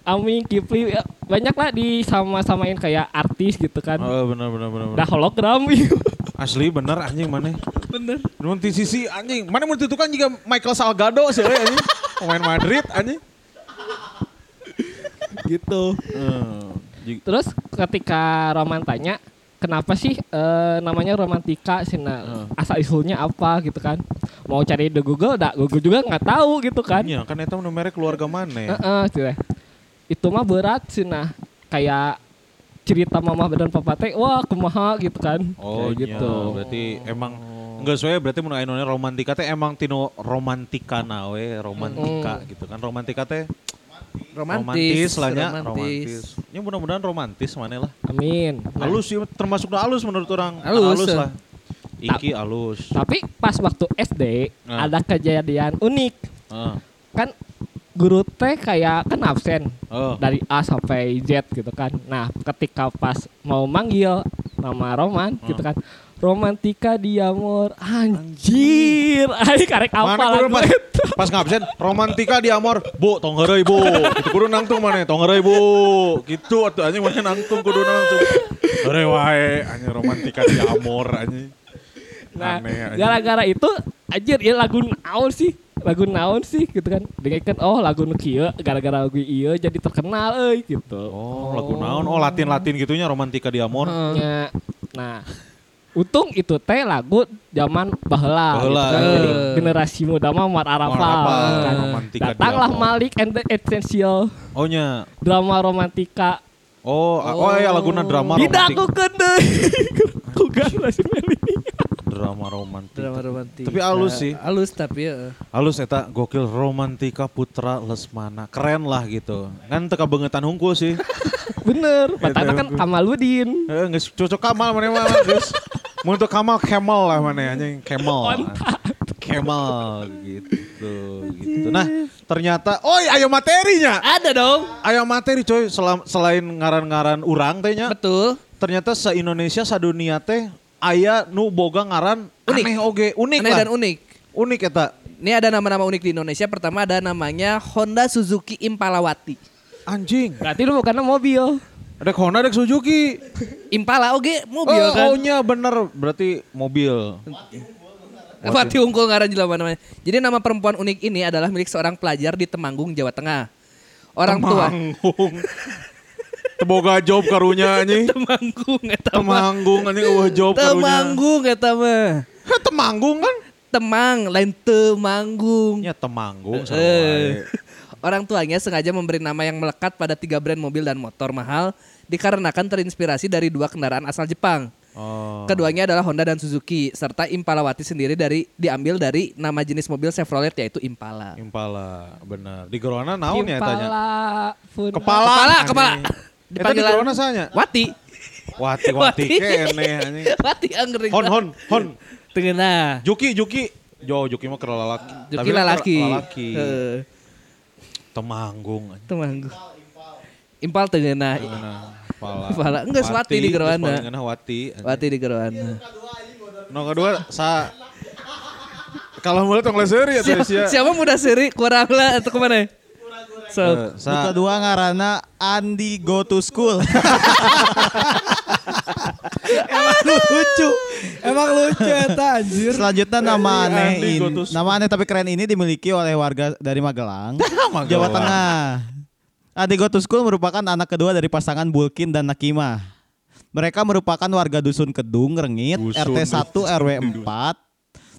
E: Aming, Kipli, ya, banyak lah di sama-samain kayak artis gitu kan.
B: Oh, bener, bener, bener. bener.
E: Udah hologram.
B: Asli bener anjing mana?
A: Bener.
B: Nun ti sisi anjing. Mana mau ditentukan juga Michael Salgado sih eh, anjing. Pemain Madrid anjing.
E: gitu.
B: Eh, ji-
E: Terus ketika Roman tanya, kenapa sih eh, namanya romantika
B: Hmm.
E: sina asal usulnya apa gitu kan? Mau cari di Google, dah Google juga nggak tahu gitu kan?
B: Iya, kan eta nu merek keluarga mana ya?
E: Heeh, gitu ya. Itu mah berat sih nah kayak cerita mama dan papa teh wah kumaha gitu kan.
B: Oh
E: Kayak
B: gitu. Berarti emang enggak soalnya berarti mun ayeuna romantika teh emang tino romantika nawe, romantika gitu kan. Romantika teh romantis,
A: romantis,
B: lah nya, romantis. Ya mudah-mudahan romantis mana lah.
E: Amin. Nah,
B: Halus ya, termasuk na halus menurut orang. Kan
A: Halus, eh.
B: lah. Iki halus.
E: Tapi pas waktu SD
B: Nah.
E: ada kejadian unik.
B: Heeh.
E: Kan guru teh kayak kan absen
B: Oh.
E: dari A sampai Z gitu kan. Nah, ketika pas mau manggil nama Roman
B: Hmm.
E: gitu kan. Romantika diamor anjir. Aing karek apa
B: Mana guru
E: lagu
B: pas,
E: itu.
B: pas ngabsen romantika di amor bu tongerei bu itu Gitu, kudu nangtung mana tongerei bu gitu atuh anjing mana nangtung kudu nangtung Tongerei wae anjing romantika di amor anjing
E: Nah,
B: Aneh, anjing.
E: gara-gara itu anjir ya lagu naon sih? Lagu naon sih gitu kan. Dengarkan oh lagu nu kieu gara-gara lagu ieu jadi terkenal euy gitu.
B: Oh, lagu naon? Oh, Latin-Latin gitunya romantika di amor.
E: Nya, Nah, untung itu teh lagu zaman baheula.
B: Baheula.
E: kan. Jadi
A: Eh.
E: generasi muda mah Muhammad Arafal.
B: Muhammad Arafal,
E: kan.
B: romantika di
E: Datanglah
B: amor.
E: Malik and the Essential
B: Oh nya.
E: drama romantika.
B: Oh, a- oh, ya laguna drama
E: Tidak aku
B: romantik.
E: deui. Kugan lah si Meli.
B: Drama romantik.
A: Drama romantis.
B: Tapi halus sih.
A: Halus tapi ya.
B: Halus eta gokil romantika putra Lesmana. Keren lah gitu. Kan teka bengetan hungkul sih.
E: Bener,
B: Iya,
E: batangna kan Kamaludin.
B: Eh, geus cocok Kamal mana mah, geus. Mun teu Kamal Kemal lah mana anjing, Kemal. Kemal gitu gitu. Nah, ternyata oi ayo materinya.
A: Ada dong.
B: Ayo materi coy Selam- selain ngaran-ngaran urang teh nya.
A: Betul.
B: ternyata se Indonesia sadunia teh aya nu boga ngaran
A: Unik.
B: aneh oge unik
A: Aneh
B: lah.
A: dan unik.
B: unik eta
A: Ini ada nama-nama unik di Indonesia. Pertama ada namanya Honda Suzuki Impalawati.
B: anjing
E: Berarti lu bukan mobil.
B: ada Honda ada Suzuki
A: Impala oge mobil
B: oh,
A: kan.
B: oh nya bener berarti mobil
A: Fatih Unggul ngaran jelema namanya. Jadi nama perempuan unik ini adalah milik seorang pelajar di Temanggung, Jawa Tengah. Orang
B: Temanggung teboga job karunya
A: tua.
B: anjing
A: Temanggung eta mah.
B: Temanggung anjing eueuh job karunya
A: Temanggung eta mah.
B: Heh, Temanggung kan
A: Temang lain Temanggung.
B: nya Ya, Temanggung
A: Eh.
B: sama wae.
A: Orang tuanya sengaja memberi nama yang melekat pada tiga brand mobil dan motor mahal dikarenakan terinspirasi dari dua kendaraan asal Jepang.
B: Oh.
A: Keduanya adalah Honda dan Suzuki serta Impalawati sendiri dari diambil dari nama jenis mobil Chevrolet yaitu Impala.
B: Impala, benar. Di Gerona naon ya tanya?
E: Kepala pun.
B: Kepala.
A: Kepala,
B: anjing.
A: kepala.
D: Eh,
B: Eta di
A: Dipanggilan-
B: Gerona sanya?
A: Wati.
B: Wati wati keneh anjing.
A: Wati anggering.
B: Hon hon hon.
A: Tengenah.
B: Juki Juki. Jo Juki mah kera lalaki.
A: Juki
D: kan
A: lalaki.
B: Lalaki.
A: Heeh,
B: Temanggung.
A: Temanggung. Impal
D: Eh,
A: tengenah.
B: Pala.
A: Pala. Enggak, Swati di Gerwana.
B: Ngena Wati.
A: Wati di Gerwana.
B: No kedua sa Kalau mulut tong leser ya
A: Siapa,
B: terus ya.
A: siapa muda seri kurang lah atau kemana? So,
B: Eh,
C: Nu
B: Sa
C: kedua ngaranna Andi Go to School.
D: lucu. Emang lucu eta anjir.
C: Selanjutnya nama
B: Andi
C: aneh
B: Go
C: ini.
B: to School.
C: Nama aneh tapi keren ini dimiliki oleh warga dari Magelang,
B: Magelang.
C: Jawa Tengah. Andi Go to School merupakan anak kedua dari pasangan Bulkin dan Nakima. Mereka merupakan warga Dusun Kedung, Rengit,
B: Dusun,
C: RT 1 RW 4,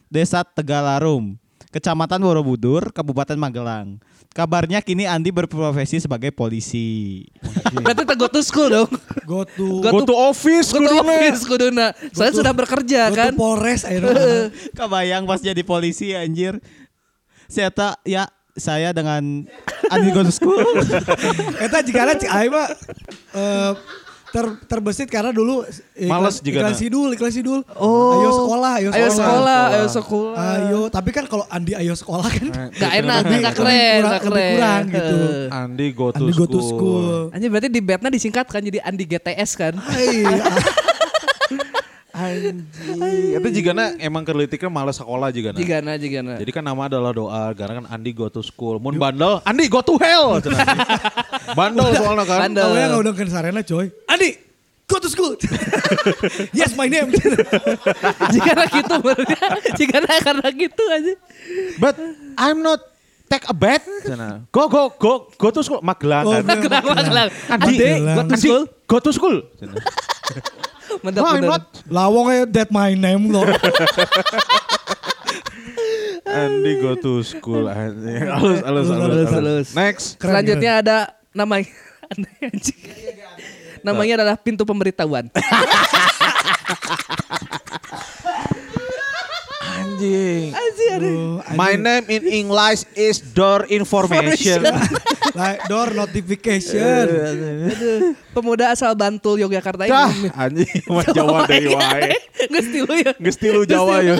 C: Desa Tegalarum, Kecamatan Borobudur, Kabupaten Magelang. Kabarnya kini Andi berprofesi sebagai polisi.
D: iya.
A: berarti kita go to school dong.
D: Go to
A: Go
B: Go to office
A: Go to
B: kuduna.
A: office kuduna. Soalnya sudah bekerja
D: go to
A: kan.
D: Polres akhirnya.
C: Kebayang pas jadi polisi anjir. Saya tak ya saya dengan Andi Go to School.
D: Eta jika ada cik Aima eh, ter terbesit karena dulu iklan,
B: Males jigana.
D: iklan sidul, iklan sidul. Oh. Ayo sekolah, ayo sekolah.
A: Ayo sekolah, ayo sekolah.
D: Ayo, tapi kan kalau Andi ayo sekolah kan
A: Gak enak, gak keren,
D: lebih kurang-
A: gak
D: lebih
A: keren. Eh.
D: kurang gitu.
A: Heeh.
B: Andi go to
D: Andi go to
B: school.
D: school.
A: Anjir berarti di bednya disingkatkan jadi Andi GTS kan.
B: Ah.
D: Hai,
B: Anjing. Iya, Itu jigana emang kerlitiknya males sekolah jigana.
A: Jigana, jigana.
B: Jadi kan nama adalah doa, karena kan Andi go to school. Mun bandel, Andi go to hell. cenah. bandel soalnya kan.
A: Bandel.
D: awalnya nggak udah ke sarena coy. Andi, go to school. yes, my name.
A: jigana gitu berarti. Jigana karena gitu aja.
B: But I'm not take a bath. Cenah. Go go go go to school Magelang.
D: Oh,
B: kan.
D: bener.
A: Kenapa kenapa?
B: Andi,
A: Andi, go to
B: Andi,
A: school.
B: Go to school. Cenah.
A: Mantap
B: No, I'm
A: bener.
B: not.
D: Lawongnya that my name loh.
B: Andi go to school. anjing. Halus halus halus.
A: Halus,
B: halus.
A: halus.
B: Next.
D: Keren,
A: Selanjutnya ada nama aneh anjing. Namanya adalah pintu pemberitahuan.
B: Anjing.
A: Anjir.
D: Aduh,
B: My
D: anjing.
B: name in English is door information.
D: Like door notification.
A: Aduh, Pemuda asal Bantul Yogyakarta ini. Iya,
B: Dah, anjing. Mah Jawa dari wae.
A: Gusti lu ya.
B: Geus tilu Jawa ya.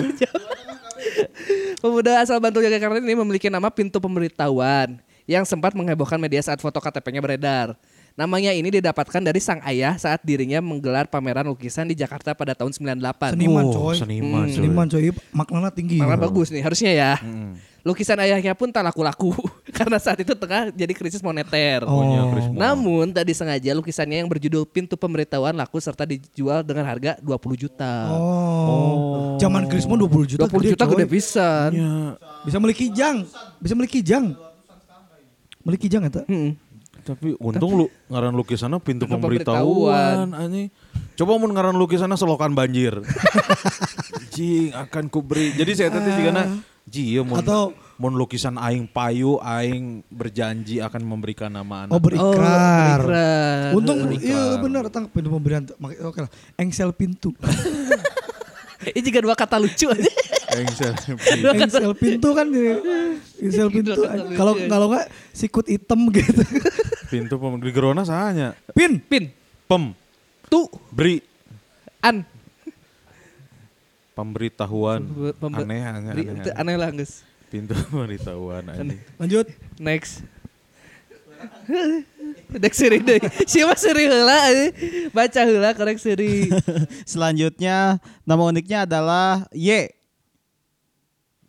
A: Pemuda asal Bantul Yogyakarta ini memiliki nama pintu pemberitahuan yang sempat menghebohkan media saat foto KTP-nya beredar. Namanya ini didapatkan dari sang ayah saat dirinya menggelar pameran lukisan di Jakarta pada tahun 98.
D: Seniman
B: Oh,
D: coy. Hmm.
B: Seniman coy.
D: Seniman coy, maknanya tinggi.
A: Malah bagus nih harusnya ya. Lukisan ayahnya pun tak laku-laku karena saat itu tengah jadi krisis moneter.
D: Oh.
A: Namun tadi sengaja lukisannya yang berjudul Pintu Pemberitahuan laku serta dijual dengan harga 20 juta.
D: Oh. Zaman Krismo 20 juta
A: 20 juta
D: coy. Iya.
A: gede pisan.
D: Bisa beli kijang. Bisa beli kijang. Beli kijang eta.
A: Mm-mm.
B: Tapi untung lu ngaran lukisannya pintu
A: Pintu
B: pemberitahuan anjing. Coba mun ngaran lukisannya selokan banjir. Anjing akan kuberi. Jadi saya tadi juga na Ji, ya, mun,
D: Atau-
B: mun lukisan aing payu, aing berjanji akan memberikan nama anak.
D: Oh berikrar.
A: berikrar.
D: Untung iya benar tang pintu pemberian Maka- oke lah. Engsel pintu.
A: Ini juga dua kata lucu aja.
B: Engsel.
D: Engsel pintu kan jadi engsel pintu. Kalau kalau enggak sikut hitam gitu.
B: pintu pem di gerona sahanya.
D: Pin.
A: Pin,
B: Pem
A: tu,
B: beri
A: an.
B: pemberitahuan
A: Pembe-
B: aneh aneh,
A: Beri-
B: aneh,
A: te-
B: aneh.
A: Aneh lah guys.
B: pintu pemberitahuan anjing.
D: Lanjut.
A: Next. Dek seri deh. Siapa seri heula eh. Baca heula korek seri.
C: Selanjutnya nama uniknya adalah Y.
B: Ya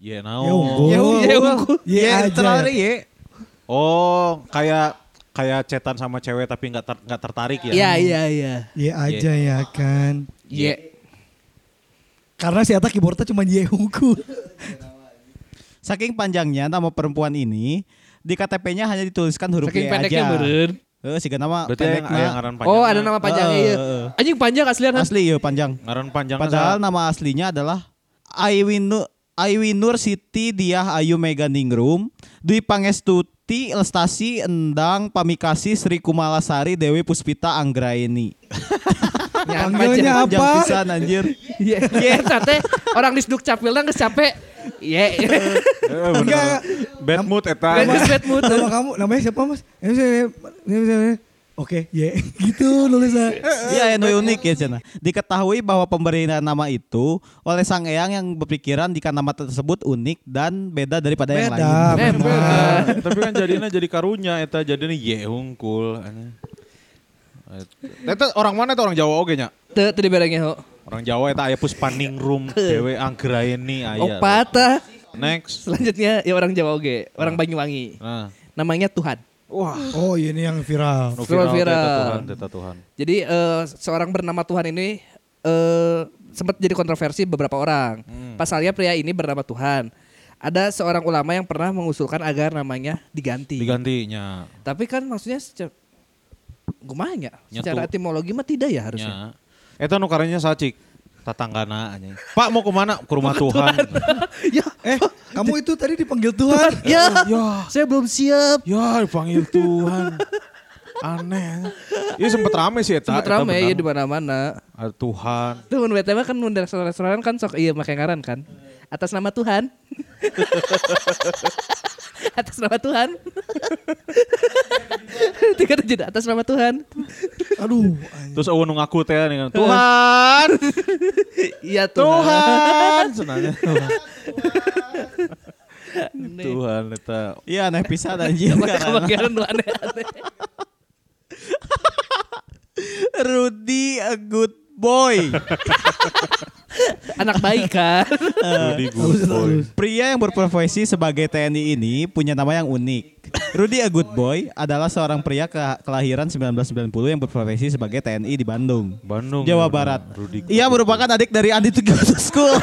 D: Ya
B: naon.
D: unggul.
A: Ya unggul. Ya
D: Ya
A: unggul.
D: aja.
C: Terlalu Y.
B: Oh, kayak kayak cetan sama cewek tapi nggak ter- nggak tertarik ya?
A: Ya ya ya.
D: Ya aja ya kan.
A: Ya.
D: Karena si Ata keyboardnya cuma Yehuku.
C: Saking panjangnya nama perempuan ini di KTP-nya hanya dituliskan huruf
A: Saking
C: Y
A: pendeknya
C: aja.
A: meureun.
C: Eh, siga nama
B: Berarti yang,
C: pendeknya.
B: yang ngaran panjang.
A: Oh, ada nama panjangnya
C: Eh,
A: ya.
C: eh, eh.
A: Anjing panjang aslian. Han.
C: Asli ya panjang.
B: ngaran panjang.
C: Padahal nama aslinya adalah Aiwinu Aiwinur Siti Diah Ayu Mega Ningrum Dwi Pangestuti Lestasi Endang Pamikasi Sri Kumalasari Dewi Puspita Anggraini.
A: Nyaman
D: Panggilnya
A: aja.
D: apa?
C: Panjang pisan anjir.
A: Iya. Ya, tante orang di Sduk Capilna geus capek. Ya.
D: Enggak.
B: Eh, Ah, Bad mood eta.
A: Bad mood. Bad mood.
D: Nama kamu namanya siapa Mas? Ini saya- ini saya- Oke, ya gitu nulisnya.
C: Iya yang unik ya Cina. Diketahui bahwa pemberian nama itu oleh sang eyang yang berpikiran jika nama tersebut unik dan beda daripada yang
D: Beda,
C: lain.
A: Eh,
D: benar.
A: bener.
B: Tapi kan jadinya jadi karunya eta jadinya ye hungkul. aneh. Eta orang mana eta orang Jawa oge nya?
A: Teu teu diberengnya ho.
B: Orang Jawa eta aya puspaning room dewe anggraeni aya.
A: Opata.
B: Next.
A: Selanjutnya ya orang Jawa oge, orang Banyuwangi.
B: Nah.
A: Namanya Tuhan.
B: Wah,
D: Oh, ini yang viral.
B: nu
A: Viral,
B: viral teh, eta
A: viral.
B: Tuhan, teh, eta Tuhan.
A: Jadi eh, seorang bernama Tuhan ini eh sempat jadi kontroversi beberapa orang. Pasalnya pria ini bernama Tuhan. Ada seorang ulama yang pernah mengusulkan agar namanya diganti.
B: Digantinya.
A: Tapi kan maksudnya secara gumanya,
B: Nyatu.
A: secara etimologi mah tidak ya harusnya.
B: Ya. Eta nu karenya sacik. Tatanggana anjing. Pak mau kemana? Ke rumah Tuhan.
A: ya,
D: Eh, kamu itu tadi dipanggil Tuhan.
A: ya,
B: Ya.
A: saya belum siap.
B: Ya dipanggil Tuhan. Aneh. Iya sempet rame sih eta.
A: Sempat
B: eta
A: rame
B: benar.
A: ya di mana-mana.
B: Ada Tuhan.
A: Tuh mun bete mah kan mun di restoran-restoran kan sok iya make ngaran kan. Atas nama Tuhan. atas nama Tuhan. Tiga tujuh atas nama Tuhan.
D: Aduh,
B: Terus awan nu ngaku teh kan. dengan Tuhan,
A: Iya Tuhan.
B: Tuhan, senangnya
A: Aneh.
B: Tuhan eta.
C: Iya aneh pisan anjir.
A: Maka
C: karena-
A: kebagian lu anu, aneh-aneh.
C: Rudy a good boy.
A: Anak baik kan.
B: Rudy good boy.
C: Pria yang berprofesi sebagai TNI ini punya nama yang unik. Rudy a good boy adalah seorang pria ke- kelahiran 1990 yang berprofesi sebagai TNI di Bandung.
B: Bandung.
C: Jawa
B: ya,
C: Barat.
B: Rudy good
C: Ia merupakan adik dari Andi Tugiuto School.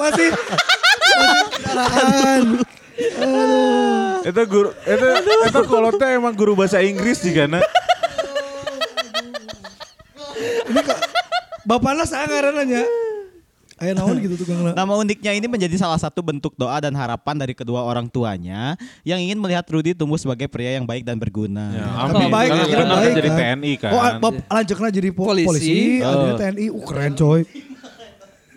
D: masih masih kendaraan.
B: Eta guru eta eta kolotnya emang guru bahasa Inggris juga na.
D: Bapaknya sangaran aja. Aya naon gitu tukang lah.
C: Nama uniknya ini menjadi salah satu bentuk doa dan harapan dari kedua orang tuanya yang ingin melihat Rudy tumbuh sebagai pria yang baik dan berguna.
B: Ya,
D: Tapi
B: amin.
D: baik,
B: Karena
D: akhirnya
B: benar
D: baik
B: kan jadi
D: kan.
B: TNI kan.
D: Oh, bab lanjutnya jadi po-
A: Polisi.
D: polisi, akhirnya
B: Oh.
D: TNI. Uh, keren coy.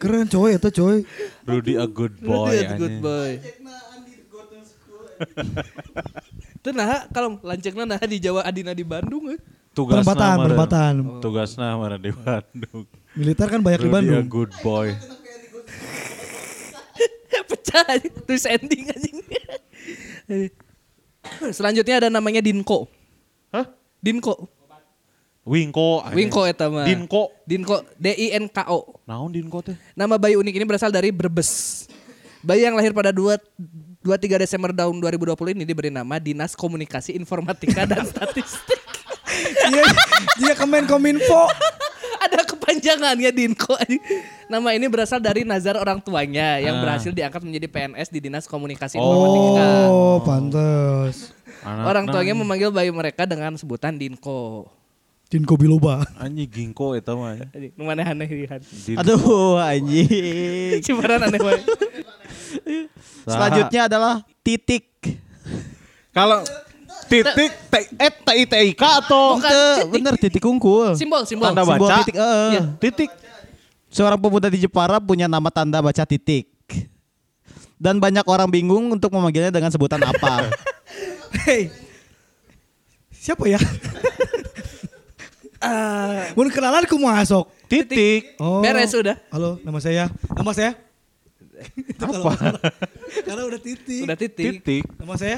D: Keren coy itu coy.
B: Rudy a good
A: Good,
B: boy. anjing.
A: Iya, good boy. Itu nah kalau lancengna nah di Jawa Adina di Bandung eh.
B: Tugasna
D: Perempatan,
B: meureun.
D: perempatan.
B: Tugasna mana di Bandung.
D: Militer kan banyak di
B: Rudy a
D: Bandung.
B: good boy.
A: Pecah anjing. terus ending anjing. Selanjutnya ada namanya Dinko.
B: Hah?
A: Dinko.
B: Wingko. anjing.
A: Winko eta mah.
B: Dinko.
A: Dinko D I N K O.
B: Naon Dinko teh?
A: Nama bayi unik ini berasal dari Brebes. Bayi yang lahir pada 2 23 Desember tahun 2020 ini diberi nama Dinas Komunikasi Informatika dan Statistik.
D: Iya, dia kemen kominfo.
A: Ada kepanjangannya Dinko. Nama ini berasal dari nazar orang tuanya yang berhasil diangkat menjadi PNS di Dinas Komunikasi Informatika.
D: Oh, pantes.
B: Anak
A: Orang
B: na-
A: tuanya memanggil bayi mereka dengan sebutan Dinko.
D: Dinko Biloba.
B: Anjing Ginko eta mah. ya.
A: Ini Mana aneh lihat.
E: Oh.
B: Din-
C: Aduh anjing.
A: Cibaran aneh banget.
C: Selanjutnya adalah titik.
B: Kalau titik T- eh TITIK atau
A: Bukan,
C: Teu,
A: titik.
C: bener titik unggul.
A: Simbol, simbol.
B: tanda
C: Sebuah
B: baca?
C: titik, eh, eh.
B: Iya, Titik.
C: Seorang pemuda di Jepara punya nama tanda baca titik. Dan banyak orang bingung untuk memanggilnya dengan sebutan apa.
D: Hey. Siapa ya? Mun kenalan kumaha sok?
B: Titik.
D: Oh.
A: Ah. Beres udah.
D: Halo, nama saya. Nama saya. Itu kalau masalah. Karena udah titik.
A: Udah titik.
B: Titik.
D: Nama saya.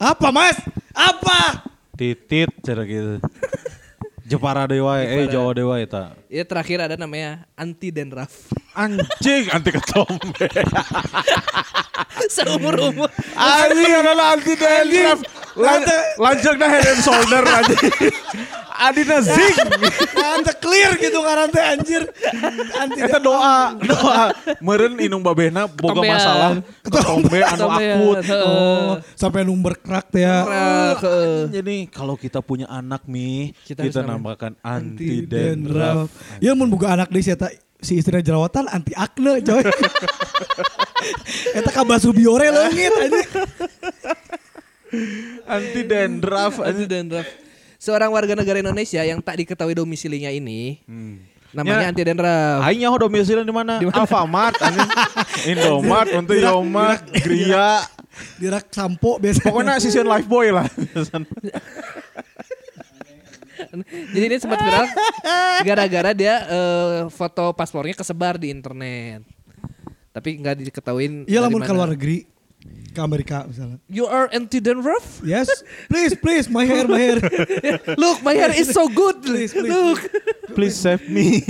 D: Apa, Mas? Apa?
B: Titit cara gitu. Jepara dewa, eh Jawa dewa eta.
A: Ya terakhir ada namanya Anti Denraf.
B: Anjing anti ketombe.
A: Seumur umur.
B: Anjing adalah anti denraf. Lanjut dah head and shoulder anjing. Adina zing.
D: Ante clear gitu ngaran teh anjir. Anti
B: Eta doa, doa. Meren inung babehna boga
A: Ketombean.
B: masalah. Ketombe anu
A: Ketombean,
B: akut.
A: heeh.
D: Oh, sampai number crack teh ya.
A: Denraf, heeh.
B: Jadi kalau kita punya anak mi,
A: Kita
B: kita,
A: harus namanya
B: nambahkan anti
D: Anti-denraf.
B: denraf.
D: Ya mun buka anak deui si eta si istrinya jerawatan anti akne coy. eta ka Basubiore leungit anjir.
B: Anti denraf.
A: Anti Denraf. Seorang warga negara Indonesia yang tak diketahui domisilinya ini.
D: Hmm.
B: Ya.
A: Namanya Anti Denraf.
B: Aing nyaho domisili di mana? Alfamart, anjing. Indomart, untuk Yomart, Gria.
D: Dirak sampo biasa.
B: Pokoknya season life boy lah.
A: Jadi ini sempat viral gara-gara dia eh, foto paspornya kesebar di internet. Tapi nggak diketahuin. dari
D: Iya lamun
A: mana.
D: ke luar negeri ke Amerika misalnya.
A: You are Anti Denraf?
D: Yes, please, please, my hair, my hair.
A: Look, my hair is so good.
D: Please, please.
A: Look.
B: Please save me.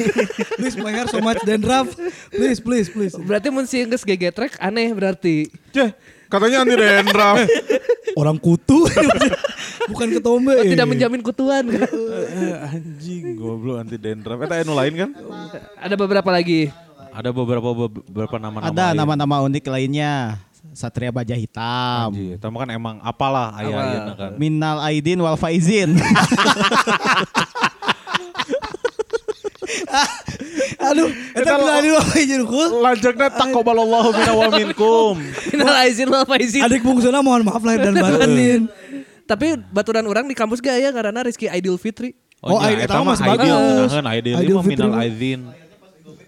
D: Please, my hair so much dandruff. Please, please, please.
A: Berarti mun sieun geus gegetrek aneh berarti.
B: Ceh, katanya anti dendraf.
D: Orang kutu, bukan iya. ketombe.
A: Oh, tidak menjamin kutuan kan?
B: Anjing, goblok anti dendraf. Eta anu lain kan?
A: Ada beberapa lagi.
B: Ada beberapa beberapa nama-nama.
C: Ada
B: lain.
C: nama-nama unik lainnya. Satria Baja Hitam.
B: Anjing, Tamu kan emang apalah
A: Apa?
B: ayah-ayah kan.
C: Minal Aidin wal Faizin.
D: Aduh, itu
B: Eta-
D: bilang apa izin kul?
B: Lanjutnya takobalallahu minna wa minkum.
A: Minal aizin wal faizin.
D: Adik bungsuna mohon maaf lahir dan batin.
A: Tapi baturan orang di kampus gak ya karena Rizky Aidil Fitri.
D: Oh,
B: nya,
D: Aidil,
B: eta
D: eta mah masih
B: iya, Aidil.
D: bagus.
B: Nahan, Aidil,
D: Aidil
B: Aidil minal
D: Fitri.
B: Aidin.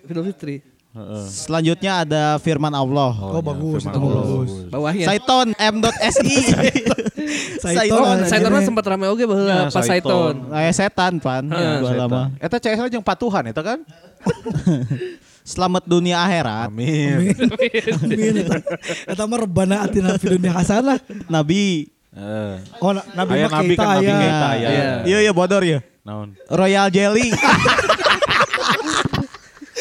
A: Aidil Fitri.
C: Selanjutnya ada firman Allah.
D: Oh, bagus, itu bagus.
B: iya.
A: Bawahnya.
C: Saiton M.SI.
D: Saiton.
A: Oh, Saiton mah sempat rame oge baheula
B: Ya,
A: pas Saiton.
B: Saiton.
C: Eh, setan pan.
B: Ah,
C: Ya, dua lama.
B: Eta CS lah jeung patuhan eta kan?
C: Selamat dunia akhirat.
B: Amin.
D: Amin. eta. Iya, Eta mah rebana atina fi dunia hasanah.
C: Nabi.
B: Eh,
D: Oh, na- Nabi
B: Aya
D: mah
B: Nabi
D: kita
B: kan Nabi Keita
D: ya.
B: ya.
A: Iya.
C: Iya iya bodor ya.
B: Naon?
C: Royal Jelly.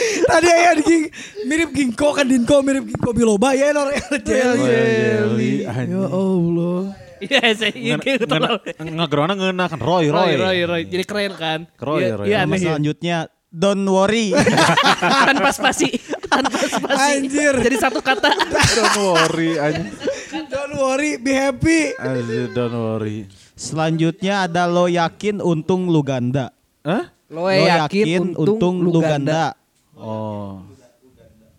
D: Tadi ya di Ging- mirip Gingko kan Dinko mirip Gingko Biloba ya Nor
B: Iya, Oh, Jelly,
D: Ya
B: oh.
D: Allah.
A: Iya, saya ingin tolol.
B: Ngegerona ngeuna kan Roy
A: Roy,
B: Roy.
A: Roy, Roy. Jadi keren kan?
B: Roy,
A: Iya,
B: Roy.
A: Iya,
C: Nama
A: aneh. ya.
C: selanjutnya Don't worry.
A: Tanpa spasi. Tanpa spasi.
D: Anjir.
A: Jadi satu kata.
B: Don't worry anjing.
D: Don't worry, be happy.
B: Anjing, Don't worry.
C: Selanjutnya ada lo yakin untung lu ganda.
B: Hah?
A: Lo yakin, untung, lu ganda.
B: Oh.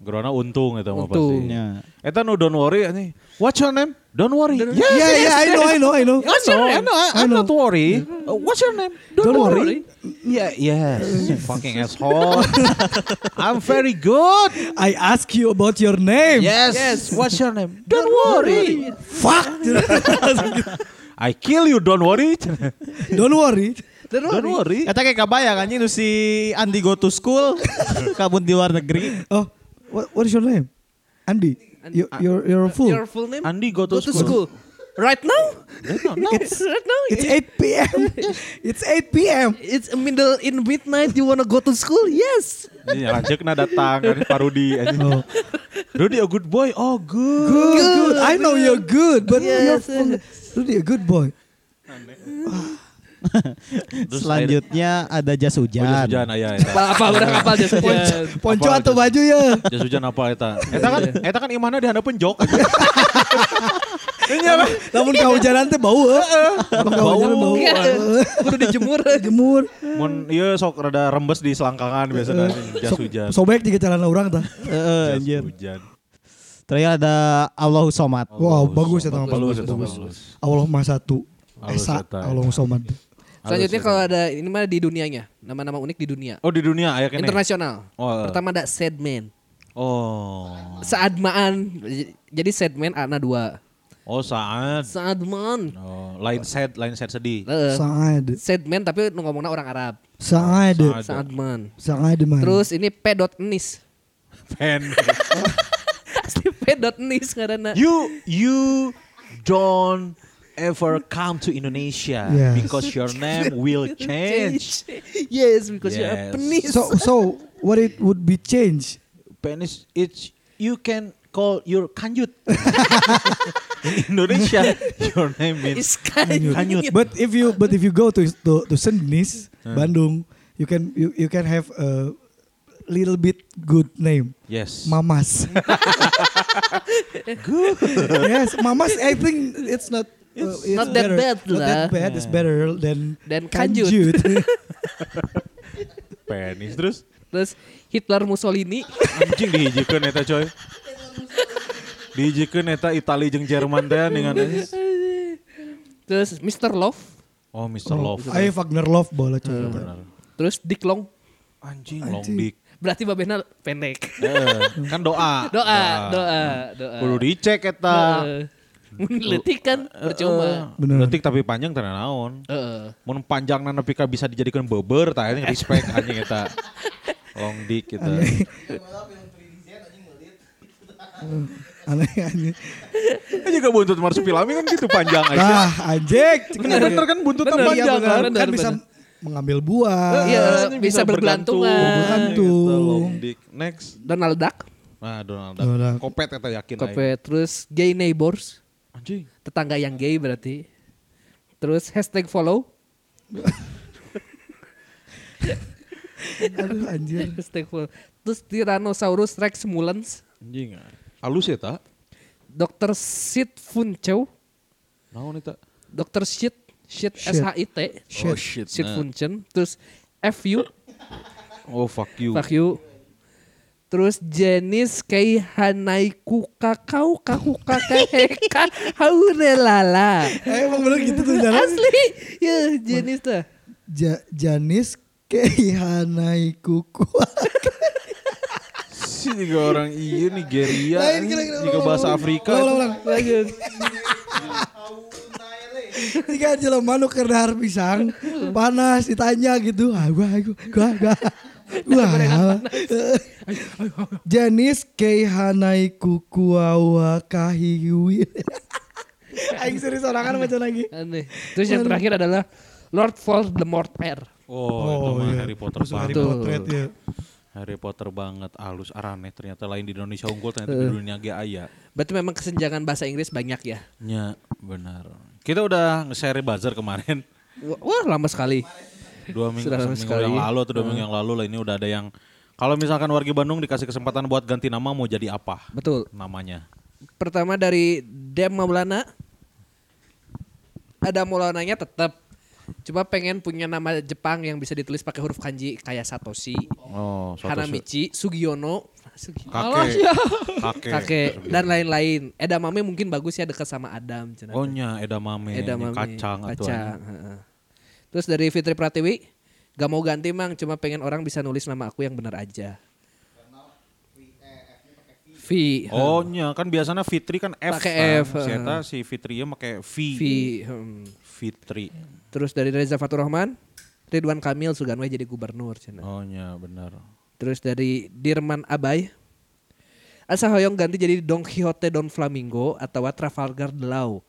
B: Gerona untung eta mah
A: Untung.
B: pasti.
C: Ya.
B: Eta nu don't worry anjing. What's your name? Don't worry. Yes,
D: Yeah,
C: Ya,
D: yeah, I know, I know, I know.
B: What's
C: Oh,
B: your name? No, I- I'm not worry. Uh, what's your name? Don't, worry. Yeah, yes. you fucking asshole. I'm very good.
D: I ask you about your name.
B: Yes. What's your name? Don't, worry.
D: Fuck.
B: I kill you. Don't worry.
D: Don't worry.
A: Don't
B: Don't
A: worry.
B: worry.
C: Eta kayak kabayang anjing nu si Andi go to school kabun di luar negeri.
D: Oh, what, what is your name? Andy. You, you're you're a fool.
A: Your full name?
B: Andi go to
A: Go to school. Right now?
D: It's
A: right now?
D: it's 8 p.m. it's 8 p.m.
A: It's middle in midnight. You wanna go to school? Yes.
B: Ini lanjutnya Iya, datang dari Pak Rudi. anjing.
D: Oh.
B: Rudi a good boy. Oh good.
D: Good, good. I know you're good, but you're
A: Yes.
D: full. Rudy, a good boy.
C: Selanjutnya ada jas hujan.
B: Oh, Hujan hujan ayah. Eta.
A: Apa apa udah kapal jas hujan.
D: Ponco
B: iya, Apa
D: atau
B: aja?
D: baju ya?
B: Jas hujan apa eta? Eta kan eta kan imahna di handeupeun jok. Ini apa?
D: Namun kau jalan teh bau. Heeh. Bau. Bau. Eh.
A: Iya. Kudu dijemur.
D: Jemur.
B: Mun ieu sok rada rembes di selangkangan biasanya jas
D: Eh, Sok-
B: hujan.
D: Sobek jika jalan orang tah.
C: Heeh,
B: Jas
C: anjir.
B: hujan.
C: Terakhir ada Allahu Somad.
D: Wow, bagus ya teman
B: Bagus
D: bagus.
B: eta bagus.
D: Allahumma satu.
B: Halus
D: Esa
B: eta,
D: Allahumma somad.
A: Selanjutnya kalau ada ini mah di dunianya. Nama-nama unik di dunia.
B: Oh di dunia aya kene.
A: Internasional.
B: Oh.
A: Pertama ada Sadman.
B: Oh.
A: Saadmaan. Jadi Sadman ana dua.
B: Oh saat.
A: Saadman.
B: Oh, lain set, lain set sedih.
A: Eh,
D: Saad.
A: Sadman tapi nu ngomongna orang Arab.
B: Saad.
D: Saad.
B: Ada.
A: Saadman.
D: Saad man.
A: Terus ini p.nis.
B: Pen.
A: Asli p.nis karena.
B: you you don't ever come to Indonesia
D: Yes.
B: because your name will change.
A: Yes, because you're a
B: Yes.
A: penis.
D: So so what it would be change?
B: penis it's you can call your kanyut. In Indonesia, your name
A: Is
B: means
A: kanyut.
B: Kanyut.
D: But if you but if you go to to to Sendnis, Bandung, you can you you can have a little bit good name.
B: yes.
D: Mamas. good. yes, Mamas I think it's not uh, it's
A: Not that
D: better.
A: bad
D: Not that
A: lah.
D: bad. It's better than
A: Than kanjut.
B: penis terus
A: Terus Hitler Mussolini.
B: anjing gitu. dihijikeun eta coy. Dihijikeun eta Itali jeung Jerman teh dengan
A: Terus Mr. Love.
B: oh Mr.
D: oh,
B: Love.
D: I Wagner love bola cuy.
A: Terus Dick Long.
B: Anjing long dick.
A: Berarti babena pendek.
B: Eh, kan doa.
A: Doa, doa, doa.
B: Kudu dicek eta.
A: Heeh. Mun leutik kan percuma.
D: Bener.
B: Detik Eh, tapi panjang teh naon.
A: Heeh.
B: Mun panjang nepi ka bisa dijadikan beber tah ini respect anjing eta. Long dick eta.
D: Aneh aneh.
B: Kan juga buntut marsupilami kan gitu panjang aja.
D: Nah, anjek.
B: Bener, bener kan buntutan
A: Bener,
B: panjang
A: iya,
B: kan.
A: bener.
D: kan bisa mengambil buah.
A: Iya,
B: Ini
A: bisa bergelantungan.
B: Bergelantung.
D: Bergelantung.
B: Gitu, Long dick. Next.
A: Donald Duck.
B: Nah Donald
D: Donald
B: Duck.
D: Duck.
B: Kopet eta yakin aing.
A: Kope. Terus Gay Neighbors.
B: Anjing.
A: Tetangga yang gay berarti. Terus hashtag follow.
D: Aduh anjir.
A: Hashtag follow. Terus Tyrannosaurus Rex Mulans.
B: Anjing. Halus eta.
A: Dr. Sid Funchow.
B: Naon eta?
A: Dr. Shit. Shit
D: Shit.
A: S-H-I-T.
B: Oh, shit.
A: Shit
B: Nah.
A: Funchen. Terus F.U.
B: Oh fuck you.
A: Fuck you. Terus Jenis Kei Hanaiku Kakau Kaku Kakaheka Haurelala.
D: Eh, emang bener gitu tuh jalan.
A: Asli. Ya, jenis tuh.
D: Ja, Janis Keihanai Kuku.
B: Si juga orang iya Nigeria.
D: Lain,
B: anjing.
D: kira, kira,
B: Juga
D: ulang,
B: bahasa
D: ulang,
B: Afrika.
D: ulang, ulang.
A: Lanjut.
D: Jika jalan manuk karena harus pisang, panas ditanya gitu. Ah, gua, gua, gua, gua. Gua. Janis Keihanai Kuku Awa Kahiwi. Aing serius orangan macam lagi.
A: Aneh. Terus yang terakhir adalah Lord Voldemort R.
B: Oh, itu mah
D: iya.
B: Harry Potter
D: Terus Harry
B: banget.
A: Potter.
D: Potter ya.
B: Harry Potter banget alus arane ternyata lain di Indonesia unggul ternyata di dunia ge aya.
A: Berarti memang kesenjangan bahasa Inggris banyak ya.
B: Nya, benar. Kita udah nge-share buzzer kemarin.
A: Wah, Wah lama sekali.
B: Dua minggu,
A: Sudah lama
B: seminggu
A: sekali.
B: yang lalu atau dua minggu yang lalu lah ini udah ada yang kalau misalkan warga Bandung dikasih kesempatan buat ganti nama mau jadi apa
A: Betul.
B: namanya?
A: Pertama dari Dem Maulana. Ada Maulananya tetap. Cuma pengen punya nama Jepang yang bisa ditulis pakai huruf kanji kayak Satoshi,
B: Oh, suatu-
A: Hanamichi, Sugiono, Sugih.
B: Kakek.
A: Oh,
B: Kakek.
A: iya. kakek dan lain-lain. Edamame mungkin bagus ya dekat sama Adam. cenah.
B: Ohnya edamame,
A: Edamame,
B: Oh, kacang atuh.
A: kacang. heeh. Terus dari Fitri Pratiwi, gak mau ganti mang, cuma pengen orang bisa nulis nama aku yang benar aja. E, V.
B: Ohnya kan biasanya Fitri kan F.
A: Iya. Pakai
B: kan.
A: F,
B: Si
A: heeh.
B: eta si Fitri ya pakai V.
A: V. hmm.
B: Fitri.
A: Terus dari Reza Faturrahman, Ridwan Kamil Suganwe jadi gubernur. cenah.
B: Ohnya benar.
A: Terus dari Dirman Abay, Asa hoyong ganti jadi Don Quixote Don Flamingo atau Trafalgar Delau.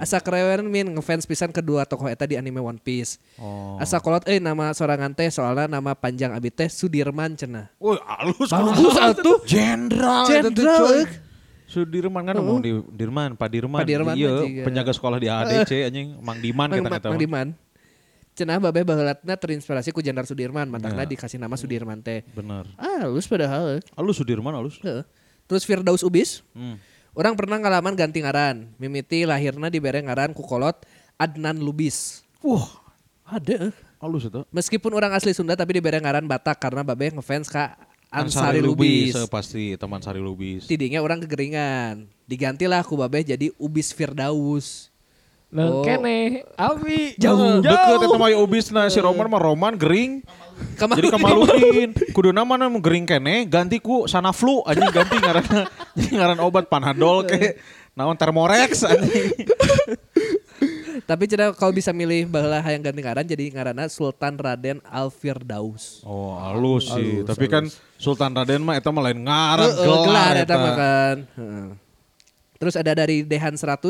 A: Asa keren min ngefans pisan kedua tokoh eta di anime One Piece.
B: Oh.
A: Asa kolot eh nama sorangan teh soalnya nama panjang abi teh Sudirman cenah.
B: Woi, alus
A: Bagus atuh.
B: Jenderal eta tuh,
A: Jenderal,
B: coy.
A: euk.
B: Sudirman kan ngomong di Dirman, Pak Dirman.
A: Pak Dirman
B: Iya,
A: anjing, ya.
B: penjaga sekolah di ADC anjing Mang Diman
A: Mang,
B: kita
A: Mang,
B: kata.
A: Mang Diman. Cenah babe bahelatna terinspirasi ku Jenderal Sudirman,
B: Ya.
A: matangna dikasih nama Sudirman teh.
B: Benar.
A: Ah, lus padahal. euk.
B: Alus Sudirman alus.
A: Heeh. Terus Firdaus Ubis,
B: Hmm.
A: orang pernah ngalaman ganti ngaran. Mimiti lahirna dibere ngaran ku kolot Adnan Lubis.
B: Wah,
A: Ada. eh. euk.
B: alus itu.
A: Meskipun orang asli Sunda tapi dibere ngaran Batak karena babe ngefans ka Ansari, Lubis.
B: eh, pasti teman Sari Lubis.
A: Tidinya orang kegeringan. Digantilah ku babeh jadi Ubis Firdaus.
E: Lo
A: Oh.
E: kene, Abi.
A: Jauh.
B: Deket eta mah Ubis nah si Roman mah Roman gering.
A: Kamal
B: Jadi kemaludin. Kuduna mana nu gering kene ganti ku Sanaflu anjing ganti ngaran jadi ngaran obat Panadol ke naon Thermorex anjing.
A: Tapi cina kalau bisa milih baheula hayang ganti ngaran jadi ngaranna Sultan Raden Al Firdaus.
B: Oh, halus sih. Tapi kan Sultan Raden mah eta mah lain ngaran
A: Heueuh,
B: gelar ya,
A: eta
B: eta.
A: mah kan. Heeh. Terus ada dari Dehan 100.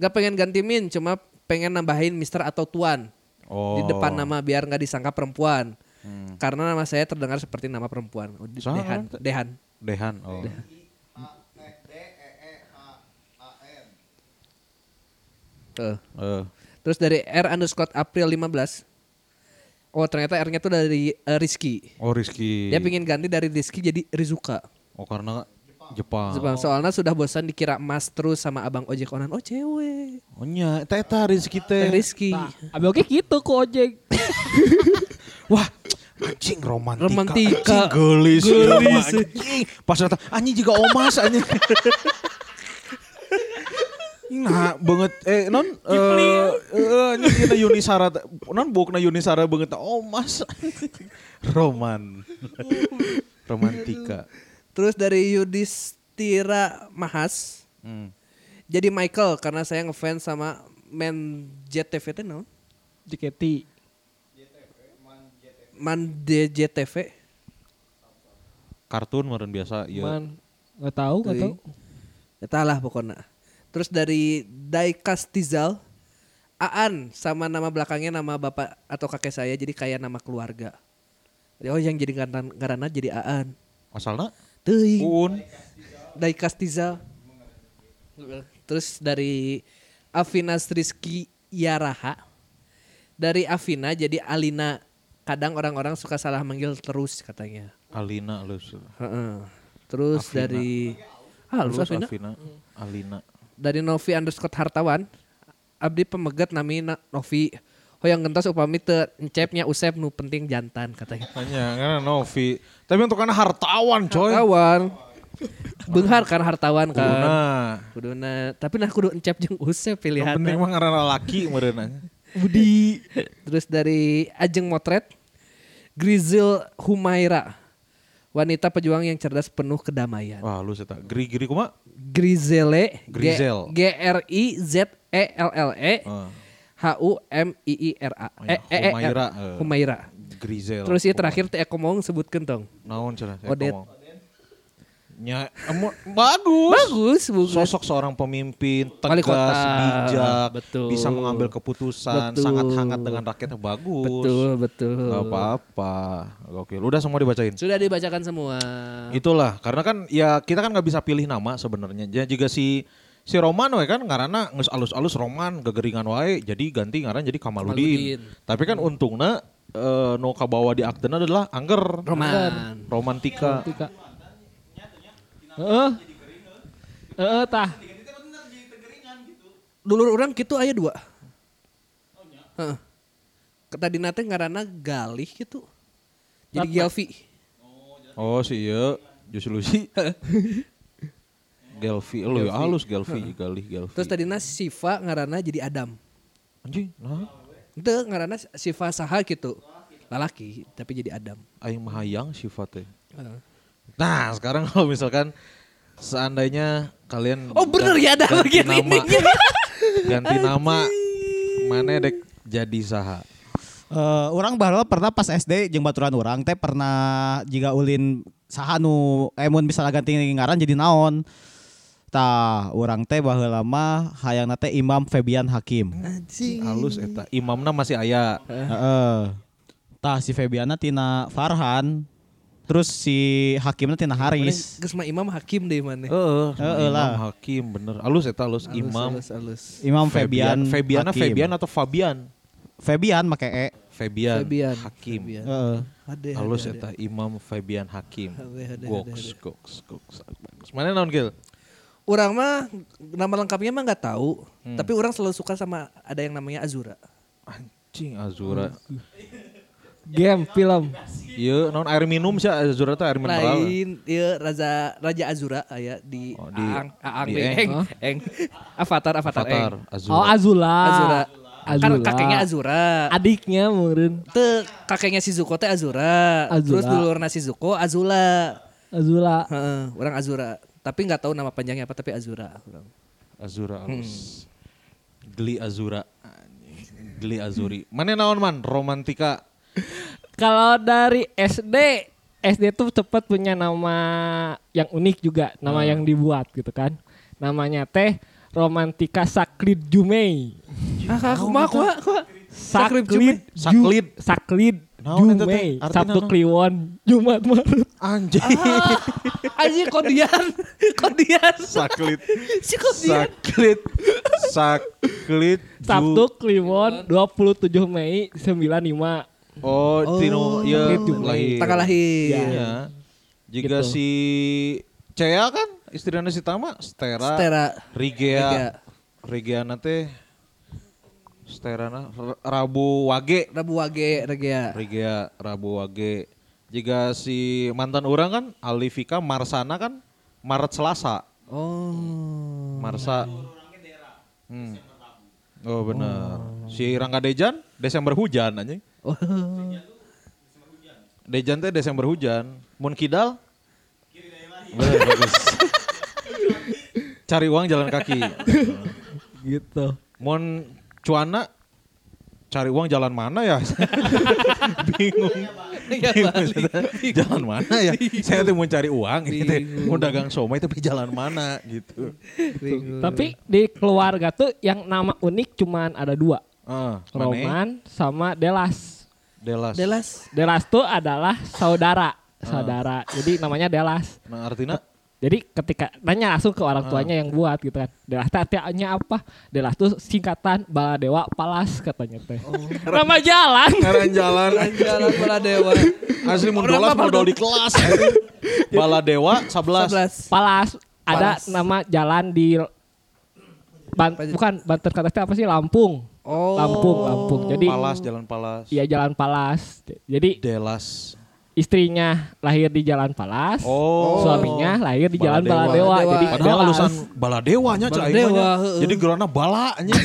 A: Gak pengen ganti Min, cuma pengen nambahin Mister atau Tuan
B: Oh. Hmm.
A: di depan nama biar nggak disangka perempuan. Karena nama saya terdengar seperti nama perempuan. Oh,
B: Saha
A: Dehan,
B: kan?
A: Dehan.
B: Dehan. Oh.
A: Heeh.
B: Eh,
A: Terus dari R underscore April 15. Oh ternyata R-nya tuh dari eh, Rizky.
B: Oh Rizky.
A: Dia pingin ganti dari Rizky jadi Rizuka.
B: Oh karena Jepang.
A: Sebab soalnya sudah bosan dikira mas terus sama abang ojek onan. Oh cewek.
B: Oh nya, eta eta Rizky
A: Eh,
B: teh.
A: Rizky.
E: Abi oke gitu ke ojek.
B: Wah, anjing romantika.
A: Romantika.
B: Anjing gelis.
A: Gelis.
B: ieu mah, Anjing. Pas datang, anjing juga omas anjing. Nah, banget eh non eh eh, anjing kita Yunisara teh. non bukna Yunisara banget teh omas. Roman. Romantika.
A: Terus dari Yudhistira Mahas.
B: Hmm.
A: Jadi Michael karena saya ngefans sama Man JTV teh naon?
E: JKT.
A: Man DJTV.
B: Kartun meren biasa ieu.
E: Iya. Man, nggak tahu, nggak tahu.
A: Eta lah pokoknya. Terus dari Daikastizal. Aan sama nama belakangnya nama bapak atau kakek saya jadi kayak nama keluarga. Oh yang jadi ngaran- ngarana jadi Aan.
B: Asalna
A: Teuing.
B: Uun.
A: dari Kastiza. Terus dari Afina Rizky Yaraha. Dari Afina jadi Alina. Kadang orang-orang suka salah manggil terus katanya.
B: Alina lus.
A: Heeh. Terus dari Halus Afina. Iya.
B: Alina.
A: Dari Novi underscore Hartawan. Abdi pemegat nami na- Novi. Hoyong gentos upami teu encepnya usep nu penting jantan katanya.
B: Hanya karena Novi. Tapi untuk karena hartawan coy.
A: Hartawan. Benghar kan hartawan kan.
B: Nah,
A: Kuduna. Tapi nah kudu encep jeung usep pilihan.
B: penting mah karena laki merenanya.
A: Budi. Terus dari Ajeng Motret, Grizel Humaira. Wanita pejuang yang cerdas penuh kedamaian.
B: Wah, lu seta. Geri-geri kuma.
A: Grizele,
B: Grizel.
A: G R I Z E L L E
B: Ah,
A: H U M I I R A.
B: Oh, ya, Humaira, eh.
A: Humaira.
B: Grizel.
A: Terus ya terakhir teh aku mau sebutkeun tong.
B: Naon cenah? saya
A: Odet.
B: ngomong. Nya, emu- bagus.
A: Bagus, bagus.
B: Sosok seorang pemimpin
A: Wali
B: tegas,
A: kota.
B: bijak,
A: Betul.
B: bisa mengambil keputusan,
A: Betul.
B: sangat hangat dengan rakyatnya bagus.
A: Betul, betul.
B: Gak apa-apa. Oke, udah semua dibacain.
A: Sudah dibacakan semua.
B: Itulah, karena kan ya kita kan nggak bisa pilih nama sebenarnya. Ya juga si si Roman we kan ngarana nges alus-alus Roman gegeringan wae jadi ganti ngaran jadi Kamaludin.
A: Kamaludin.
B: Tapi kan untungnya eh nu kabawa di akten adalah angger
A: Roman.
B: romantika.
E: Tika. Heeh. Heeh tah.
A: Dulur orang gitu aya dua. Heeh. Ketadina teh ngaranna galih gitu. Jadi Gelvi.
B: Oh si iya Josulusi. Gelfi, lu ya halus Gelfi, Galih Gelfi.
A: Terus tadinya Siva ngarana jadi Adam.
B: anjing, nah,
A: Itu ngarana Siva saha gitu. Lalaki tapi jadi Adam.
B: aing mahayang sifatnya.
A: Heeh.
B: Nah, sekarang kalau misalkan seandainya kalian
A: Oh bener ya ada
B: ganti
A: bagian
B: nama,
A: ini.
B: ganti nama mana dek jadi saha.
C: Eh, orang baru pernah pas SD jeung baturan orang teh pernah jika ulin saha nu emun bisa ganti ngaran jadi naon. Tah, orang teh baheula lama hayangna teh Imam Febian Hakim.
B: Halus eta. Imamna masih aya.
C: Heeh. Tah si Febiana tina Farhan, terus si Hakimna tina Haris.
A: Geus mah Imam Hakim deh mana.
B: Heeh,
C: Heeh
B: Imam
C: lah.
B: Hakim bener. Halus eta halus,
A: Alus,
B: Oh, Imam
A: alus, alus.
C: Imam Febian,
B: Febiana
C: Hakim.
B: Febian atau Fabian?
C: Febian make e.
B: Febian,
A: Fabian
B: Iya, Hakim.
A: Fabian.
C: Heeh.
A: Hade, hade,
B: Halus
A: hade.
B: eta Imam Fabian Hakim.
A: Hade, hade,
B: Goks, goks, goks. Bagus. Mana naon Gil?
A: Orang mah nama lengkapnya mah nggak tahu,
B: Hmm.
A: tapi orang selalu suka sama ada yang namanya Azura.
B: Anjing Azura.
E: Game, film.
B: Iya, naon air minum sih Azura teh air mineral.
A: Lain ieu Raja Raja Azura aya di,
B: Oh, di-
A: Aang Aang
B: di
A: deh,
B: Aang.
A: Eng, Eng. Avatar Avatar,
B: Avatar
A: Eng.
B: Azura.
E: Oh Azula.
A: Azura. Kan
E: Azula.
A: kakeknya Azura.
E: Adiknya mungkin
A: Te kakeknya Shizuko teh Azura.
E: Azula.
A: Terus dulurna Shizuko Azula.
E: Azula.
A: Heeh, orang Azura. Tapi nggak tahu nama panjangnya apa tapi Azura. Orang.
B: Azura alus. Geli Azura. Anjing. Geli Azuri. Mana naon man? Romantika.
E: Kalau dari SD, SD tuh cepet punya nama yang unik juga, nama yang dibuat gitu kan. Namanya teh Romantika Saklid Jumei.
A: Ah, kumaha kumaha kumaha. Saklid Jumei.
E: Ju-
B: Saklid.
E: Saklid
B: Naon eta teh?
E: Jumei.
B: Artina
E: Sabtu
B: naon?
E: Kliwon, Jumat Maret.
B: Anjing.
A: Anjing kodian. Kodian.
B: Saklit.
A: Si kodian.
B: Saklit. Saklit. Ju-
E: Sabtu Kliwon 27 Mei 95.
B: Oh, Tino ya
E: Saklit Jumei.
B: lahir.
A: Tanggal lahir.
B: Iya. Jika
E: Gitu.
B: si Cea kan istrinya si Tama Stera.
A: Stera. Rigea.
B: Rigea. Rigeana teh Sterana R- Rabu Wage.
A: Rabu Wage Regea.
B: Rigea Rabu Wage. Jika si mantan orang kan Alifika Marsana kan Maret Selasa.
A: Oh.
B: Marsa. Hmm. Oh benar. Si Rangga Dejan Desember hujan anjing.
A: Oh.
B: Dejan teh Desember hujan. Mun Kidal? Bener, bagus. Cari uang jalan kaki.
E: Gitu.
B: Mun Cuana cari uang jalan mana ya? Bingung.
A: Iya, Bali.
B: jalan mana ya? Saya tuh mau cari uang, ini teh mau dagang somai tapi jalan mana gitu.
E: Tapi di keluarga tuh yang nama unik cuman ada dua.
B: Ah, mana?
E: Roman sama Delas.
B: Delas.
A: Delas.
E: Delas tuh adalah saudara, saudara. Jadi namanya Delas.
B: Nah artinya
E: Jadi ketika nanya langsung ke orang tuanya yang buat gitu kan. Delas teh artinya apa? Delas tuh singkatan Baladewa Palas katanya teh. Nama jalan.
B: ngaran jalan.
A: Jalan bola dewa.
B: Iya, Asli mun
A: Orang
B: dolas
A: mah
B: modal di kelas. anjing. Bala dewa
A: 11.
B: 11.
E: Palas ada
A: Palas.
E: nama jalan di Ban- bukan Banten kata teh apa sih Lampung.
A: Oh.
E: Lampung, Lampung. Jadi
B: Palas jalan Palas.
E: iya jalan Palas. Jadi
B: Delas.
E: istrinya lahir di Jalan Palas.
B: Oh.
E: Suaminya lahir di Jalan Baladewa.
A: Baladewa.
E: Jadi
B: Padahal
E: Delas.
B: lulusan bala dewanya cah aing
A: Baladewa,
B: mah nya.
A: heeh.
B: Jadi gerana bala anjing.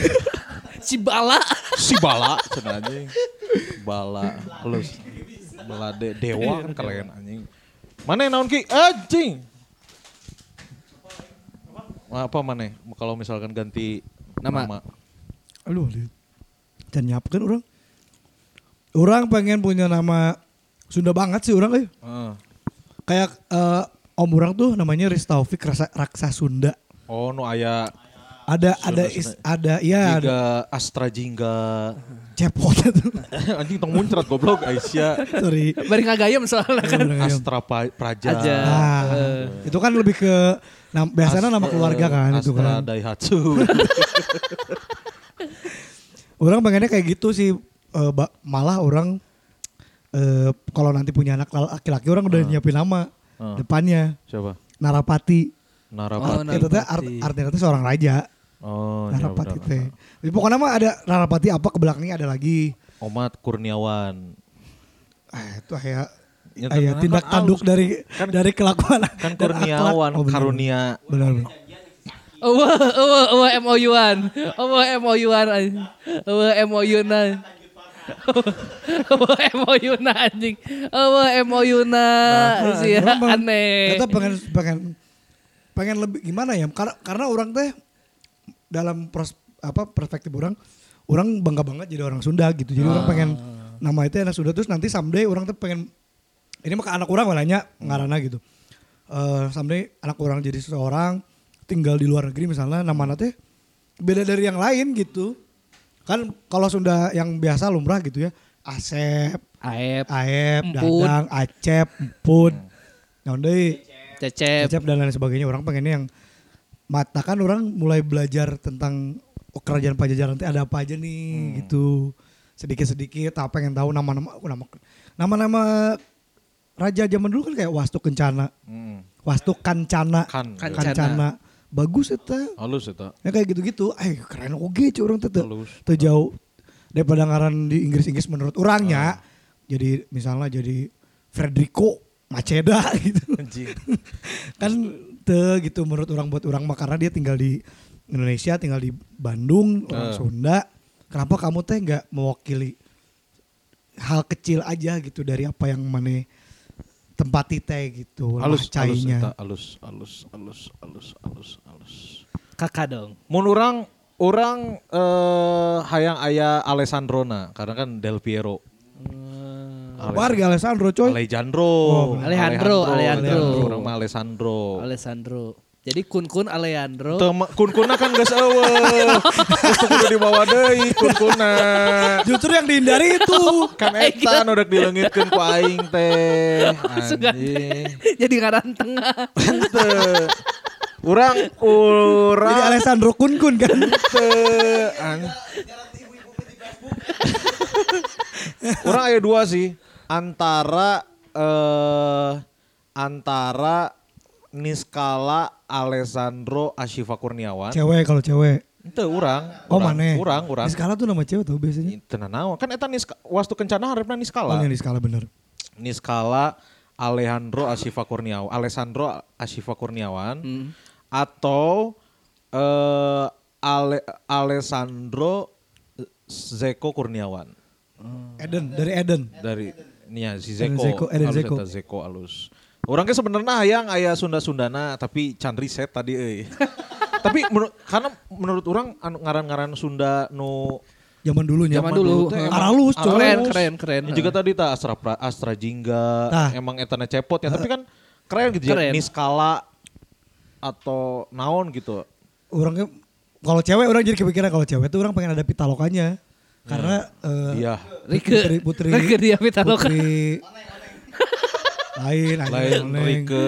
A: Si Bala.
B: si bala cenah anjing. Bala halus. Bala de- dewa kan keren anjing. Mana yang naon ki? Anjing. Apa mana? Kalau misalkan ganti
A: Nama.
B: nama.
D: Aduh, lihat. Can nyiapkan orang. Orang pengen punya nama Sunda banget sih orang kayak.
B: Heeh.
D: Kayak eh, om orang tuh namanya Ristaufik Raksa, Raksa Sunda.
B: Oh, nu aya
D: Ada ada
B: Sunda,
D: is,
B: Sunda.
D: ada ya ada
B: Jingga Astra Jingga.
D: cepot itu.
B: Anjing tong muncrat goblok Aisyah.
D: Sorry.
A: Bari ngagayem soalnya kan.
D: Iya.
B: Astra Pa- Praja.
A: Aja.
D: Nah, itu kan lebih ke nam- biasanya nama
B: Astra-
D: keluarga kan itu
B: Astra
D: kan.
B: Daihatsu.
D: Orang pengennya kayak gitu sih eh, ba- malah orang eh, kalau nanti punya anak laki-laki orang udah nyiapin nama
B: Ah.
D: depannya
B: Siapa?
D: Narapati.
A: Oh,
B: Narapati.
D: Itu teh art,
A: Narapati. ya,
D: artinya teh seorang raja.
B: Oh, iya
D: Narapati
B: benar.
D: teh. Jadi pokoknya mah ada Narapati apa ke belakangnya ada lagi.
B: Omat Kurniawan.
D: Ah, Eh, itu kayak
B: Ya,
D: Iya, tindak tanduk dari dari kelakuan
B: Kan
D: dan akhlak.
B: kurniawan,
D: Oh, benar.
B: karunia.
D: Benar. benar.
A: Ewe, ewe, ewe MOU-an. Ewe MOU-an. anjing. Ewe MOU-na. Ewe MOU-na anjing. Ewe MOU-na.
D: Iya,
A: Sia,
D: Emang
A: Iya, ya, aneh.
D: Kita pengen pengen pengen lebih gimana ya? Karena karena orang teh dalam pros, apa perspektif orang, orang bangga banget jadi orang Sunda gitu. Jadi orang pengen nama itu anak Sunda terus nanti someday orang tuh pengen ini mah ke anak orang nanya ngarana gitu. Eh someday anak orang jadi seseorang tinggal di luar negeri misalnya nama teh beda dari yang lain gitu. Kan kalau Sunda yang biasa lumrah gitu ya, Asep,
A: Aep,
D: Aep,
A: Emput.
D: Dadang, Acep, Emput, naon deui,
A: Cecep.
D: Acep dan lain sebagainya. Orang pengennya yang mata kan orang mulai belajar tentang oh, kerajaan Pajajaran teh ada apa aja nih gitu. Sedikit-sedikit tak pengen tahu nama-nama oh, nama nama-nama raja zaman dulu kan kayak Wastu Kencana,
B: Hmm.
D: Wastu Kancana,
B: Kan.
A: Kancana.
D: Bagus eta.
B: Halus itu.
D: Ya kayak gitu-gitu, eh keren oge cuy orang tetep
B: Halus.
D: terjauh daripada ngaran di Inggris-Inggris menurut
B: Ah.
D: orangnya. Jadi misalnya jadi Federico Maceda gitu.
B: Anjing.
D: kan te gitu menurut orang buat orang mah karena dia tinggal di Indonesia, tinggal di Bandung,
B: Eh.
D: orang Sunda. Kenapa kamu teh nggak mewakili hal kecil aja gitu dari apa yang mana tempati teh gitu, lemah
B: Halus, ya, halus,
D: cainya.
B: eta. halus, halus, halus, halus, halus, halus.
A: Kakak dong.
B: Mun orang orang eh, hayang aya Alessandrona karena kan Del Piero.
D: Warga Alessandro coy.
B: Alejandro.
A: Alejandro, Alejandro.
B: Orang mah Alessandro.
A: Alessandro. Jadi kun-kun Alejandro.
B: Teu ma- Kun-kuna kan geus eueuh. Geus teu kudu dibawa deui kun-kuna.
D: Justru yang dihindari itu.
B: Kan eta nu rek dileungitkeun ku aing teh. Anjing.
A: Jadi ngaran tengah.
B: Teu. Urang
D: Jadi
B: urang
D: Alessandro kun-kun kan.
B: teu an- Urang aya dua sih antara eh antara Niskala Alessandro Ashifa Kurniawan.
D: Cewek kalau cewek.
B: Itu orang.
D: Oh
B: urang,
D: mana?
B: Urang, urang.
D: Di skala tuh nama cewek tau biasanya.
B: Tenan naon. Kan eta niska, wastu kencana harapna
D: Oh
B: Niskala.
D: yang di skala bener.
B: Niskala Alejandro Ashifa Kurniawan, Alessandro Ashifa Kurniawan atau eh Ale, Alessandro Zeko Kurniawan
D: Eden dari Eden.
B: dari nya si
D: Eden
B: Zeko,
D: Zeko, Eden
B: alus
D: Zeko.
B: eta, Zeko alus. Orangnya sebenarnya hayang aya Sunda-Sundana tapi can riset tadi euy. tapi menur- karena menurut orang anu ngaran-ngaran Sunda nu
D: Zaman dulunya.
A: Zaman dulu.
B: teh emang-
D: Aralus coy.
A: Keren, keren, keren.
B: Ya juga tadi ta Astra Pra- Astra Jingga
D: Tah.
B: emang etana cepot ya, tapi kan keren gitu ya
A: Keren.
B: Niskala atau naon gitu.
D: Orangnya kalau cewek orang jadi kepikiran kalau cewek tuh orang pengen ada pitalokannya. Karena eh,
B: Iya.
A: Rike.
D: putri putri
A: Rike dia pitaloka.
D: Putri lain anjing,
B: Lain
D: oneng.
B: Rike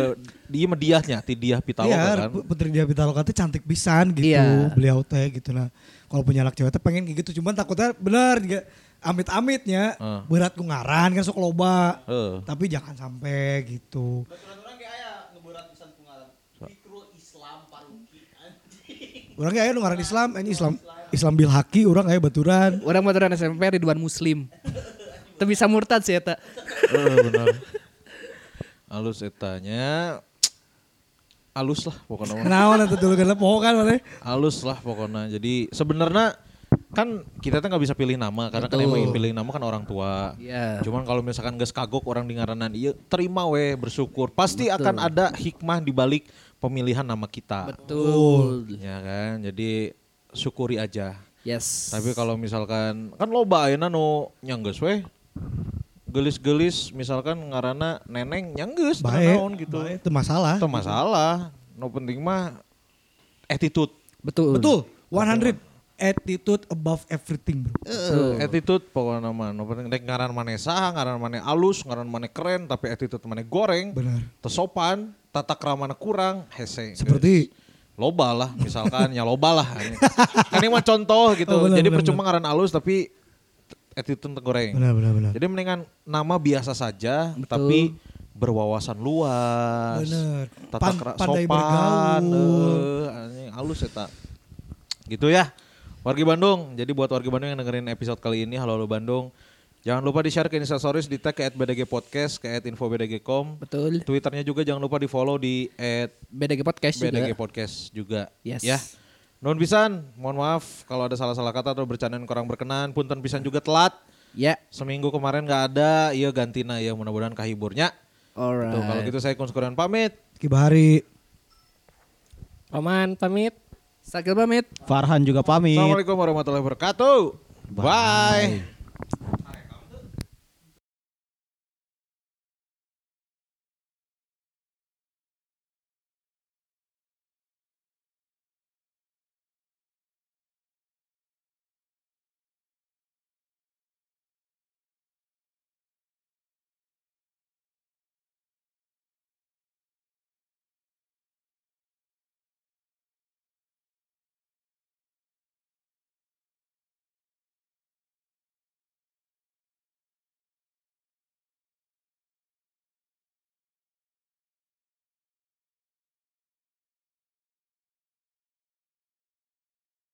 B: dia mediahnya, ti Diah Pitaloka
D: Iya,
B: kan.
D: Pu- Putri Dia Pitaloka tuh cantik pisan gitu.
A: Iya.
D: Beliau teh gitu nah. Kalau punya anak cewek teh pengen kayak gitu, cuman takutnya bener juga amit-amitnya
B: Heeh.
D: berat ku ngaran kan sok loba.
B: Heeh.
D: Tapi jangan sampai gitu. Orang kayak nu ngaran Islam, ini Islam Islam bil haki orang kayak baturan.
A: Orang maturan SMP Ridwan Muslim. Tapi bisa murtad sih ya, eta.
B: Eh, benar. Alus etanya alus lah pokoknya. mah.
D: Kenaon atau dulu kan poho kan mana?
B: halus lah pokoknya jadi sebenarnya kan kita tuh nggak bisa pilih nama karena kan
A: Betul.
B: emang yang pilih nama kan orang tua
A: Iya.
B: cuman kalau misalkan gak kagok orang di ngaranan iya terima weh bersyukur pasti akan ada hikmah di balik pemilihan nama kita
A: Betul.
B: ya kan jadi syukuri aja
A: Yes.
B: tapi kalau misalkan kan loba ayeuna nu nyanggeus weh gelis-gelis misalkan ngarana neneng nyanggeus teu
D: Baik,
B: naon gitu
D: baik, itu masalah.
B: itu masalah no penting mah attitude
A: Betul.
D: Betul, 100 attitude above everything bro.
B: Eh, attitude pokoknya mah nu penting rek ngaran mane saha ngaran mane alus ngaran mane keren tapi attitude mane goreng
D: Benar.
B: tesopan tata keramana kurang hese geus.
D: Seperti-
B: loba lah misalkan ya loba lah kan ini mah contoh gitu
D: Oh, benar,
B: jadi
D: benar,
B: percuma ngaran alus tapi attitude teu goreng
D: Benar benar benar.
B: jadi mendingan nama biasa saja tapi berwawasan luas
D: Bener.
B: tata
D: Pan-
B: kera-
D: pandai
B: sopan
D: bergaul.
B: eh, anjing, halus eta ya. gitu ya wargi Bandung jadi buat wargi Bandung yang dengerin episode kali ini halo halo Bandung Jangan lupa di-share ke Instastories, di tag ke @bdgpodcast, Podcast, ke @infobdg.com.
A: Betul.
B: Twitternya juga jangan lupa di-follow di at
A: BDG Podcast
B: BDG
A: juga.
B: Podcast juga.
A: Yes.
B: Ya. Non pisan, mohon maaf kalau ada salah-salah kata atau bercandaan kurang berkenan. Punten pisan juga telat.
A: Ya.
B: Seminggu kemarin nggak ada, iya gantina ya mudah-mudahan kahiburnya.
A: Alright.
B: Tuh, kalau gitu saya Kunskuran pamit.
D: Kibahari.
E: Roman pamit.
A: Sakil pamit.
C: Farhan juga pamit.
B: Assalamualaikum warahmatullahi wabarakatuh. Bye.